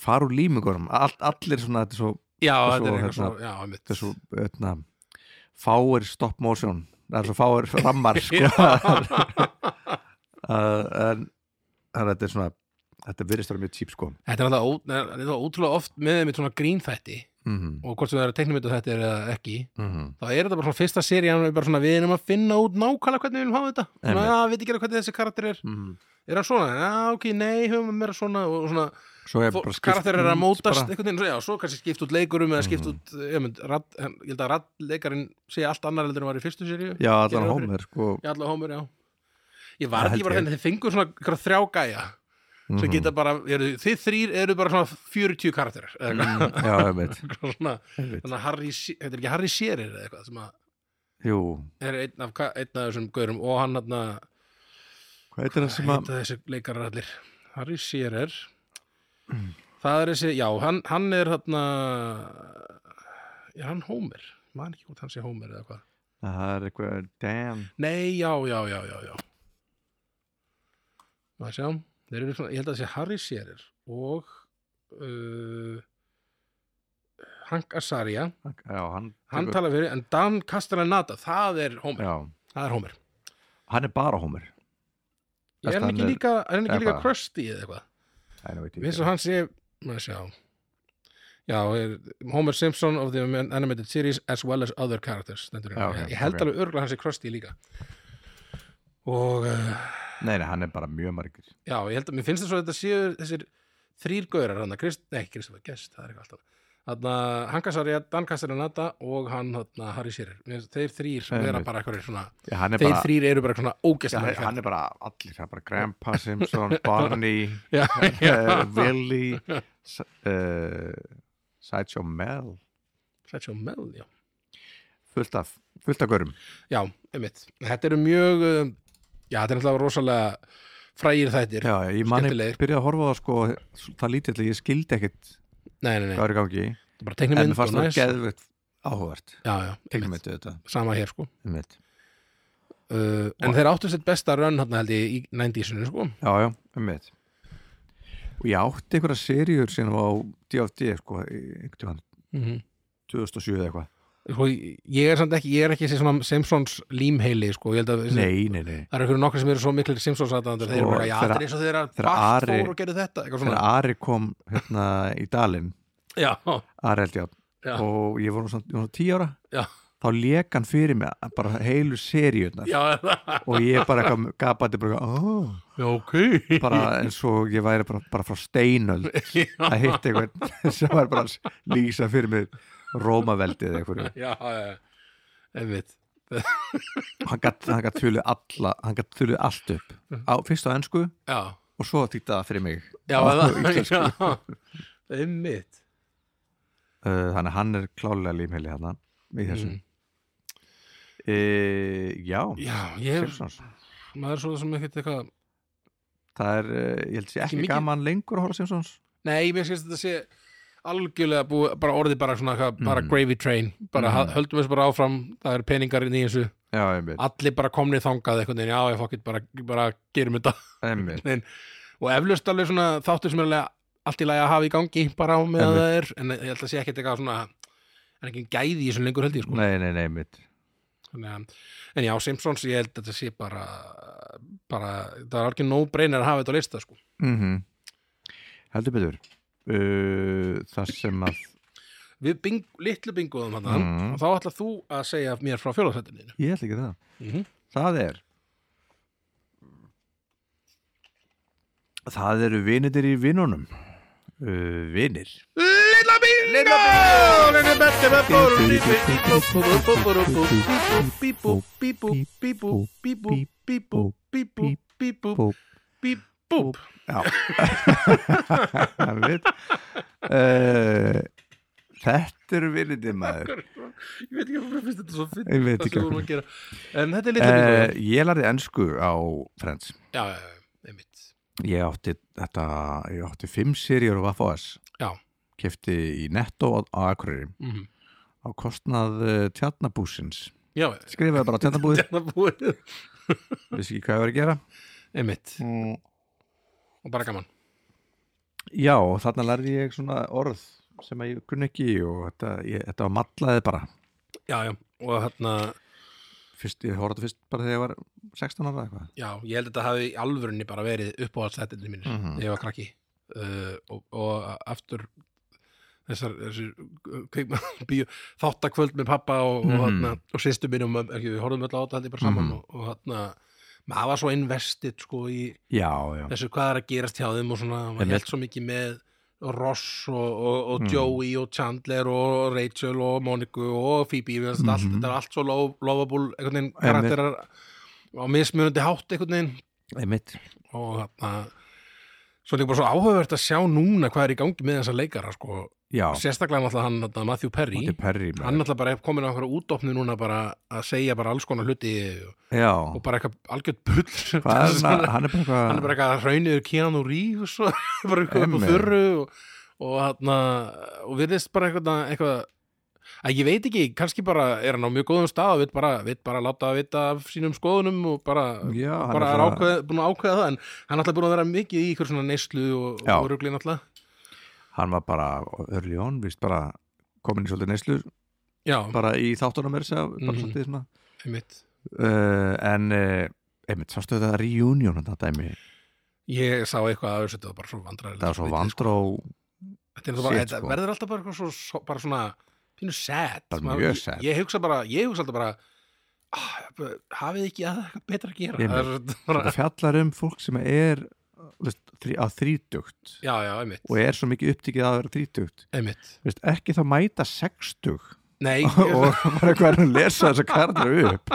Speaker 1: fara úr límingunum All, allir svona, þetta er svo,
Speaker 2: já
Speaker 1: Og svo,
Speaker 2: þetta er eitthvað
Speaker 1: hérna,
Speaker 2: svona, já, einmitt
Speaker 1: þetta er svo hérna, fáir stop motion það er svo fáir
Speaker 2: [LAUGHS]
Speaker 1: rammar sko að, en, en þetta er svona þetta virðist að vera mjög típ sko
Speaker 2: Þetta er alltaf ó- þetta er alltaf ótrúlega oft með með svona grínþætti
Speaker 1: mhm,
Speaker 2: og hvort sem það eru teknimyndu þetta er eða ekki
Speaker 1: mhm,
Speaker 2: þá er þetta bara svona fyrsta serían er bara svona við erum að finna út nákvæmlega hvernig við viljum hafa þetta svona,
Speaker 1: Einmitt.
Speaker 2: já, við veit ekki alveg hvernig þessi karakter er
Speaker 1: mhm.
Speaker 2: er hann svona, já, ok, nei, höfum við meira svona og svona,
Speaker 1: svo er
Speaker 2: fó-
Speaker 1: bara skipt
Speaker 2: karakterar er að
Speaker 1: út
Speaker 2: mótast
Speaker 1: bara.
Speaker 2: einhvern veginn, svo- já, svo kannski skipt út leikurum eða skipt
Speaker 1: Mhm.
Speaker 2: út, ég mynd, rad, hann- ég held að raddleikarinn segja allt annar heldur en var í fyrstu seríu
Speaker 1: já, allan
Speaker 2: Gerðu
Speaker 1: hómer sko
Speaker 2: já, allavega Homer, já ég
Speaker 1: Það
Speaker 2: var
Speaker 1: held
Speaker 2: ekki bara
Speaker 1: ég.
Speaker 2: þenni, þeir fengur svona einhverja þrjá gæja sem
Speaker 1: Mhm.
Speaker 2: geta bara, eru, þið þrýr eru bara svona 40 karakterar eða eitthvað
Speaker 1: já, ég veit,
Speaker 2: eitthvað [LAUGHS] svona,
Speaker 1: ég veit.
Speaker 2: þannig að Harry She- þetta er ekki Harry Shearer eða eitthvað sem að
Speaker 1: jú,
Speaker 2: er einn af, ka- einn af þessum gaurum og hann hann
Speaker 1: hvað heitir það sem
Speaker 2: heita
Speaker 1: að
Speaker 2: þessi leikarar allir Harry Shearer
Speaker 1: Mm.
Speaker 2: það er þessi, já, hann, hann er hann er hann Homer man ekki hvort hann sé Homer eða hvað
Speaker 1: Ah, það er eitthvað, damn
Speaker 2: nei, já, já, já, já, já maður sjá þeir eru svona, ég held að þessi Harry Shearer og uh, Hank Azaria
Speaker 1: já, hann,
Speaker 2: hann talar fyrir, en Dan Castellanata það er Homer,
Speaker 1: já,
Speaker 2: það er Homer
Speaker 1: hann er bara hómer
Speaker 2: Ég er
Speaker 1: Þetta
Speaker 2: hann ekki
Speaker 1: hann er-
Speaker 2: líka, er hann ekki
Speaker 1: er
Speaker 2: líka
Speaker 1: bara-
Speaker 2: Krusty eða eitthvað?
Speaker 1: það er
Speaker 2: Mér svo hann sé, maður sjá Já, er, Homer Simpson of the animated series as well as other characters stendur
Speaker 1: Já,
Speaker 2: hérna.
Speaker 1: ok,
Speaker 2: Ég held
Speaker 1: ok.
Speaker 2: alveg örgulega hann sé Krusty líka Og uh,
Speaker 1: nei, nei, hann er bara mjög margir
Speaker 2: já, ég held að, mér finnst þess að þetta séu þessir þrýr gaurar hann, Krist, nei, Kristoffer Guest, það er eitthvað alltaf Þannig að Hankasarja, Dan Castellanata og hann, hann, Harry Shearer Mér finnst Þeir þrýr
Speaker 1: Einmitt.
Speaker 2: vera bara eitthvað svona
Speaker 1: já, hann er
Speaker 2: Þeir
Speaker 1: bara
Speaker 2: þrýr eru bara svona
Speaker 1: Já, hann,
Speaker 2: ógæstlega
Speaker 1: hann er bara allir, hann er bara
Speaker 2: [LAUGHS]
Speaker 1: Grandpa Simpson, Barney, [LAUGHS]
Speaker 2: Já,
Speaker 1: uh,
Speaker 2: [LAUGHS] já,
Speaker 1: Willy, S- uh, Sideshow Mel,
Speaker 2: Sætsjó Mel, já
Speaker 1: fullt af, fullt af görum.
Speaker 2: Já, einmitt. Þetta eru mjög, um, já, þetta er náttúrulega rosalega frægir þættir.
Speaker 1: Já, ég manni
Speaker 2: Skemmtilegir.
Speaker 1: byrjaði að horfa á það sko, það lítið til að ég skildi ekkit
Speaker 2: Nei, nei, nei,
Speaker 1: hvað er í gangi,
Speaker 2: þetta er bara
Speaker 1: en
Speaker 2: teiknimynd
Speaker 1: mér fannst
Speaker 2: og
Speaker 1: það
Speaker 2: næs.
Speaker 1: geðvögt áhugavert.
Speaker 2: Já, já, einmitt.
Speaker 1: Tegnmyndu þetta,
Speaker 2: Sama hér, sko.
Speaker 1: einmitt.
Speaker 2: Uh, en þeir áttu sitt besta rönn, hann held ég, í 90-sinu, sko.
Speaker 1: Já, já, einmitt. Og ég átti einhverja seríur sem á DFD, sko, í- einhvern tímann,
Speaker 2: Mm
Speaker 1: 2007 eða eitthvað.
Speaker 2: Sko, ég er samt ekki, ég er ekki þessi svona Simpsons límheili, sko. Ég held að
Speaker 1: Nei, nei, nei.
Speaker 2: það eru einhverju nokkri sem eru svo miklir Simpsons aðdandur.
Speaker 1: Sko,
Speaker 2: þeir eru bara, já,
Speaker 1: þegar-
Speaker 2: þetta er eins og þeir eru
Speaker 1: þegar
Speaker 2: Bart
Speaker 1: Ari-
Speaker 2: fór og gerðu þetta, eitthvað
Speaker 1: Þegar
Speaker 2: svona.
Speaker 1: Ari kom hérna í dalinn,
Speaker 2: Já,
Speaker 1: Areldján
Speaker 2: Já.
Speaker 1: og ég voru svona, ég var svona tíu ára
Speaker 2: já,
Speaker 1: þá leik hann fyrir mig bara heilu seríunar
Speaker 2: já,
Speaker 1: og ég bara eitthvað gapandi bara, oh,
Speaker 2: já, ok.
Speaker 1: bara eins og ég væri bara, bara frá [LAUGHS] steinöld að hitta einhvern [LAUGHS] sem var bara að lýsa fyrir mig Rómaveldið eða einhverju
Speaker 2: Já, já, já, einmitt.
Speaker 1: hann gatt hann gat þulið alla hann gatt þulið allt upp
Speaker 2: Mhm.
Speaker 1: á, fyrst á ennsku
Speaker 2: Já,
Speaker 1: og svo týta það fyrir mig
Speaker 2: Já,
Speaker 1: á
Speaker 2: það,
Speaker 1: [LAUGHS] íslensku.
Speaker 2: já, einmitt
Speaker 1: Uh, þannig að hann er klálega límheili hérna í þessum
Speaker 2: Mm.
Speaker 1: e, já,
Speaker 2: Já, ég hef,
Speaker 1: Simpsons
Speaker 2: maður er svo sem ekkert eitthvað
Speaker 1: það er, eh, ég held sér
Speaker 2: Ekki
Speaker 1: ekki
Speaker 2: mikið.
Speaker 1: gaman lengur að horfa á Simpsons
Speaker 2: Nei, mér skilst þetta sé algjörlega búið, bara orðið bara svona eitthvað, bara
Speaker 1: Mhm.
Speaker 2: gravy train, bara
Speaker 1: Mhm.
Speaker 2: mm. höldum þessu bara áfram það eru peningar inn í þessu,
Speaker 1: já, einmitt,
Speaker 2: allir bara komnir þangað einhvern veginn, já, ég fokkitt, bara, bara gerum þetta
Speaker 1: einmitt.
Speaker 2: og eflaust alveg svona þáttur sem er alveg allt í lagi að hafa í gangi, bara á meðan það er en ég held að sé ekkert eitthvað svona en ekki gæði í þessum lengur held ég sko
Speaker 1: nei, nei, nei, einmitt
Speaker 2: Þannig að, en já, Simpsons, ég held að þetta sé bara, bara, það er algjör no-brainer að hafa þetta á lista, sko.
Speaker 1: mm heldur betur uh, það sem að
Speaker 2: Við bing, litlu bingoðum hann,
Speaker 1: Mhm.
Speaker 2: og þá ætla þú að segja mér frá fjólaðsættinu.
Speaker 1: ég ætla ekki það,
Speaker 2: Mm -hmm.
Speaker 1: það er það eru vinitir í vinunum uh, vinir
Speaker 2: Lilla bingo! Lilla bingo! Bíbú, bíbú, bíbú, bíbú, bíbú, bíbú, bíbú.
Speaker 1: já [LAUGHS] einmitt uh, þetta eru vinitir maður
Speaker 2: Ég veit ekki hvað finnst þetta svo fyrir.
Speaker 1: Ég veit ekki
Speaker 2: hvað.
Speaker 1: af
Speaker 2: að gera. En þetta er litla bingo.
Speaker 1: uh, ég lærði ennsku á Friends
Speaker 2: Já, já, já, einmitt.
Speaker 1: Ég átti þetta, ég átti fimm seríur á FOS
Speaker 2: Já.
Speaker 1: Kefti í Netto á, á Akureyri
Speaker 2: Mhm.
Speaker 1: á kostnað uh, tjarnabúsins
Speaker 2: Já, já.
Speaker 1: Skrifaði bara
Speaker 2: [LAUGHS]
Speaker 1: tjarnabúið,
Speaker 2: Þetta er búið.
Speaker 1: vissi ekki hvað ég var að gera
Speaker 2: Einmitt, og bara gaman
Speaker 1: Já, og þarna lærði ég svona orð sem að ég kunni ekki og þetta, ég, þetta var matlaði bara
Speaker 2: hérna, Já, já, og þarna
Speaker 1: fyrst, ég horfði á þetta fyrst bara þegar ég var 16 ára eða eitthvað
Speaker 2: Já, ég held að þetta hafi í alvörunni bara verið uppáhaldstættinni mínir mm
Speaker 1: Mhm.
Speaker 2: ég var krakki uh, og, og aftur þessar, þessar [LAUGHS] kveikmannbíu þáttakvöld með pappa og,
Speaker 1: Mhm.
Speaker 2: og, hana, og sýstu mínum ekki, við horfum öll á þetta held ég bara saman
Speaker 1: Mhm.
Speaker 2: og, og hana, maður var svo investið sko í
Speaker 1: já, já,
Speaker 2: þessu hvað er að gerast hjá þeim og svona, og maður
Speaker 1: Einmitt.
Speaker 2: held svo mikið með Ross og, og, og
Speaker 1: Mhm.
Speaker 2: Joey og Chandler og Rachel og Moniku og Phoebe mm -hmm. allt,
Speaker 1: Mhm.
Speaker 2: þetta er allt svo lo- lovable einhvern veginn karakterar á mismunandi hátt einhvern veginn
Speaker 1: einmitt
Speaker 2: og þarna svo líka bara svo áhugavert að sjá núna hvað er í gangi með þessa leikara sko.
Speaker 1: já,
Speaker 2: sérstaklega náttúrulega hann þarna, Matthew Perry
Speaker 1: Monty Perry maður.
Speaker 2: hann náttúrulega bara er komin á einhverja útdóknu núna bara að segja bara alls konar hluti og
Speaker 1: já,
Speaker 2: bara eitthvað algjört bull
Speaker 1: hvað
Speaker 2: [LAUGHS]
Speaker 1: er hann,
Speaker 2: hann
Speaker 1: hann er bara eitthvað
Speaker 2: er bara eitthvað rauniður Keanu Reeves og [LAUGHS] bara eitthvað upp á
Speaker 1: Ah. Einmitt.
Speaker 2: þurru og, og hann og virðist bara eitthvað, eitthvað að ég veit ekki, kannski bara er hann á mjög góðum stað og veit bara, veit bara láta að vita af sínum skoðunum og bara
Speaker 1: já, hann
Speaker 2: bara er
Speaker 1: bara-
Speaker 2: ákveð, búin að ákveða það en hann er alltaf búin að vera mikið í ykkur svona neyslu og,
Speaker 1: Já.
Speaker 2: og ruglin alltaf
Speaker 1: hann var bara early on, víst bara komin í svolítið neyslu,
Speaker 2: já,
Speaker 1: bara í þáttunum er segja, bara
Speaker 2: Mhm.
Speaker 1: svolítið svona
Speaker 2: einmitt
Speaker 1: uh, en uh, einmitt, sástu þetta reunion þetta dæmi,
Speaker 2: ég sá eitthvað að þessu þetta var bara svo vandræðilegt
Speaker 1: það var svo
Speaker 2: skrítið,
Speaker 1: vandró
Speaker 2: sko. þetta, er náttúrulega bara,
Speaker 1: shit,
Speaker 2: þetta
Speaker 1: sko.
Speaker 2: verður alltaf bara, eitthvað svo, svo, bara svona pínu sad,
Speaker 1: Bara
Speaker 2: Maður-
Speaker 1: mjög
Speaker 2: ég-
Speaker 1: sad.
Speaker 2: ég hugsa bara, ég hugsa alltaf bara ah, bara, hafið ekki að eitthvað betra að gera
Speaker 1: Einmitt.
Speaker 2: það er bara,
Speaker 1: þetta fjallar um fólk sem er þú veist, þrí, að þrítugt
Speaker 2: já, já, einmitt
Speaker 1: og er svo mikið upptikið að vera þrítugt
Speaker 2: einmitt,
Speaker 1: Þú veist, ekki þá mæta sextug [LAUGHS]
Speaker 2: nei
Speaker 1: og bara hvernig lesa þessa kardur upp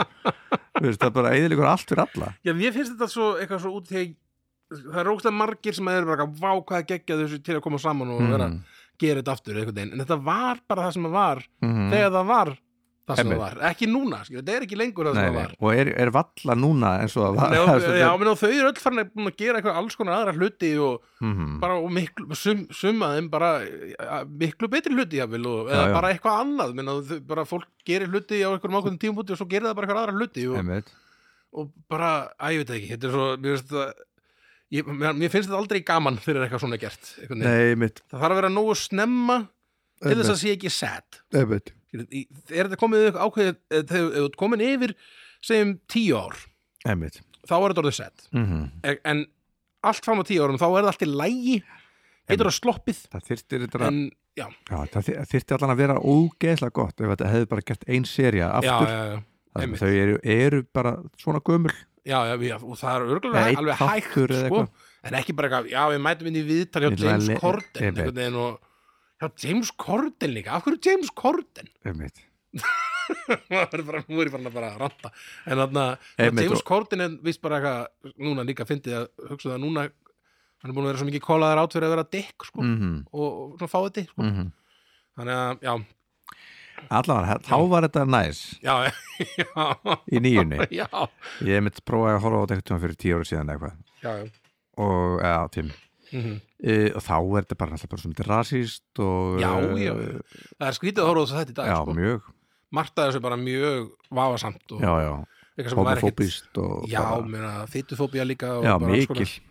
Speaker 1: Þú veist, það er bara eðilegur allt fyrir alla
Speaker 2: Já, mér finnst þetta svo eitthvað svo út þegar það er ógstað margir sem er bara vá hvað geggja þessu til að koma saman og vera
Speaker 1: Mhm.
Speaker 2: gera þetta aftur einhvern veginn en þetta var bara það sem það var
Speaker 1: Mhm.
Speaker 2: þegar það var það sem
Speaker 1: Einmitt.
Speaker 2: það var, ekki núna skil, þetta er ekki lengur það
Speaker 1: Nei,
Speaker 2: sem það
Speaker 1: nei.
Speaker 2: var
Speaker 1: og er, er valla núna eins og það var [LAUGHS]
Speaker 2: Nei, og,
Speaker 1: Það er
Speaker 2: já,
Speaker 1: svolítið-
Speaker 2: menn, og þau eru öll farin að búin að gera eitthvað alls konar aðra hluti og,
Speaker 1: Mhm.
Speaker 2: bara, og miklu, sum, suma þeim bara ja, miklu betri hluti jafnvel, og, eða
Speaker 1: Já, já.
Speaker 2: bara eitthvað annað menn, að, þau- bara fólk gerir hluti á einhverjum ákveðum tímpúti og svo gerir það bara eitthvað aðra hluti og,
Speaker 1: Einmitt.
Speaker 2: og bara, að ég veit það ekki þetta er svo, mér finnst það ég, mér, mér finnst þetta aldrei gaman þegar eitthvað svona er gert einhvern veginn.
Speaker 1: Nei, mitt
Speaker 2: það þarf að vera nógu snemma til þess að sé ekki sad
Speaker 1: Einmitt.
Speaker 2: Skilur, í- er þetta komið yfir ákveðið eða þegar þú ert komin yfir segjum tíu ár
Speaker 1: Einmitt.
Speaker 2: þá er þetta orðið sett
Speaker 1: Mhm.
Speaker 2: en, en allt fram á tíu árum þá er það allt í lægi heitur það sloppið
Speaker 1: Það þyrftir þetta
Speaker 2: en, já,
Speaker 1: Já, það þyr- þyrfti allan að vera ógeðslega gott ef þetta hefði bara gert ein serja
Speaker 2: já,
Speaker 1: aftur,
Speaker 2: já, já,
Speaker 1: þar sem
Speaker 2: einmitt.
Speaker 1: þau eru, eru bara svona gömul
Speaker 2: já, já, já og það er
Speaker 1: Eða
Speaker 2: örgulega
Speaker 1: einn
Speaker 2: alveg
Speaker 1: þáttur
Speaker 2: hægt
Speaker 1: eða
Speaker 2: sko,
Speaker 1: eitthvað.
Speaker 2: en ekki bara eitthvað, já við mætum inn í viðtali
Speaker 1: Ég
Speaker 2: hjá
Speaker 1: ætla að
Speaker 2: James
Speaker 1: le-
Speaker 2: Corden
Speaker 1: einmitt.
Speaker 2: einhvern veginn og já, James Corden líka, af hverju James Corden [LAUGHS]
Speaker 1: einmitt,
Speaker 2: maður er bara, nú er ég farin að bara ranta en þarna,
Speaker 1: Einmitt,
Speaker 2: James
Speaker 1: og-
Speaker 2: Corden er vist bara eitthvað, núna líka fyndið að hugsa það núna, hann er búin að vera svo mikið kólaðar át fyrir að vera dikk, sko
Speaker 1: mhm,
Speaker 2: og, og svona fáið þetta, sko
Speaker 1: mhm
Speaker 2: þannig að, já,
Speaker 1: allan, þá var þetta næs
Speaker 2: já, [LAUGHS] já
Speaker 1: í nýjunni,
Speaker 2: [LAUGHS] já,
Speaker 1: ég hef mitt prófaði að horfa á þetta einhvern tímann fyrir tíu ára síðan eða eitthvað
Speaker 2: já, já
Speaker 1: og, eða, tím
Speaker 2: Mhm.
Speaker 1: e, og þá er þetta bara alltaf bara svona rasist og
Speaker 2: Já,
Speaker 1: eh,
Speaker 2: já, það er skrítið að horfa á þetta í dag
Speaker 1: já,
Speaker 2: sko.
Speaker 1: mjög,
Speaker 2: Marta þessu er bara mjög vafasamt og
Speaker 1: já, já
Speaker 2: eitthvað sem var ekkit
Speaker 1: homofóbist og
Speaker 2: Já,
Speaker 1: bara,
Speaker 2: meina, fytufóbía líka og
Speaker 1: já,
Speaker 2: bara alls konar.
Speaker 1: mikil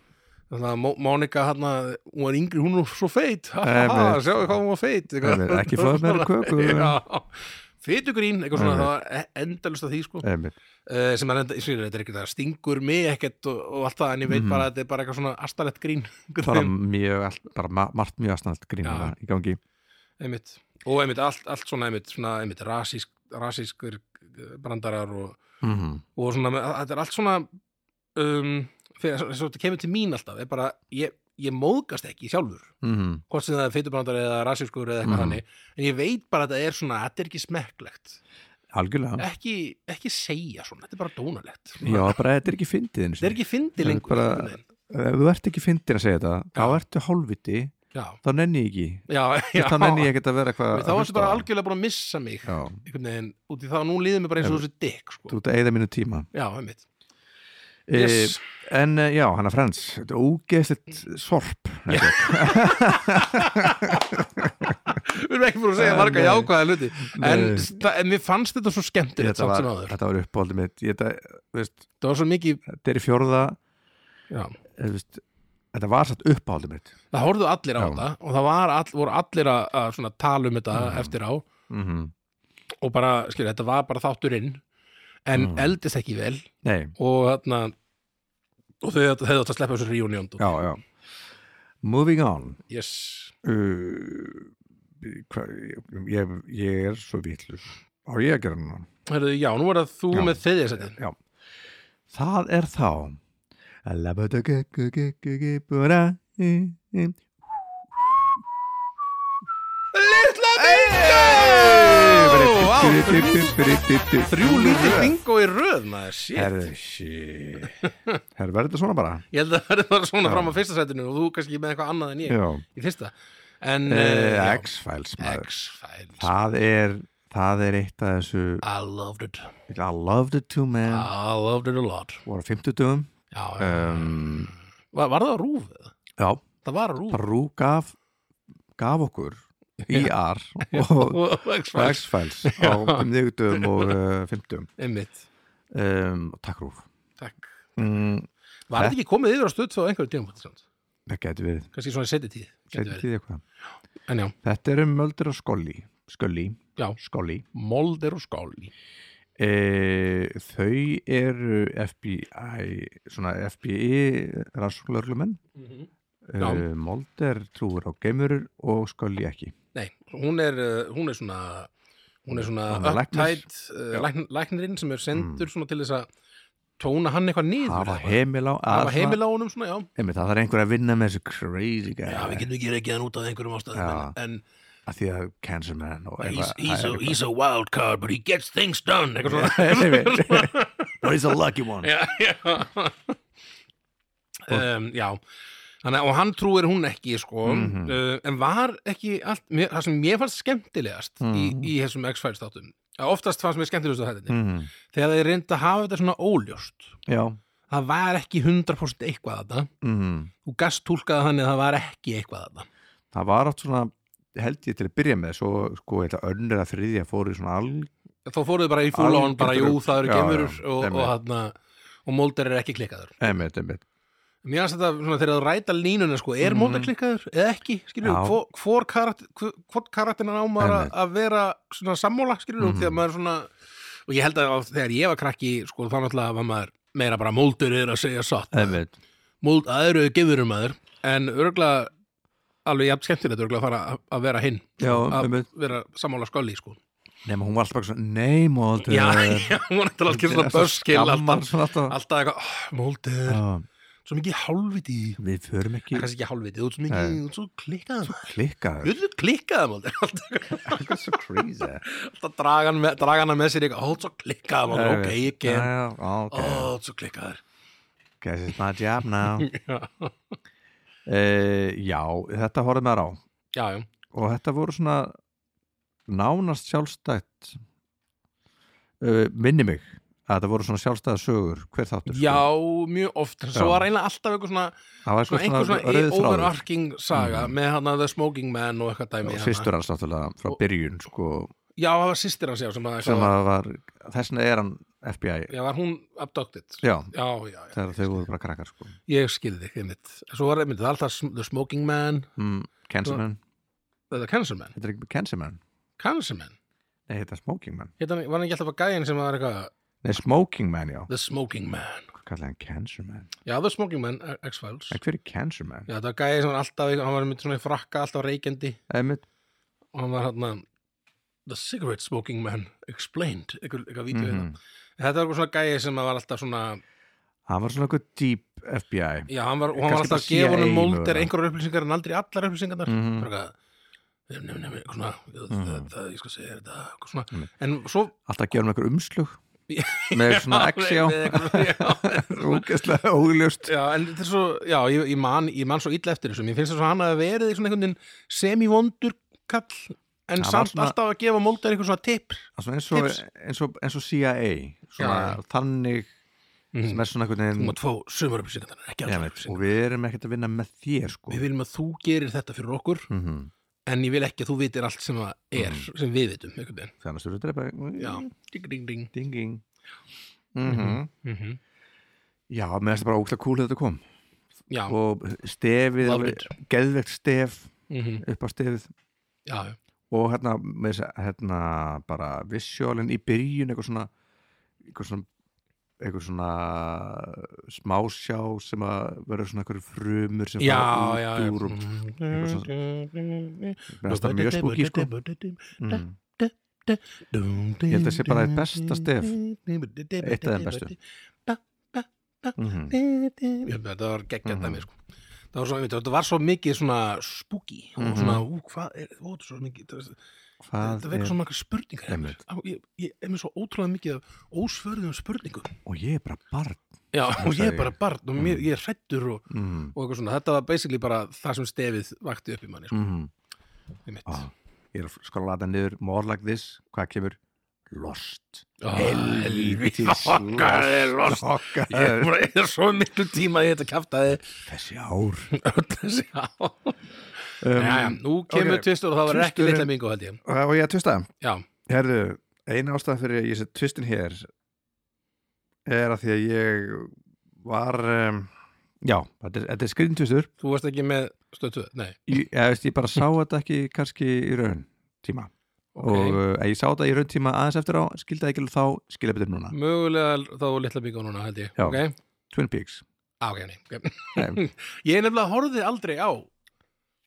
Speaker 2: Þannig að Mo- Mónika hann hún var yngri, hún var svo feit Ha, ha, ha,
Speaker 1: Einmitt.
Speaker 2: sjáðu hvað hún var feit eitthvað.
Speaker 1: Einmitt, ekki fáið meira köku.
Speaker 2: [LAUGHS] Já, Fitugrín, eitthvað svona,
Speaker 1: Einmitt.
Speaker 2: það var endalust af því sko,
Speaker 1: einmitt,
Speaker 2: [LAUGHS] Eh, sem er enda, ég skilur, þetta er ekki það stingur mig ekkert og, og allt það en ég veit
Speaker 1: Mhm.
Speaker 2: bara að þetta er bara eitthvað svona astalett grín [LAUGHS]
Speaker 1: bara mjög allt, bara ma- margt mjög aðsnallt
Speaker 2: Já.
Speaker 1: grínina í gangi
Speaker 2: einmitt, og einmitt allt, allt svona einmitt, svona einmitt rasísk, rasískur eh, brandarar og,
Speaker 1: mhm,
Speaker 2: og svona, með- þetta er allt svona um, fyrir, svo, svo, þetta kemur til mín alltaf, er bara, ég, ég móðgast ekki sjálfur,
Speaker 1: mhm
Speaker 2: hvort sem það er feitubrandar eða rasískur eða eitthvað
Speaker 1: Mhm.
Speaker 2: hannig en ég veit bara að þetta er svona, þetta er ekki smekklegt
Speaker 1: Algjörlega,
Speaker 2: ekki, ekki segja svona, þetta er bara dónalegt
Speaker 1: já bara þetta er ekki fyndið einu
Speaker 2: Eh, þetta er
Speaker 1: sinni.
Speaker 2: ekki fyndi
Speaker 1: Það er
Speaker 2: lengur
Speaker 1: bara-
Speaker 2: einhvern veginn.
Speaker 1: Ef þú ert ekki fyndin að segja þetta þá ertu hálfviti,
Speaker 2: já,
Speaker 1: þá nenni ég ekki
Speaker 2: já, já
Speaker 1: Þá nenni ég ekkert að vera eitthvað
Speaker 2: þá
Speaker 1: að
Speaker 2: er
Speaker 1: hlusta
Speaker 2: þetta bara
Speaker 1: á.
Speaker 2: algjörlega búin að missa mig
Speaker 1: Já,
Speaker 2: einhvern veginn, út í það nú líður mér bara eins og þessi dikk
Speaker 1: þú
Speaker 2: sko.
Speaker 1: ert að eyða mínu tíma
Speaker 2: já, einmitt
Speaker 1: yes.
Speaker 2: Yes. [LAUGHS]
Speaker 1: En eh, já, hann að frens Þetta er ógeðslitt sorp Nei,
Speaker 2: við erum ekki búin að segja marga
Speaker 1: Nei.
Speaker 2: jákvæða hluti en
Speaker 1: Nei.
Speaker 2: það, en mér fannst þetta svo skemmtilegt
Speaker 1: Þetta
Speaker 2: samt
Speaker 1: var,
Speaker 2: sem áður
Speaker 1: þetta var uppáldið mitt ég, þetta, veist,
Speaker 2: það var svo mikið
Speaker 1: þetta er í fjórða
Speaker 2: já.
Speaker 1: eh, veist, Þetta var satt uppáldið mitt
Speaker 2: það horfðu allir á
Speaker 1: Já.
Speaker 2: þetta og það var all, voru allir að, að svona tala um þetta eftir á
Speaker 1: mm -hmm.
Speaker 2: og bara, skilja, þetta var bara þátturinn en
Speaker 1: Mm.
Speaker 2: eldist ekki vel
Speaker 1: nei,
Speaker 2: og þarna og þau hefðu átt að sleppa þessu reunion
Speaker 1: já, já Moving on
Speaker 2: yes.
Speaker 1: uh, hva, ég, ég er svo vitlur á ég að gera núna
Speaker 2: Herðu, já, nú er það þú
Speaker 1: Já.
Speaker 2: með þeirðið sættin
Speaker 1: já. það er þá Labadagagagagagabura
Speaker 2: Litla Þrjú lítið bingo í röð maður, shit
Speaker 1: Herðu, shit Herðu, verður þetta svona bara?
Speaker 2: Ég held að það verður bara svona fram á fyrsta sætinu og þú kannski með eitthvað annað en ég
Speaker 1: Já,
Speaker 2: í fyrsta En
Speaker 1: uh,
Speaker 2: eh, já,
Speaker 1: X-Files maður
Speaker 2: X-Files
Speaker 1: Það er, það er eitt af þessu
Speaker 2: I loved it
Speaker 1: I loved it too man uh.
Speaker 2: I loved it a lot
Speaker 1: voru á 50
Speaker 2: já, já.
Speaker 1: um,
Speaker 2: Var, var það á rúf?
Speaker 1: Já,
Speaker 2: Það var á rúf
Speaker 1: Rú gaf gaf
Speaker 2: [LAUGHS]
Speaker 1: okkur IR og
Speaker 2: Og X-Files,
Speaker 1: X-Files á um 90
Speaker 2: [LAUGHS]
Speaker 1: og uh, 50
Speaker 2: einmitt
Speaker 1: um, og takk Rúf
Speaker 2: Takk
Speaker 1: mm,
Speaker 2: Var þetta ekki komið yfir á stöð svo einhverjum tíma samt?
Speaker 1: Það getur verið,
Speaker 2: Kannski svona í seti tíð,
Speaker 1: setjum tíð eitthvað
Speaker 2: En já,
Speaker 1: Þetta eru möldur og skolli skolli,
Speaker 2: já,
Speaker 1: skolli
Speaker 2: Molder og Skáli
Speaker 1: E, þau eru FBI svona FBI rannsóknlörlumenn
Speaker 2: Mhm. Já.
Speaker 1: e, Molder trúur á geimurur og skolli ekki
Speaker 2: Nei, hún er, uh, hún er svona hún er svona
Speaker 1: Hún er læknir. Mm.
Speaker 2: upptætt uh, lækn, læknirinn sem er sendur svona til þess að tóna hann eitthvað niður
Speaker 1: hafa
Speaker 2: eða eitthvað.
Speaker 1: heimil á
Speaker 2: hafa heimil á honum svona, já
Speaker 1: heimil, það er einhver að vinna með þessu crazy guy
Speaker 2: Já, við getum ekki rekið hann út af einhverjum ástæðum
Speaker 1: Já.
Speaker 2: en,
Speaker 1: að því að cancer man og
Speaker 2: en he's,
Speaker 1: eitthvað
Speaker 2: he's, a,
Speaker 1: eitthvað-
Speaker 2: he's a wild card but he gets things done eitthvað svona [LAUGHS]
Speaker 1: Einmitt. but he's a lucky one
Speaker 2: Já, já um, Já Þannig, að- og hann trúir hún ekki sko,
Speaker 1: Mhm.
Speaker 2: uh, en var ekki allt, mér, það sem mér fannst skemmtilegast í,
Speaker 1: Mhm.
Speaker 2: í þessum X-Files þáttum oftast fannst mér skemmtilegast á þetta
Speaker 1: Mhm.
Speaker 2: þegar þeir reynda að hafa þetta svona óljóst
Speaker 1: já
Speaker 2: það var ekki 100% eitthvað að þetta
Speaker 1: Mhm.
Speaker 2: þú gast túlkaði þannig að það var ekki eitthvað að þetta
Speaker 1: það var átt svona held ég til að byrja með svo sko eitthvað önnur að þriðja fóru í svona alg
Speaker 2: þá fóruðu bara í fúl á hann bara jú
Speaker 1: Algjörlega.
Speaker 2: það eru
Speaker 1: Já,
Speaker 2: gemurur
Speaker 1: já,
Speaker 2: og, og,
Speaker 1: einmitt.
Speaker 2: hana, og Molder er ekki klikkaður
Speaker 1: einmitt, einmitt.
Speaker 2: mér finnst þetta svona þegar þú ræta línuna sko, er
Speaker 1: Mhm.
Speaker 2: Molder klikkaður eða ekki skilur
Speaker 1: Já.
Speaker 2: við, hvor karakter hvort karakterinn á maður að-
Speaker 1: Einmitt.
Speaker 2: að vera svona sammála skilur við,
Speaker 1: Mhm.
Speaker 2: þegar maður svona og ég held að á- þegar ég var krakki sko, þá náttúrulega var maður meira bara Molder er að segja satt
Speaker 1: einmitt.
Speaker 2: Mold aðru gefurum aður en örgulega alveg jafn skemmtilegt örgulega að fara að- að vera hinn
Speaker 1: já,
Speaker 2: að
Speaker 1: einmitt.
Speaker 2: vera sammála skolli sko.
Speaker 1: nema hún var alltaf bara svona nei eh,
Speaker 2: [LAUGHS]
Speaker 1: móður
Speaker 2: já, já, hún er alltaf ekki svona börskil
Speaker 1: Skammar
Speaker 2: alltaf,
Speaker 1: svona alltaf
Speaker 2: alltaf eitthvað, oh, Molder
Speaker 1: Já,
Speaker 2: svo mikið hálfviti
Speaker 1: Við förum ekki
Speaker 2: kannski ekki hálfviti, þú ert svo mikið,
Speaker 1: Nei.
Speaker 2: þú ert svo klikkað
Speaker 1: klikkað
Speaker 2: þú ert svo klikkað [LAUGHS] Molder alltaf,
Speaker 1: Það er svo crazy
Speaker 2: alltaf draga hann með, draga hana með sér eitthvað, ó, þú ert svo klikkað Molder,
Speaker 1: Nei,
Speaker 2: ok,
Speaker 1: við-
Speaker 2: ég Oh. ger
Speaker 1: Já, já,
Speaker 2: ó,
Speaker 1: ok
Speaker 2: þú ert svo klikkaður
Speaker 1: Guess it's my job now
Speaker 2: [LAUGHS] já,
Speaker 1: uh, Já, þetta horfði maður á
Speaker 2: já, já,
Speaker 1: og þetta voru svona nánast sjálfstætt uh, minni mig að þetta voru svona sjálfstæða sögur hver þáttur sko.
Speaker 2: já, mjög oft svo
Speaker 1: Já.
Speaker 2: var eiginlega alltaf eitthvað svona
Speaker 1: það var
Speaker 2: svona
Speaker 1: eitthvað
Speaker 2: einhver
Speaker 1: svona
Speaker 2: svona
Speaker 1: rauðið þráður Mm.
Speaker 2: overarching saga með hann að The Smoking Man og eitthvað dæmi
Speaker 1: og
Speaker 2: hana.
Speaker 1: sýstur hans náttúrulega frá
Speaker 2: Og-
Speaker 1: byrjun sko,
Speaker 2: já, það var sýstir hans já sem að,
Speaker 1: sem
Speaker 2: að
Speaker 1: að var þessna er hann FBI
Speaker 2: já, var hún abducted
Speaker 1: já,
Speaker 2: já, já, já,
Speaker 1: þegar þau voru bara krakkar sko.
Speaker 2: ég skilði þig einmitt svo var einmitt það alltaf sm- The Smoking Man
Speaker 1: mm, Cancerman,
Speaker 2: þetta Cancer Man,
Speaker 1: þetta er ekki Cancerman
Speaker 2: Cancer Man
Speaker 1: nei, þetta er Smoking Man
Speaker 2: Hétan, var hann ekki alltaf að gæðin sem var eitthvað
Speaker 1: nei, Smoking Man, já,
Speaker 2: The Smoking Man
Speaker 1: hvað kallaði hann Cancerman
Speaker 2: já, The Smoking Man, X-Files
Speaker 1: en hver er Cancerman?
Speaker 2: já, þetta var gæðin sem var alltaf eitthvað- hann var einmitt svona í frakka alltaf reykjandi
Speaker 1: Einmitt,
Speaker 2: og hann var hann The Cigarette Smoking Man Explained eitthvað, eitthvað vídeo mm
Speaker 1: mhm.
Speaker 2: þetta var eitthvað svona gæði sem var alltaf svona
Speaker 1: hann var svona eitthvað deep FBI
Speaker 2: Já, hann var, og
Speaker 1: Kannski
Speaker 2: hann var alltaf að
Speaker 1: bara
Speaker 2: gefa honum
Speaker 1: CIA
Speaker 2: Molder
Speaker 1: mögulega.
Speaker 2: einhverjar upplýsingar en aldrei allar upplýsingarnar mm
Speaker 1: Mhm.
Speaker 2: -hmm. Nefn, nefn, nefn, eitthvað svona það,
Speaker 1: Mhm.
Speaker 2: það, það, ég skal segja þér þetta eitthvað svona.
Speaker 1: Einmitt.
Speaker 2: En svo
Speaker 1: alltaf að gera um einhver
Speaker 2: [LAUGHS]
Speaker 1: umslug
Speaker 2: Já,
Speaker 1: með svona X
Speaker 2: Já,
Speaker 1: já
Speaker 2: með einhverjum- já.
Speaker 1: rúkislega ógljóst
Speaker 2: Já, en þetta er svo Já, ég, ég, man, ég man svo illa eftir þessu Mér finnst þess að hann hafi verið svona einhvern veginn semivondur kall En
Speaker 1: Það var
Speaker 2: samt
Speaker 1: svona-
Speaker 2: alltaf að gefa Molder eitthvað svona tipp
Speaker 1: Svona eins og,
Speaker 2: Tips.
Speaker 1: eins, og, eins og CIA svona
Speaker 2: Já, já.
Speaker 1: þannig sem
Speaker 2: Mhm. Þú
Speaker 1: er svona einhvern
Speaker 2: maður tvo sömur upplýsingarnar,
Speaker 1: veginn
Speaker 2: ekki allar
Speaker 1: Einmitt, og
Speaker 2: upplýsingarnar
Speaker 1: við erum ekkert að vinna með þér sko
Speaker 2: Við viljum að þú gerir þetta fyrir okkur
Speaker 1: mm -hmm.
Speaker 2: En ég vil ekki að þú vitir allt sem það er
Speaker 1: Mm.
Speaker 2: Sem við vitum, einhvern veginn
Speaker 1: þannig að þú eru að drepa
Speaker 2: Já, ding, ding, ding
Speaker 1: dinging mm -hmm.
Speaker 2: mm
Speaker 1: já, mér finnst það bara ógla kúlið þetta kom
Speaker 2: Já,
Speaker 1: og stefið,
Speaker 2: Loved
Speaker 1: alveg, geðvegt stef
Speaker 2: mm
Speaker 1: upp á stefið
Speaker 2: já, já.
Speaker 1: og hérna, með þess að hérna bara visjólinn í byrjun eitthvað svona einhver svona einhver svona smásjá sem að verður svona einhver frumur sem
Speaker 2: já,
Speaker 1: fara
Speaker 2: já,
Speaker 1: út úr og mér
Speaker 2: já
Speaker 1: finnst það mjög spúki sko mm. Ég held að sé bara eitt besta stef. Eitt af þeim bestu. Mm
Speaker 2: Ég- þetta var geggjað
Speaker 1: Mhm.
Speaker 2: dæmi sko. það var svo, einmitt, þetta var svo mikið svona spooky og
Speaker 1: Mhm.
Speaker 2: svona, ú, hvað er ó, þetta er svo mikið, það,
Speaker 1: Hvað
Speaker 2: þetta vekur
Speaker 1: er,
Speaker 2: svo margar spurningar hjá mér.
Speaker 1: Einmitt.
Speaker 2: Á, ég, ég er með svo ótrúlega mikið af ósvörðum spurningum
Speaker 1: og ég er bara barn
Speaker 2: Já, og ég er
Speaker 1: sagði
Speaker 2: bara barn og mér,
Speaker 1: Mhm.
Speaker 2: ég er hrættur og,
Speaker 1: mm.
Speaker 2: og eitthvað svona, þetta var basically bara það sem stefið vakti upp í manni sko,
Speaker 1: Mm.
Speaker 2: einmitt.
Speaker 1: Ah, Ég er að skala að lata niður More like this, hvað kemur? Lost
Speaker 2: Ah,
Speaker 1: helvítis
Speaker 2: [LAUGHS] helvítis, fokkaði, lost.
Speaker 1: Lost.
Speaker 2: Ég er bara- ég er svo miklu tíma í þetta kæftaði
Speaker 1: Þessi ár
Speaker 2: öll þessi á
Speaker 1: um,
Speaker 2: Jæja, nú kemur
Speaker 1: ok.
Speaker 2: tvistur og það var ekki
Speaker 1: Tvisturinn-
Speaker 2: litla mingu held ég
Speaker 1: Og ég að tvista
Speaker 2: Já,
Speaker 1: Herðu, eina ástæðan fyrir að ég set tvistin hér er að því að ég var um, já, þetta er, þetta er skrýntvistur
Speaker 2: þú varst ekki með stöttuð, nei
Speaker 1: ég,
Speaker 2: [LAUGHS]
Speaker 1: ég, veist, ég bara sá þetta ekki kannski í raun tíma
Speaker 2: okay.
Speaker 1: og uh, ég sá þetta í raun tíma aðeins eftir á skildi það ekki alveg þá, skilja betur núna
Speaker 2: Mm. Mögulega þá litla bíka núna held ég
Speaker 1: Já.
Speaker 2: Ok,
Speaker 1: Twin
Speaker 2: [LAUGHS]
Speaker 1: Peaks
Speaker 2: ah, ok, nei ok.
Speaker 1: Nei.
Speaker 2: Ég nefnilega horfði aldrei á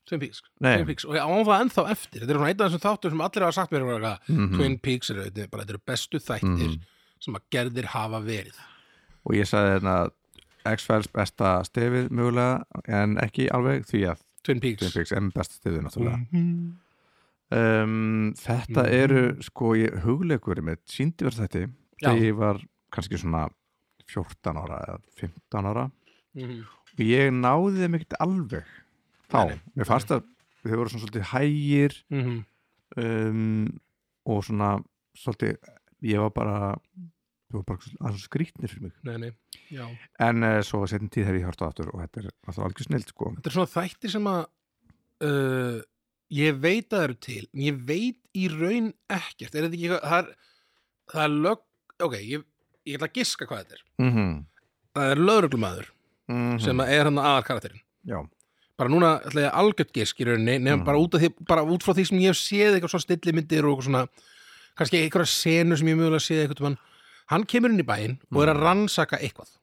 Speaker 2: Twin Peaks,
Speaker 1: Nei.
Speaker 2: Twin Peaks. og ég á það ennþá eftir Þetta er svona einn af þessum þáttur sem allir hafa sagt mér mm
Speaker 1: Mhm.
Speaker 2: Twin Peaks eru þetta er bara þetta eru bestu þættir
Speaker 1: Mhm.
Speaker 2: sem að gerðir hafa verið
Speaker 1: og ég sagði hérna X-Files besta stefið mögulega en ekki alveg því að
Speaker 2: Twin Peaks,
Speaker 1: Twin Peaks er besta stefið náttúrulega
Speaker 2: Mhm.
Speaker 1: um, Þetta
Speaker 2: Mhm.
Speaker 1: eru sko ég hugleikur með síndi verð þetta þegar
Speaker 2: Já.
Speaker 1: ég var kannski svona 14 ára eða 15 ára
Speaker 2: Mhm.
Speaker 1: og ég náði þeim ekkert alveg þá,
Speaker 2: Nei, nei.
Speaker 1: mér fannst að þau voru svona svolítið hægir
Speaker 2: Mhm.
Speaker 1: um, og svona svolítið, ég var bara þau voru bara aðeins skrýtnir fyrir mig
Speaker 2: Nei, nei, já
Speaker 1: en uh, svo setjum tíð hef ég hort á aftur og þetta er alltaf algjör snild sko
Speaker 2: Þetta er svona þættir sem að uh, ég veit að það eru til en ég veit í raun ekkert er þetta ekki eitthvað, það er, það er lög, ok, ég, ég ætla að giska hvað þetta er
Speaker 1: mm -hmm.
Speaker 2: það er lögreglumæður Mhm. sem að er hann aðar karakterinn
Speaker 1: Mhm. já,
Speaker 2: bara núna ætla ég algjört gisk í rauninni nefn
Speaker 1: Mhm.
Speaker 2: bara, út af því, bara út frá því sem ég hef séð eitthvað svona stillimyndir og eitthvað svona kannski einhverja senu sem ég mögulega séð eitthvað mann. hann kemur inn í bæinn og er að rannsaka eitthvað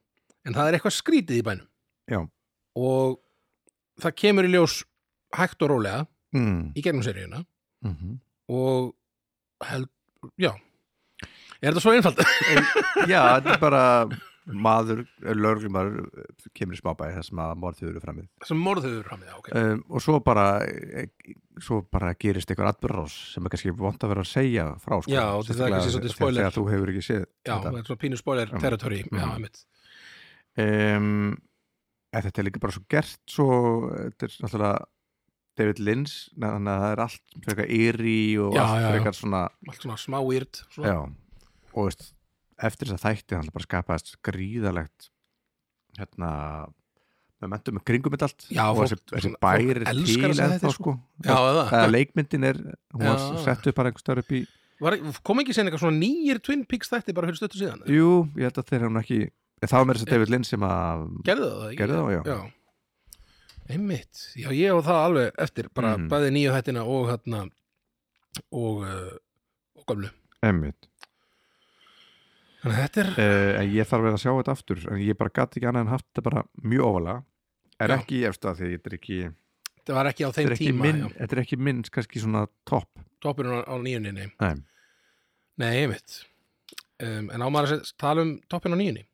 Speaker 2: en það er eitthvað skrítið í bænum
Speaker 1: já
Speaker 2: og það kemur í ljós hægt og rólega
Speaker 1: mm
Speaker 2: í gegnum seríuna
Speaker 1: -hmm.
Speaker 2: og held, já er þetta svo einfald?
Speaker 1: já, þetta er bara maður, lögreglumar kemur í smábæði þar sem að morðið eru framið
Speaker 2: [LAUGHS] sem morðuður hann með, ok
Speaker 1: um, og svo bara eh, svo bara gerist einhver atbyrðrás sem er kannski vont að vera að segja frá sko.
Speaker 2: Já, og þetta er
Speaker 1: Sérstaklega
Speaker 2: kannski svolítið
Speaker 1: þegar-
Speaker 2: spoiler.
Speaker 1: þegar þú hefur ekki séð
Speaker 2: já,
Speaker 1: þetta.
Speaker 2: það er svona pínu spoiler
Speaker 1: Mm.
Speaker 2: territory já,
Speaker 1: Mm.
Speaker 2: einmitt
Speaker 1: um, en þetta er líka bara svo gert svo, þetta er náttúrulega David Lynch, þannig að það er allt frekar yri og
Speaker 2: Já,
Speaker 1: allt
Speaker 2: já, já.
Speaker 1: frekar svona
Speaker 2: allt svona smá weird svona.
Speaker 1: já, og veist, eftir þess að þætti þannig bara skapaðist gríðalegt hérna með mentum með kringum þetta allt
Speaker 2: Já,
Speaker 1: og
Speaker 2: fólk-
Speaker 1: þessi, þessi
Speaker 2: svona- fólk
Speaker 1: bæri er
Speaker 2: elskar
Speaker 1: til
Speaker 2: þessa þætti,
Speaker 1: ennþá
Speaker 2: sko.
Speaker 1: sko
Speaker 2: já eða
Speaker 1: eða leikmyndin er, hún var
Speaker 2: Já.
Speaker 1: sett upp bara einhver stöður upp í
Speaker 2: var, kom ekki sen eitthvað svona nýjir Twin Peaks þætti bara fyrir stöttu síðan
Speaker 1: jú, ég held að þeir hefum ekki það var meira þess að David Lynch sem að
Speaker 2: gerðu það ekki?
Speaker 1: gerði það, já,
Speaker 2: já einmitt, já ég og það alveg eftir bara
Speaker 1: Mm.
Speaker 2: bæði nýju hættina og hérna og, uh, og gamlu
Speaker 1: emmitt
Speaker 2: þannig að þetta er
Speaker 1: uh, en ég þarf að vera að sjá þetta aftur en ég bara gæti ekki annað en haft þetta bara mjög ofalega er
Speaker 2: Já.
Speaker 1: ekki í efsta því þetta er ekki,
Speaker 2: þetta var ekki á
Speaker 1: þetta
Speaker 2: þeim
Speaker 1: er ekki,
Speaker 2: tíma
Speaker 1: minn,
Speaker 2: já.
Speaker 1: þetta er ekki minn kannski svona topp
Speaker 2: toppurinn á, á nýjunni, nei
Speaker 1: Nei.
Speaker 2: Nei, einmitt um, En á maður að se- tala um toppin á nýjunni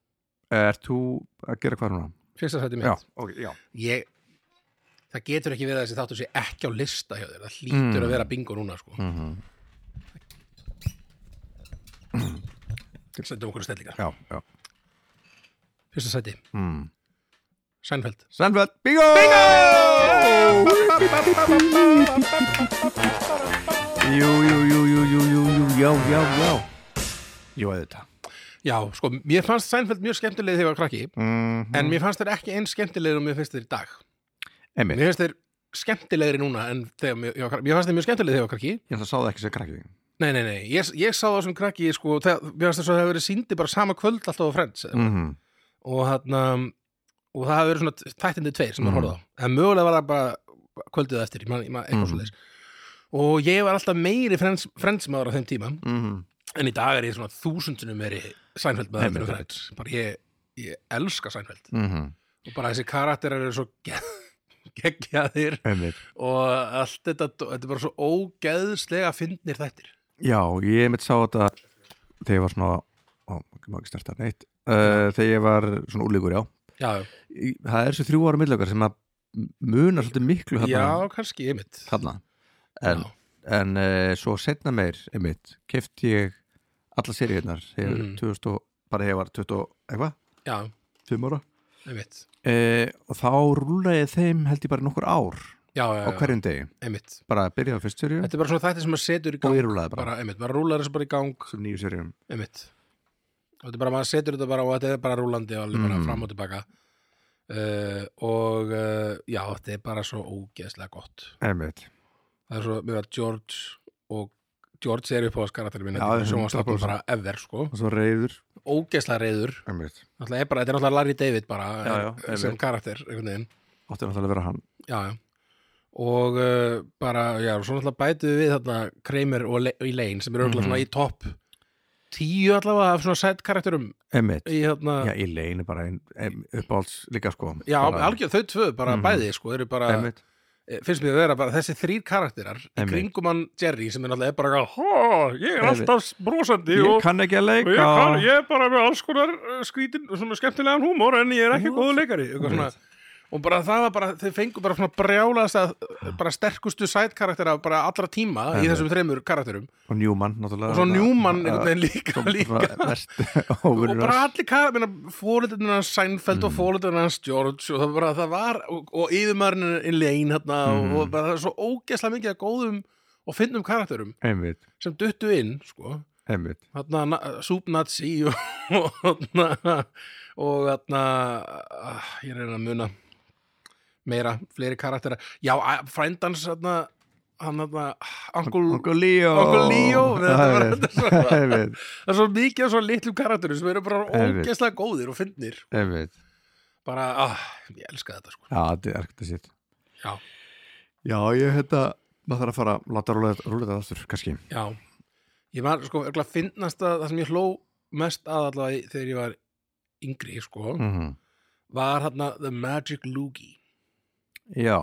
Speaker 1: er Eh, þú að gera hvað núna?
Speaker 2: Fyrsta sætti mitt
Speaker 1: Já, ok, já.
Speaker 2: Ég, Það getur ekki verið að þessi þáttur sé ekki á lista hjá þér Það hlýtur
Speaker 1: Mm.
Speaker 2: að vera bingo núna sko.
Speaker 1: Mm -hmm.
Speaker 2: Settum okkur að stellingar
Speaker 1: já, já.
Speaker 2: Fyrsta sætti,
Speaker 1: Mm.
Speaker 2: Sænfeld
Speaker 1: Sandfeld, bingo! bingo! Jú, jú, jú, jú, jú, jú, jú, já, já, já Jú, auðvitað
Speaker 2: Já, sko, mér fannst Sænfeld mjög skemmtileg þegar ég var krakki
Speaker 1: mm
Speaker 2: En mér fannst þér ekki eins skemmtilegir og mér finnst þér í dag
Speaker 1: Emil,
Speaker 2: Mér finnst þér skemmtilegri núna en þegar mér, ég var krakki Mér fannst þér mjög skemmtileg þegar ég var krakki
Speaker 1: ég ætla að sá það ekki sem krakki
Speaker 2: Nei, nei, nei, ég, ég sá það sem krakki sko, þegar, Mér fannst þér svo að það hefur verið síndi bara sama kvöld alltaf á Friends
Speaker 1: mm -hmm.
Speaker 2: og hann og það hafa verið svona tættindi tveir sem maður
Speaker 1: Mhm.
Speaker 2: horfði á en mögulega var það bara kvöldið á eftir ég man, ég man, eitthvað
Speaker 1: Mhm.
Speaker 2: mm. og ég var alltaf meiri frends, frendsmaður á þeim tíma
Speaker 1: Mm -hmm.
Speaker 2: en í dag er ég svona þúsundinu meiri Sænfeld með
Speaker 1: Nei,
Speaker 2: Edwin
Speaker 1: nei,
Speaker 2: Friends bara ég, ég elska Sænfeld
Speaker 1: mm -hmm.
Speaker 2: og bara þessi karakterar eru svo ge- [LAUGHS] geggjaðir
Speaker 1: einmitt
Speaker 2: og allt þetta þetta er bara svo ógeðslega fyndnir þættir
Speaker 1: Já, ég mitt sá þetta þegar ég var svona ó, ég má ekki starta neitt uh, þegar ég var svona úlíkur, já
Speaker 2: já,
Speaker 1: Í- það er svo þrjú ára millökar sem að munar svolítið miklu þarna,
Speaker 2: já kannski einmitt
Speaker 1: þarna. en,
Speaker 2: Já.
Speaker 1: en uh, svo setna meir einmitt, kefti ég alla seríunar þegar
Speaker 2: Mhm.
Speaker 1: 2000 og, bara þegar ég var 20 og eitthvað,
Speaker 2: já,
Speaker 1: 5 ára
Speaker 2: einmitt
Speaker 1: uh, og þá rúlaði þeim held ég bara nokkur ár
Speaker 2: já, já,
Speaker 1: á
Speaker 2: já,
Speaker 1: hverjum degi,
Speaker 2: einmitt
Speaker 1: bara byrjaði á fyrst serju
Speaker 2: þetta er bara svona þættir sem maður setur í
Speaker 1: og
Speaker 2: gang
Speaker 1: ég rúlaði bara,
Speaker 2: bara, einmitt, bara rúlar þessu bara í gang
Speaker 1: sem nýju serjum
Speaker 2: einmitt og þetta er bara, maður setur þetta bara og þetta er bara rúlandi og alveg bara
Speaker 1: Mhm.
Speaker 2: fram og tilbaka uh, og uh, já, þetta er bara svo ógeðslega gott
Speaker 1: einmitt,
Speaker 2: það er svo, mér var George og George er upp á skaratir minn
Speaker 1: Já,
Speaker 2: þetta
Speaker 1: það
Speaker 2: er
Speaker 1: er
Speaker 2: sjónvarstofnun
Speaker 1: 100%.
Speaker 2: bara ever sko,
Speaker 1: og svo reyður
Speaker 2: ógeðslega reyður
Speaker 1: einmitt,
Speaker 2: Náttúrulega er bara, þetta er náttúrulega Larry David bara
Speaker 1: Já, já,
Speaker 2: eh, sem
Speaker 1: einmitt.
Speaker 2: karakter, einhvern veginn
Speaker 1: átti náttúrulega að vera hann
Speaker 2: já, já. og uh, bara, já, og svo náttúrulega bætu við þarna Kramer og Le Elaine sem eru
Speaker 1: Mhm.
Speaker 2: auðvitað svona í topp tíu allavega af svona sætt karakterum
Speaker 1: einmitt,
Speaker 2: í þarna,
Speaker 1: já,
Speaker 2: já,
Speaker 1: ég leini bara ein, ein, uppáhalds líka sko bara,
Speaker 2: algjör, þau tvö bara
Speaker 1: Mhm.
Speaker 2: bæði, sko, eru bara
Speaker 1: einmitt,
Speaker 2: eh, finnst mér að vera bara þessi þrýr karakterar í
Speaker 1: Einmitt.
Speaker 2: kringum hann Jerry sem er náttúrulega bara að, "Hó, ég er
Speaker 1: Einmitt.
Speaker 2: alltaf brosandi
Speaker 1: ég
Speaker 2: og
Speaker 1: kann ekki að
Speaker 2: og ég, kann,
Speaker 1: leika
Speaker 2: ég er bara með alls konar uh, skrítin, svona skemmtilegan húmór en ég er ekki
Speaker 1: Já.
Speaker 2: góðu leikari eitthvað svona. og bara það var bara, þau fengu bara svona brjálaðast að bara sterkustu sætkaraktera bara allra tíma í
Speaker 1: Einmitt.
Speaker 2: þessum þreymur karakterum
Speaker 1: og Newman náttúrulega
Speaker 2: og svo Newman
Speaker 1: Bara-
Speaker 2: einhvern veginn
Speaker 1: [LAUGHS]
Speaker 2: líka,
Speaker 1: bara-
Speaker 2: líka.
Speaker 1: bara verst
Speaker 2: og
Speaker 1: óvinur
Speaker 2: bara allir karakter, fóliturinn hans Seinfeld og fóliturinn hans George og það, bara, það var, og, og yfirmaðurinn Elaine hérna,
Speaker 1: Mhm.
Speaker 2: og, og bara það er svo ógeðslega mikið að góðum og finnum karakterum
Speaker 1: einmitt,
Speaker 2: sem duttu inn sko
Speaker 1: einmitt
Speaker 2: hérna, súpnazi [LAUGHS] og og hérna og hérna ah, ég reyna að muna meira, fleiri karaktera já, að- frændans hérna hann hérna, angul
Speaker 1: Uncle Leo
Speaker 2: Uncle [LAUGHS] Leo, þetta var-
Speaker 1: Einmitt,
Speaker 2: þetta var-
Speaker 1: [LAUGHS] einmitt,
Speaker 2: það er svo mikið af svo litlum karakterum sem eru bara
Speaker 1: Einmitt.
Speaker 2: ógeðslega góðir og fyndnir
Speaker 1: einmitt
Speaker 2: bara, ah, ég elska þetta sko
Speaker 1: já, þetta er ekkert að sér
Speaker 2: já,
Speaker 1: já, ég hérna, maður þarf að fara að láta rúlega þetta aftur, kannski
Speaker 2: já ég var sko, örgulega fyndnast að það sem ég hló mest að allavega í- þegar ég var yngri sko,
Speaker 1: Mhm.
Speaker 2: var hérna The Magic Loogie
Speaker 1: já,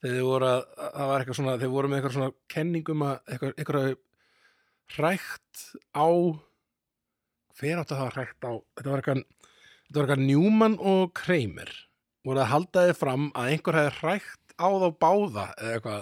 Speaker 2: þegar þið voru að, að- það var eitthvað svona, þeir voru með eitthvað svona kenningum að eitthvað, eitthvað hrækt á hver átti það að hrækt á þetta var eitthvað, þetta var eitthvað Newman og Kramer voru að halda þið fram að einhver hefði hrækt á þá báða eða eitthvað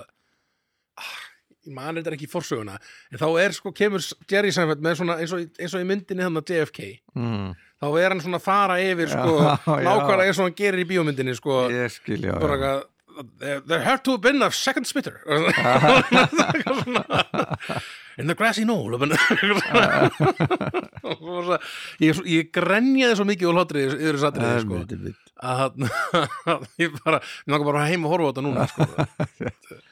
Speaker 2: ah, ég man þetta ekki í forsöguna en þá er sko, kemur Jerry Seinfeld með svona eins og, í- eins og í myndinni hann að JFK
Speaker 1: mm.
Speaker 2: þá er hann svona að fara yfir Mhm. sko,
Speaker 1: [LAUGHS] Já, já.
Speaker 2: nákvæmlega eins og hann gerir í bíómyndinni sko,
Speaker 1: ég skil, já,
Speaker 2: bara
Speaker 1: já.
Speaker 2: eitthvað "There- there had to have been a second
Speaker 1: [LAUGHS]
Speaker 2: spitter [LAUGHS] Eitthvað svona. in the grassy knoll [LAUGHS] Eitthvað svona. [LAUGHS] ég, ég grenjaði svo mikið og hlotrið yfir þess aðrið sko,
Speaker 1: Einmitt, einmitt.
Speaker 2: að [LAUGHS] að ég bara, ég langar bara heim og horfa á þetta núna sko.
Speaker 1: [LAUGHS]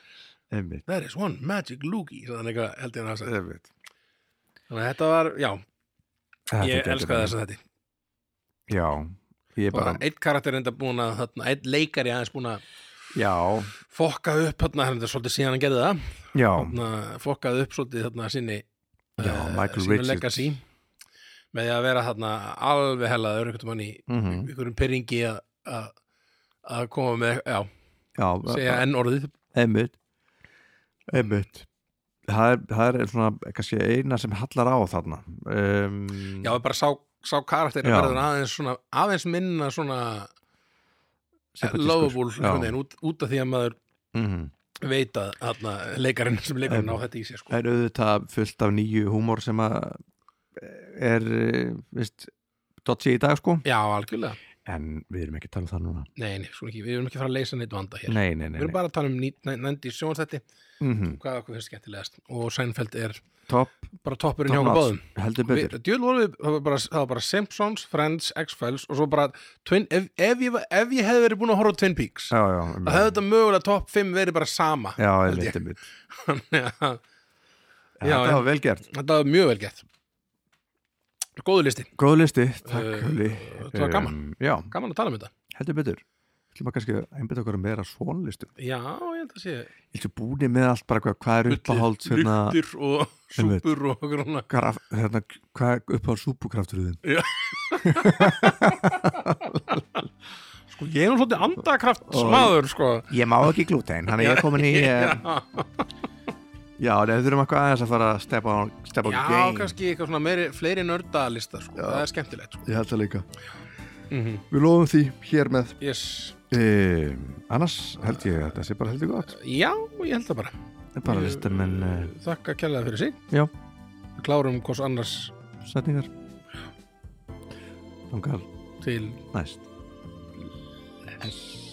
Speaker 1: einmitt,
Speaker 2: there is one magic loogie þannig að held ég hann að segja
Speaker 1: einmitt
Speaker 2: þannig að þetta var, já,
Speaker 1: Þetta
Speaker 2: ég
Speaker 1: gæti
Speaker 2: elskaði
Speaker 1: verið.
Speaker 2: þess að þetta
Speaker 1: já, ég bara,
Speaker 2: bara eitt karakter enda búin að þarna, eitt leikari aðeins búin að
Speaker 1: já
Speaker 2: fokka upp þarna, þetta er svolítið síðan hann gerði það
Speaker 1: já,
Speaker 2: þarna, fokkaði upp svolítið þarna sinni
Speaker 1: já,
Speaker 2: eh,
Speaker 1: Michael
Speaker 2: sínu
Speaker 1: Richards
Speaker 2: legacy með því að vera þarna alveg hellaður einhvern mann í
Speaker 1: Mhm.
Speaker 2: einhverjum pyrringi að- að að koma með, já,
Speaker 1: já,
Speaker 2: segja enn orðið
Speaker 1: Mm. einmitt einmitt það er, það er svona kannski eina sem hallar á þarna um,
Speaker 2: já, bara sá, sá karakter
Speaker 1: Já.
Speaker 2: verður aðeins, svona, aðeins minna svona
Speaker 1: sympatískur.
Speaker 2: lovable
Speaker 1: Já.
Speaker 2: einhvern veginn, út, út af því að maður
Speaker 1: Mhm.
Speaker 2: veit að þarna, leikarinn sem leikarinn á
Speaker 1: Einmitt.
Speaker 2: þetta í sér sko.
Speaker 1: Það er auðvitað fullt af nýju húmor sem að er eh, veist, dotsi í dag sko
Speaker 2: já, algjörlega,
Speaker 1: en við erum ekki að tala um það núna
Speaker 2: nei, nei, svona ekki við erum ekki að fara að leysa neitt vanda hér
Speaker 1: nei, nei, nei,
Speaker 2: við erum
Speaker 1: nei.
Speaker 2: bara að tala um ný- næ- nændi sjónstætti
Speaker 1: Mm
Speaker 2: hvað okkur finnst skemmtilegast og Seinfeld er
Speaker 1: topp,
Speaker 2: bara toppurinn hjá
Speaker 1: topp
Speaker 2: okkur
Speaker 1: notch,
Speaker 2: báðum
Speaker 1: heldur
Speaker 2: Við-
Speaker 1: betur
Speaker 2: djöfull vorum við- það var bara- það var bara Simpsons, Friends, X-Files og svo bara Twin, ef, ef, ég, var- ef ég hefði verið búin að horfa á Twin Peaks
Speaker 1: já, já, um
Speaker 2: það hefði þetta mögulega topp 5 verið bara sama [LAUGHS]
Speaker 1: já,
Speaker 2: held
Speaker 1: einmitt,
Speaker 2: ég.
Speaker 1: einmitt
Speaker 2: Þannig að Já,
Speaker 1: þetta
Speaker 2: já.
Speaker 1: var vel gert,
Speaker 2: þetta var mjög vel gett góðu listi,
Speaker 1: góð listi, takk
Speaker 2: Eh,
Speaker 1: Hulli
Speaker 2: þetta var gaman.
Speaker 1: já,
Speaker 2: gaman að tala um þetta
Speaker 1: heldur betur ætlum að kannski einbita okkur meira svonlistum
Speaker 2: Já, ég held að sé
Speaker 1: ég ætlum búinir með allt bara hvað, hvað er uppáhalds
Speaker 2: Lyktir-
Speaker 1: hérna,
Speaker 2: lyktir og
Speaker 1: Einmitt.
Speaker 2: súpur og grána
Speaker 1: graf, hérna, hvað er uppáhalds súpukraftur þinn
Speaker 2: Sko, ég er nú svolítið andakraftsmaður, sko
Speaker 1: ég má ekki glúten, hann er ég
Speaker 2: [LAUGHS]
Speaker 1: komin í eh, já, en við þurfum eitthvað aðeins að fara að steppa á steppa á
Speaker 2: Já,
Speaker 1: game
Speaker 2: kannski eitthvað svona meiri, fleiri nördalista, sko Það er skemmtilegt, sko
Speaker 1: ég held það líka
Speaker 2: mm -hmm.
Speaker 1: við lofum því hér með
Speaker 2: Yes
Speaker 1: um, annars held ég að þetta sé bara heldur gott
Speaker 2: Já, ég held það bara
Speaker 1: Þetta er bara listar menn uh,
Speaker 2: Þakka kjærlega fyrir sig
Speaker 1: já,
Speaker 2: Við klárum hvors annars
Speaker 1: setningar þangar
Speaker 2: til
Speaker 1: næst
Speaker 2: Yes.